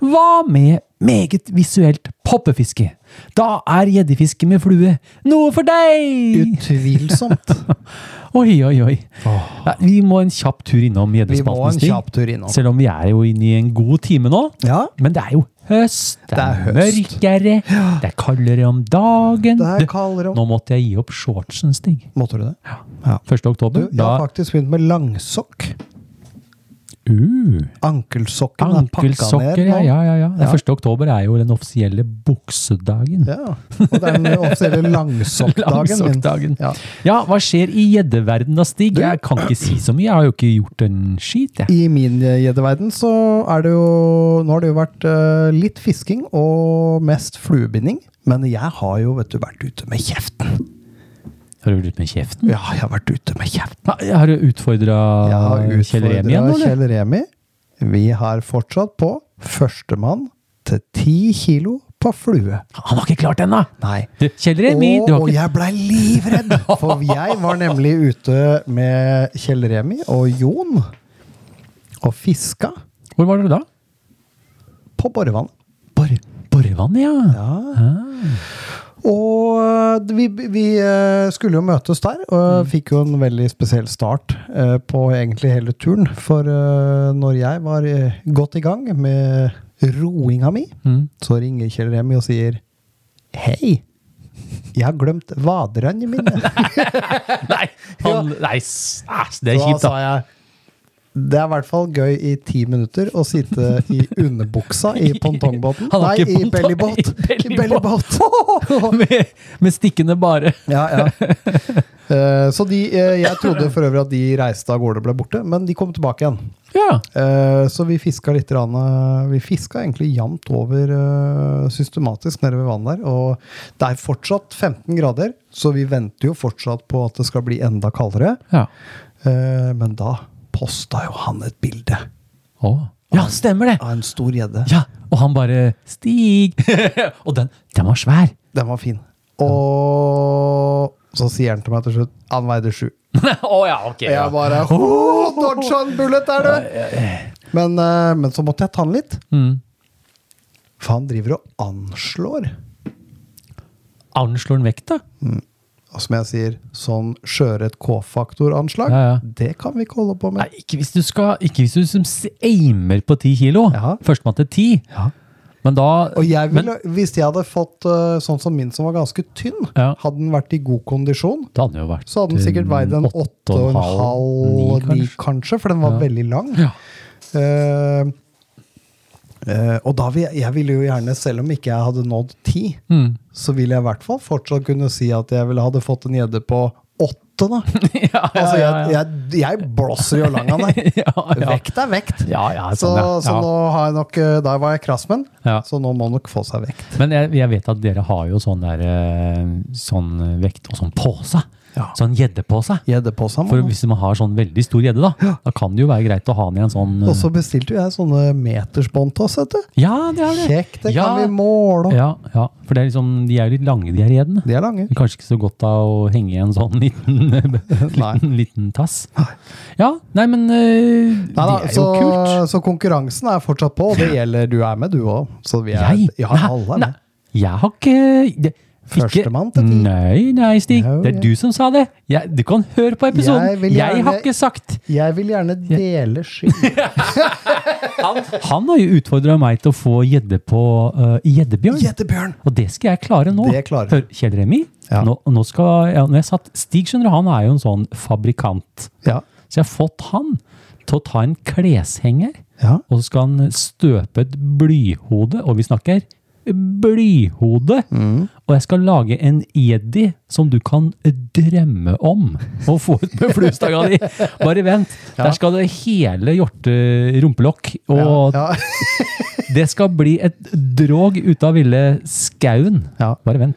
[SPEAKER 2] Hva med meget visuelt poppefiske? Da er gjeddefiske med flue noe for deg!
[SPEAKER 6] Utvilsomt.
[SPEAKER 2] Oi, oi, oi. Nei, vi må en kjapp tur innom
[SPEAKER 6] Vi må
[SPEAKER 2] gjeddespalten,
[SPEAKER 6] en
[SPEAKER 2] Stig.
[SPEAKER 6] kjapp tur innom.
[SPEAKER 2] Selv om vi er jo inne i en god time nå.
[SPEAKER 6] Ja,
[SPEAKER 2] Men det er jo høst. Det,
[SPEAKER 6] Det er
[SPEAKER 2] er,
[SPEAKER 6] høst.
[SPEAKER 2] mørkere. Det er kaldere om dagen.
[SPEAKER 6] det er
[SPEAKER 2] Du,
[SPEAKER 6] kaldere om
[SPEAKER 2] nå måtte jeg gi opp shortsen, Stig.
[SPEAKER 6] Måtte du det?
[SPEAKER 2] 1.
[SPEAKER 6] Du,
[SPEAKER 2] oktober.
[SPEAKER 6] jeg har
[SPEAKER 2] da,
[SPEAKER 6] faktisk begynt med langsokk.
[SPEAKER 2] uh,
[SPEAKER 6] Ankelsokken er pakka
[SPEAKER 2] ankelsokker,
[SPEAKER 6] ned nå.
[SPEAKER 2] ja, ja, ja, ja.
[SPEAKER 6] Ja.
[SPEAKER 2] 1. oktober er jo den offisielle buksedagen.
[SPEAKER 6] Ja, Og det er den offisielle langsokkdagen min.
[SPEAKER 2] Langsokkdagen.
[SPEAKER 6] Ja.
[SPEAKER 2] Ja, hva skjer i gjeddeverden da, Stig?
[SPEAKER 6] Du-
[SPEAKER 2] Jeg kan ikke si så mye. Jeg har jo ikke gjort en skit, jeg.
[SPEAKER 6] I min gjeddeverden så er det jo Nå har det jo vært eh, litt fisking og mest fluebinding. Men jeg har jo vet du, vært ute med kjeften.
[SPEAKER 2] Har du blitt med kjeften?
[SPEAKER 6] Ja, jeg har vært ute med kjeften.
[SPEAKER 2] Ja, Har du utfordra
[SPEAKER 6] Jeg har
[SPEAKER 2] Ah, Kjell Remi igjen,
[SPEAKER 6] utfordra
[SPEAKER 2] eller?
[SPEAKER 6] Kjell Remi. Vi har fortsatt på førstemann til ti kilo på flue.
[SPEAKER 2] Han har ikke klart det ennå!
[SPEAKER 6] Nei.
[SPEAKER 2] Du, Kjell Remi,
[SPEAKER 6] og,
[SPEAKER 2] du har
[SPEAKER 6] og
[SPEAKER 2] ikke
[SPEAKER 6] jeg blei livredd, for jeg var nemlig ute med Kjell Remi og Jon og fiska
[SPEAKER 2] Hvor var dere da?
[SPEAKER 6] på borevann.
[SPEAKER 2] Bor Borvann, ja.
[SPEAKER 6] Og eh, vi, vi eh, skulle jo møtes der,
[SPEAKER 2] Mm.
[SPEAKER 6] og fikk jo en veldig spesiell start eh, på egentlig hele turen. For eh, når jeg var eh, godt i gang med roinga mi,
[SPEAKER 2] Mm.
[SPEAKER 6] så ringer Kjell Remi og sier Hei, jeg har glemt vaderne mine.
[SPEAKER 2] Nei, han, nei s- æsj, det er
[SPEAKER 6] Da
[SPEAKER 2] kjipt,
[SPEAKER 6] sa
[SPEAKER 2] da.
[SPEAKER 6] jeg det er i hvert fall gøy i ti minutter å sitte i underbuksa i pongtongbåten.
[SPEAKER 2] Han
[SPEAKER 6] Nei,
[SPEAKER 2] har ikke
[SPEAKER 6] i
[SPEAKER 2] pongtong,
[SPEAKER 6] bellybåt.
[SPEAKER 2] i
[SPEAKER 6] I bellybåt.
[SPEAKER 2] Med, med stikkene bare.
[SPEAKER 6] Ja, ja. Eh, så de, eh, jeg trodde for øvrig at de reiste av gårde og ble borte, men de kom tilbake igjen.
[SPEAKER 2] Ja.
[SPEAKER 6] Eh, så vi fiska litt rann, eh, Vi fiska egentlig jevnt over eh, systematisk nede ved vannet der. Og det er fortsatt 15 grader, så vi venter jo fortsatt på at det skal bli enda kaldere.
[SPEAKER 2] Ja,
[SPEAKER 6] Eh, men da posta jo han et bilde
[SPEAKER 2] Å. ja stemmer det!
[SPEAKER 6] av en stor gjedde.
[SPEAKER 2] Ja, Og han bare Stig! og den, den var svær!
[SPEAKER 6] Den var fin. Og så sier han til meg til slutt han veide sju.
[SPEAKER 2] Å ja, ok.
[SPEAKER 6] Og jeg bare «Åh, Dodge and bullet er du! Men, eh, men så måtte jeg ta den litt.
[SPEAKER 2] Mm.
[SPEAKER 6] For han driver og anslår.
[SPEAKER 2] Anslår den vekk, da?
[SPEAKER 6] Og som jeg sier, sånn skjøret K-faktor-anslag.
[SPEAKER 2] Ja, ja.
[SPEAKER 6] Det kan vi ikke holde på
[SPEAKER 2] Nei,
[SPEAKER 6] med.
[SPEAKER 2] ikke hvis du skal Ikke hvis du som s- aimer på ti kilo.
[SPEAKER 6] Ja.
[SPEAKER 2] Førstemann til ti.
[SPEAKER 6] Ja.
[SPEAKER 2] Men da
[SPEAKER 6] Og jeg
[SPEAKER 2] men-
[SPEAKER 6] ville, hvis jeg hadde fått eh, sånn som min, som var ganske tynn,
[SPEAKER 2] Ja.
[SPEAKER 6] hadde den vært i god kondisjon,
[SPEAKER 2] Da hadde den jo vært
[SPEAKER 6] så hadde den sikkert veid en åtte og en halv, ni
[SPEAKER 2] ni, kanskje.
[SPEAKER 6] kanskje, for den var
[SPEAKER 2] Ja.
[SPEAKER 6] veldig lang.
[SPEAKER 2] Ja.
[SPEAKER 6] Eh, eh, og da vil jeg, jeg ville jo gjerne, selv om ikke jeg hadde nådd ti,
[SPEAKER 2] Mm.
[SPEAKER 6] så ville jeg i hvert fall fortsatt kunne si at jeg ville hadde fått en gjedde på åtte, da.
[SPEAKER 2] ja, ja,
[SPEAKER 6] Altså,
[SPEAKER 2] ja,
[SPEAKER 6] jeg,
[SPEAKER 2] ja.
[SPEAKER 6] jeg, jeg blåser jo lang av deg.
[SPEAKER 2] Ja, ja.
[SPEAKER 6] Vekt er vekt.
[SPEAKER 2] Ja, ja,
[SPEAKER 6] Så,
[SPEAKER 2] sånn, ja.
[SPEAKER 6] så
[SPEAKER 2] ja.
[SPEAKER 6] nå har jeg nok eh, Der var jeg krass, men.
[SPEAKER 2] Ja.
[SPEAKER 6] Så nå må han nok få seg vekt.
[SPEAKER 2] Men jeg, jeg vet at dere har jo sånn der eh, sånn vekt og sånn pose.
[SPEAKER 6] Ja.
[SPEAKER 2] sånn gjedde på seg.
[SPEAKER 6] Gjedde på seg.
[SPEAKER 2] For
[SPEAKER 6] mann.
[SPEAKER 2] hvis man har sånn veldig stor gjedde, da, da kan det jo være greit å ha den i en sånn eh,
[SPEAKER 6] Og så bestilte jo jeg sånne metersbånd til oss, vet du.
[SPEAKER 2] Ja, det er det.
[SPEAKER 6] Kjekt, det
[SPEAKER 2] Ja.
[SPEAKER 6] kan vi måle.
[SPEAKER 2] Ja, ja. For det er liksom, de er jo litt lange, de her gjeddene.
[SPEAKER 6] De er lange.
[SPEAKER 2] Det er Kanskje ikke så godt av å henge i en sånn liten, liten, liten tass. Ja, nei, men eh,
[SPEAKER 6] Nei, da,
[SPEAKER 2] det er
[SPEAKER 6] så,
[SPEAKER 2] jo kult.
[SPEAKER 6] så konkurransen er fortsatt på, og det gjelder du er med, du òg. Så vi er
[SPEAKER 2] Jeg?
[SPEAKER 6] Ja,
[SPEAKER 2] Nei,
[SPEAKER 6] alle er
[SPEAKER 2] nei,
[SPEAKER 6] med.
[SPEAKER 2] Jeg har ikke det,
[SPEAKER 6] Førstemann til ti.
[SPEAKER 2] Nei, nei, Stig.
[SPEAKER 6] Jo,
[SPEAKER 2] det er
[SPEAKER 6] jeg-
[SPEAKER 2] du som sa det. Jeg, du kan høre på episoden.
[SPEAKER 6] Jeg
[SPEAKER 2] Jeg,
[SPEAKER 6] vil gjerne-
[SPEAKER 2] har ikke sagt
[SPEAKER 6] Jeg vil gjerne dele skyld.
[SPEAKER 2] Han, han har jo utfordra meg til å få gjedde på eh, gjeddebjørn.
[SPEAKER 6] Gjeddebjørn!
[SPEAKER 2] Og det skal jeg klare nå.
[SPEAKER 6] Det klarer du.
[SPEAKER 2] Hør, Kjell Remi,
[SPEAKER 6] Ja.
[SPEAKER 2] nå, nå skal ja, når jeg satt, Stig skjønner du, han er jo en sånn fabrikant.
[SPEAKER 6] Ja.
[SPEAKER 2] Så jeg har fått han til å ta en kleshenger,
[SPEAKER 6] Ja.
[SPEAKER 2] og så skal han støpe et blyhode, og vi snakker blyhode.
[SPEAKER 6] Mm.
[SPEAKER 2] Og jeg skal lage en jedi som du kan drømme om å få ut med fluestaga di. Bare vent. Der skal det hele hjorte rumpelokk, og
[SPEAKER 6] Ja.
[SPEAKER 2] det skal bli et drog ut av ville skauen.
[SPEAKER 6] Ja.
[SPEAKER 2] Bare vent.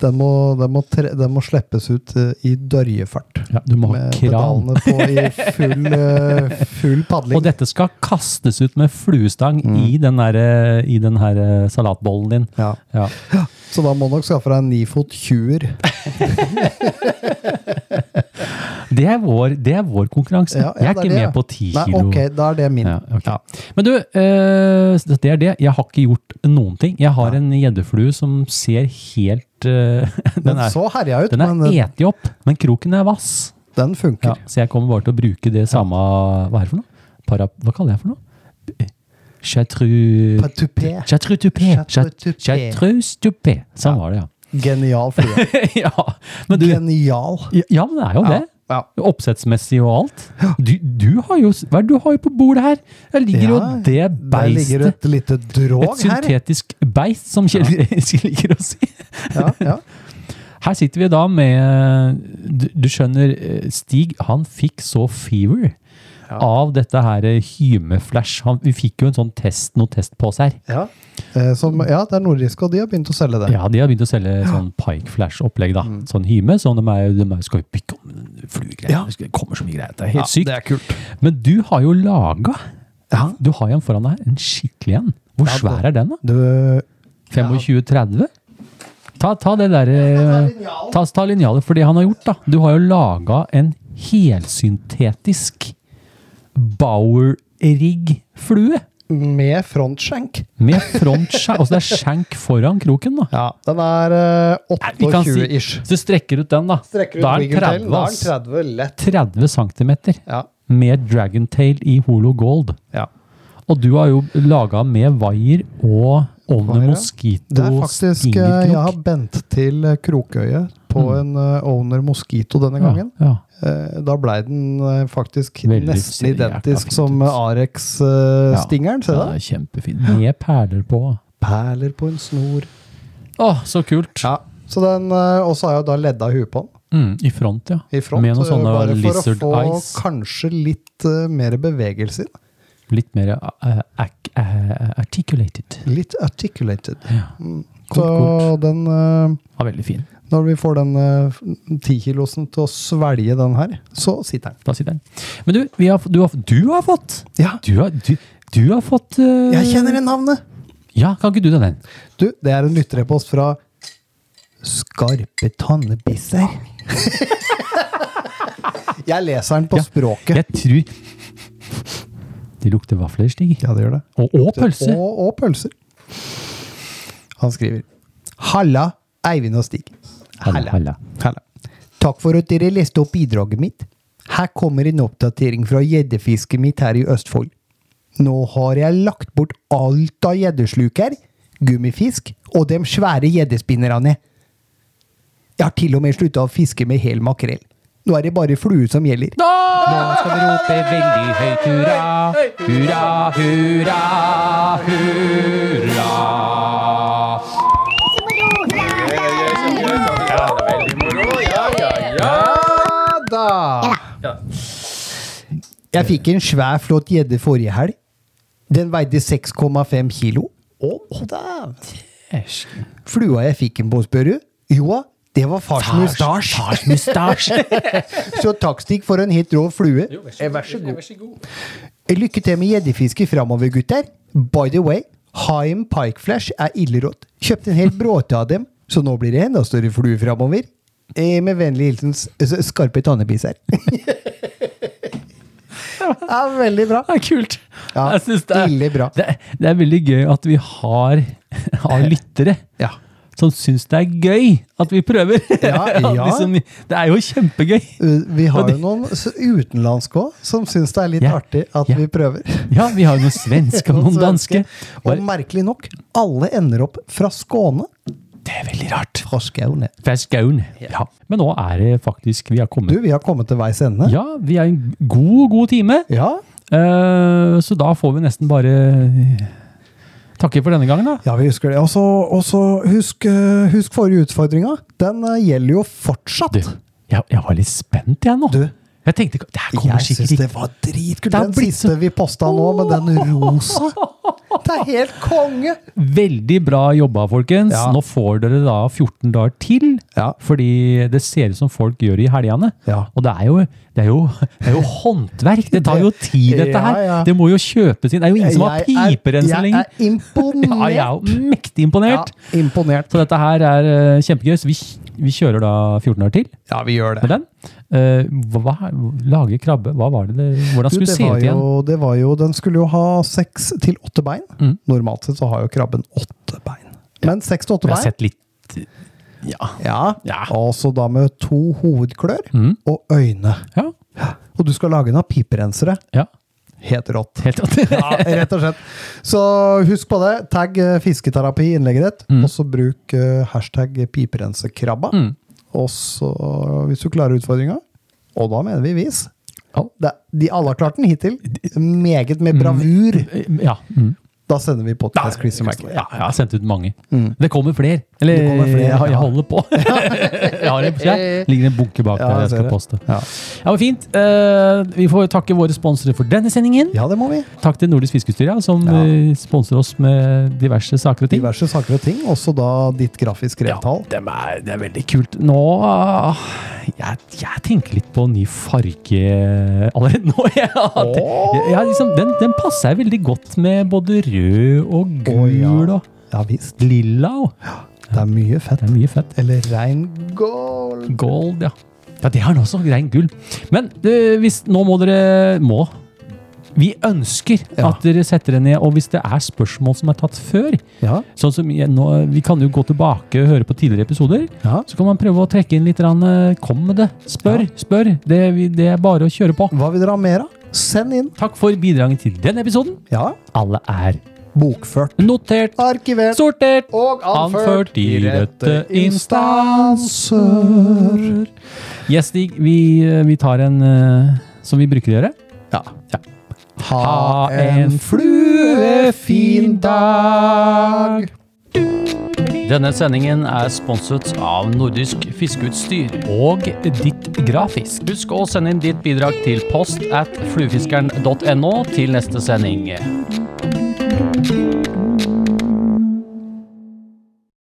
[SPEAKER 6] Den, må, den, må tre, den må slippes ut eh, i dørjefart.
[SPEAKER 2] du må ha
[SPEAKER 6] Med
[SPEAKER 2] kran.
[SPEAKER 6] pedalene på i full, eh, full padling.
[SPEAKER 2] Og dette skal kastes ut med fluestang
[SPEAKER 6] Mm.
[SPEAKER 2] i den, der, i den her eh, salatbollen din.
[SPEAKER 6] Ja.
[SPEAKER 2] Ja.
[SPEAKER 6] Så da må du nok skaffe deg en nifot 20-er.
[SPEAKER 2] Det, er vår, det er vår konkurranse.
[SPEAKER 6] Ja, ja,
[SPEAKER 2] jeg er
[SPEAKER 6] det er
[SPEAKER 2] ikke
[SPEAKER 6] det,
[SPEAKER 2] med
[SPEAKER 6] ja.
[SPEAKER 2] på ti
[SPEAKER 6] Nei,
[SPEAKER 2] kilo.
[SPEAKER 6] ok, da er det min.
[SPEAKER 2] Ja, ok. Men du, eh, så det er det. Jeg har ikke gjort noen ting. Jeg har en gjeddeflue som ser helt eh, Den
[SPEAKER 6] Den
[SPEAKER 2] er,
[SPEAKER 6] så herja ut,
[SPEAKER 2] den er
[SPEAKER 6] sånn, men den,
[SPEAKER 2] eti opp, men kroken er vass.
[SPEAKER 6] den
[SPEAKER 2] Ja,
[SPEAKER 6] funker.
[SPEAKER 2] så jeg kommer bare til å bruke det samme Hva er det for noe? Para, hva kaller jeg for noe? Chartreux
[SPEAKER 6] Tupé.
[SPEAKER 2] Chartreux tupé.
[SPEAKER 6] Chartreux tupé.
[SPEAKER 2] Chartreux tupé. Sånn var det, ja.
[SPEAKER 6] Genial flue.
[SPEAKER 2] ja, men du,
[SPEAKER 6] Genial.
[SPEAKER 2] ja, men det er jo det.
[SPEAKER 6] Ja.
[SPEAKER 2] Oppsettsmessig og alt. Du, du har jo Hva er det du har jo på bordet her? Der ligger jo
[SPEAKER 6] Ja,
[SPEAKER 2] det
[SPEAKER 6] Der ligger
[SPEAKER 2] beistet.
[SPEAKER 6] et lite drog
[SPEAKER 2] Et
[SPEAKER 6] her.
[SPEAKER 2] syntetisk beist, som Kjell liker å si.
[SPEAKER 6] Ja, ja.
[SPEAKER 2] Her sitter vi da med Du, du skjønner, eh, Stig han fikk så fever av dette her eh, hymeflash. Han, vi fikk jo en sånn test, noen testposer her.
[SPEAKER 6] Ja. Eh, Som, ja, det er nordiske, og de har begynt å selge det.
[SPEAKER 2] Ja, de har begynt å selge sånn Pike Flash-opplegg, da. Sånn hyme. Sånn de, er, de er, skal jo bygge om fluegreier.
[SPEAKER 6] Mm. Ja.
[SPEAKER 2] Det skal- kommer så mye greier. Det er helt
[SPEAKER 6] Ja,
[SPEAKER 2] sykt.
[SPEAKER 6] det er kult.
[SPEAKER 2] Men du har jo laga
[SPEAKER 6] Ja.
[SPEAKER 2] Du har jo en foran deg, en skikkelig en. Hvor
[SPEAKER 6] Ja,
[SPEAKER 2] svær
[SPEAKER 6] det-
[SPEAKER 2] er den, da?
[SPEAKER 6] Du,
[SPEAKER 2] 25-30? Ta, ta det derre Ta, ta linjalet for det han har gjort, da. Du har jo laga en helsyntetisk Bauer-rigg-flue.
[SPEAKER 6] med frontshank.
[SPEAKER 2] Med frontshank Altså det er shank foran kroken, da.
[SPEAKER 6] Ja, den er eh,
[SPEAKER 2] Nei, vi kan si-
[SPEAKER 6] 28-ish.
[SPEAKER 2] Hvis du strekker ut den, da.
[SPEAKER 6] Strekker ut
[SPEAKER 2] da er den
[SPEAKER 6] ryggen til,
[SPEAKER 2] 30,
[SPEAKER 6] da er
[SPEAKER 2] ass.
[SPEAKER 6] den 30 lett.
[SPEAKER 2] 30 cm.
[SPEAKER 6] Ja.
[SPEAKER 2] Med dragontail i holo gold.
[SPEAKER 6] Ja.
[SPEAKER 2] Og du har jo laga med vaier og Ovne
[SPEAKER 6] Wire, ja.
[SPEAKER 2] Mosquito
[SPEAKER 6] Det er faktisk eh,
[SPEAKER 2] stingerkrok.
[SPEAKER 6] Jeg har bent til eh, krokøyet på en eh, Owner Mosquito denne gangen.
[SPEAKER 2] Mm. Ja, ja.
[SPEAKER 6] Eh, Da blei den eh, faktisk
[SPEAKER 2] Veldig
[SPEAKER 6] nesten
[SPEAKER 2] jækla
[SPEAKER 6] identisk
[SPEAKER 2] fint
[SPEAKER 6] som eh,
[SPEAKER 2] ut. Ja.
[SPEAKER 6] Arex-stingeren. Se
[SPEAKER 2] Ja,
[SPEAKER 6] der.
[SPEAKER 2] det er kjempefint. Med perler på.
[SPEAKER 6] Perler på en snor.
[SPEAKER 2] Å, så kult!
[SPEAKER 6] Ja, så den, eh, Og så har jeg jo da ledda huet på den.
[SPEAKER 2] Mm, I front, ja.
[SPEAKER 6] I front,
[SPEAKER 2] Med noen
[SPEAKER 6] eh,
[SPEAKER 2] sånne
[SPEAKER 6] bare
[SPEAKER 2] lizard
[SPEAKER 6] for å få
[SPEAKER 2] eyes.
[SPEAKER 6] kanskje litt eh, mer bevegelse inn.
[SPEAKER 2] Litt mer eh, ac- eh, articulated.
[SPEAKER 6] Litt articulated.
[SPEAKER 2] Ja.
[SPEAKER 6] Mm.
[SPEAKER 2] Kult,
[SPEAKER 6] så
[SPEAKER 2] kult.
[SPEAKER 6] den eh,
[SPEAKER 2] Ja, veldig fin.
[SPEAKER 6] Når vi får den tikilosen til å svelge den her, så sitter den.
[SPEAKER 2] Da sitter den. Men du, vi har, f- du, har, f- du har fått
[SPEAKER 6] Ja,
[SPEAKER 2] Du har, du, du har fått eh,
[SPEAKER 6] jeg kjenner det navnet!
[SPEAKER 2] Ja, kan ikke du ta den?
[SPEAKER 6] Du, det er en lytterepost fra Skarpe tannebisser. jeg leser den på
[SPEAKER 2] Ja,
[SPEAKER 6] språket.
[SPEAKER 2] Jeg tror Det lukter vafler, Stig.
[SPEAKER 6] Ja, det gjør det.
[SPEAKER 2] Og, og pølse.
[SPEAKER 6] Og, og pølser. Han skriver Halla, Eivind og Stig.
[SPEAKER 2] Halla, halla.
[SPEAKER 6] Halla. Takk for at dere leste opp bidraget mitt. Her kommer en oppdatering fra gjeddefisket mitt her i Østfold. Nå har jeg lagt bort alt av gjeddesluker, gummifisk og de svære gjeddespinnerne. Jeg har til og med slutta å fiske med hel makrell. Nå er det bare flue som gjelder.
[SPEAKER 2] Nå skal vi rope veldig høyt hurra, hurra, hurra, hurra.
[SPEAKER 6] Ja da! Jeg fikk en svær, flott gjedde forrige helg. Den veide 6,5 kilo. Å, dæven! Flua jeg fikk den på, spør du? Jo, Det var fars mustasj!
[SPEAKER 2] Fars mustasje!
[SPEAKER 6] Så takk, Stig, for en helt rå flue. Eh, Vær så god. Lykke til med gjeddefisket framover, gutter. By the way, Haim Pikeflash er ille rått. Kjøpte en hel bråte av dem, så nå blir det enda større flue framover. Eh, Med vennlig hilsen s- s- Skarpe tannebiser. ja, veldig bra.
[SPEAKER 2] Det er kult.
[SPEAKER 6] Ja,
[SPEAKER 2] Jeg synes det,
[SPEAKER 6] veldig
[SPEAKER 2] er,
[SPEAKER 6] bra.
[SPEAKER 2] det, er- det er veldig gøy at vi har, har lyttere
[SPEAKER 6] Ja.
[SPEAKER 2] som syns det er gøy at vi prøver.
[SPEAKER 6] Ja, ja.
[SPEAKER 2] De som- det er jo kjempegøy.
[SPEAKER 6] Eh, Vi har
[SPEAKER 2] Og
[SPEAKER 6] jo
[SPEAKER 2] det-
[SPEAKER 6] noen s- utenlandske òg, som syns det er litt
[SPEAKER 2] Ja,
[SPEAKER 6] artig at
[SPEAKER 2] ja.
[SPEAKER 6] vi prøver.
[SPEAKER 2] Ja, vi har jo noen svenske og noen danske.
[SPEAKER 6] Og merkelig nok, alle ender opp fra Skåne.
[SPEAKER 2] Det er veldig rart.
[SPEAKER 6] Fra Skåne.
[SPEAKER 2] Fra Skaun. Ja. Men nå er det faktisk Vi har
[SPEAKER 6] Du,
[SPEAKER 2] kommet
[SPEAKER 6] vi har kommet til veis ende.
[SPEAKER 2] Ja, vi er en god, god time.
[SPEAKER 6] Ja,
[SPEAKER 2] Eh, så da får vi nesten bare takke for denne gangen, da.
[SPEAKER 6] ja, vi husker det. Og så- Og så husk, eh, husk forrige utfordringa. Den eh, gjelder jo
[SPEAKER 2] Du,
[SPEAKER 6] fortsatt.
[SPEAKER 2] jeg, jeg var litt spent, jeg nå.
[SPEAKER 6] Du.
[SPEAKER 2] Jeg tenkte ikke- Det her kommer
[SPEAKER 6] Jeg
[SPEAKER 2] sikkert
[SPEAKER 6] syns
[SPEAKER 2] ikke
[SPEAKER 6] det var dritkult.
[SPEAKER 2] Det har
[SPEAKER 6] Den
[SPEAKER 2] blitt
[SPEAKER 6] siste
[SPEAKER 2] så-
[SPEAKER 6] vi posta nå, med den rosa. Det er helt konge!
[SPEAKER 2] Veldig bra jobba, folkens.
[SPEAKER 6] Ja.
[SPEAKER 2] Nå får dere da 14 dager til.
[SPEAKER 6] Ja.
[SPEAKER 2] Fordi det ser ut som folk gjør i helgene.
[SPEAKER 6] Ja.
[SPEAKER 2] Og det er, jo, det, er jo, det er jo håndverk! Det tar jo tid, dette her.
[SPEAKER 6] Ja, ja.
[SPEAKER 2] Det må jo kjøpes inn. Det er jo ingen som har
[SPEAKER 6] Jeg er-
[SPEAKER 2] piperensing lenger.
[SPEAKER 6] Jeg er imponert.
[SPEAKER 2] Ja, jeg er jo mektig imponert.
[SPEAKER 6] Ja, imponert.
[SPEAKER 2] Så dette her er eh, kjempegøy. Så vi, vi kjører da 14 dager til
[SPEAKER 6] Ja, vi gjør
[SPEAKER 2] med den. Eh, hva, lage krabbe Hva var det det Hvordan
[SPEAKER 6] Du,
[SPEAKER 2] skulle det
[SPEAKER 6] det,
[SPEAKER 2] se
[SPEAKER 6] var
[SPEAKER 2] ut igjen?
[SPEAKER 6] jo, det var jo Den skulle jo ha seks til åtte bein.
[SPEAKER 2] Mm.
[SPEAKER 6] Normalt sett så har jo krabben åtte bein. Men seks til åtte
[SPEAKER 2] Vi har
[SPEAKER 6] bein.
[SPEAKER 2] sett litt Ja.
[SPEAKER 6] Ja.
[SPEAKER 2] Ja. Mm.
[SPEAKER 6] Og så da med to hovedklør og øyne.
[SPEAKER 2] Ja.
[SPEAKER 6] Og du skal lage den av piprensere.
[SPEAKER 2] ja.
[SPEAKER 6] Helt rått.
[SPEAKER 2] Helt rått.
[SPEAKER 6] Ja, rett og slett. Så husk på det. Tagg eh, fisketerapi i innlegget ditt,
[SPEAKER 2] Mm.
[SPEAKER 6] og så bruk eh, hashtag piperensekrabba. Og så, hvis du klarer utfordringa, og da mener vi vis
[SPEAKER 2] Ja.
[SPEAKER 6] det, De alle har klart den hittil. Meget med bravur.
[SPEAKER 2] Ja. Mm.
[SPEAKER 6] Da sender vi podcast quiz til Michael.
[SPEAKER 2] Ja, jeg har sendt ut mange. Det kommer flere. Eller
[SPEAKER 6] Mm. Det kommer flere,
[SPEAKER 2] jeg, jeg
[SPEAKER 6] ja.
[SPEAKER 2] holder på. jeg har en, jeg ligger en bunke bak
[SPEAKER 6] Ja,
[SPEAKER 2] der
[SPEAKER 6] jeg
[SPEAKER 2] jeg
[SPEAKER 6] ser
[SPEAKER 2] skal
[SPEAKER 6] det.
[SPEAKER 2] poste.
[SPEAKER 6] Ja.
[SPEAKER 2] Ja, men Fint. Eh, vi får takke våre sponsorer for denne sendingen.
[SPEAKER 6] Ja, det må vi.
[SPEAKER 2] Takk til Nordisk Fiskestyre, ja, som
[SPEAKER 6] Ja.
[SPEAKER 2] eh, sponser oss med diverse saker og ting.
[SPEAKER 6] Diverse saker og ting. Også da ditt grafiske
[SPEAKER 2] Ja,
[SPEAKER 6] revtall.
[SPEAKER 2] dem er, det er veldig kult. Nå ah, jeg, jeg tenker litt på ny farge allerede nå. Ja, det, ja, liksom, den, den passer veldig godt med både rød og
[SPEAKER 6] Å, ja.
[SPEAKER 2] gul og
[SPEAKER 6] Ja visst.
[SPEAKER 2] lilla. Og.
[SPEAKER 6] Det er mye fett.
[SPEAKER 2] Det er mye fett.
[SPEAKER 6] Eller rein gold.
[SPEAKER 2] Gold, ja. Ja, det er nå også rein gull. Men eh, hvis, nå må dere Må. Vi ønsker
[SPEAKER 6] Ja.
[SPEAKER 2] at dere setter dere ned, og hvis det er spørsmål som er tatt før
[SPEAKER 6] Ja.
[SPEAKER 2] sånn som jeg, nå, Vi kan jo gå tilbake og høre på tidligere episoder.
[SPEAKER 6] Ja.
[SPEAKER 2] Så kan man prøve å trekke inn litt grann, eh, Kom med det. Spør, spør. Det, er vi- det er bare å kjøre på.
[SPEAKER 6] Hva vil dere ha mer av? Send inn.
[SPEAKER 2] Takk for bidraget til den episoden.
[SPEAKER 6] Ja.
[SPEAKER 2] Alle er
[SPEAKER 6] Bokført.
[SPEAKER 2] notert,
[SPEAKER 6] Arkivert.
[SPEAKER 2] sortert
[SPEAKER 6] og
[SPEAKER 2] anført i rette
[SPEAKER 6] instanser.
[SPEAKER 2] instanser. Yes, Stig, vi, vi tar en eh, som vi bruker å gjøre.
[SPEAKER 6] Ja.
[SPEAKER 2] Ja.
[SPEAKER 6] Ha en fluefin dag.
[SPEAKER 1] Denne sendingen er sponset av Nordisk Fiskeutstyr.
[SPEAKER 2] Og ditt grafisk.
[SPEAKER 1] Husk å sende inn ditt bidrag til post at fluefiskeren.no til neste sending.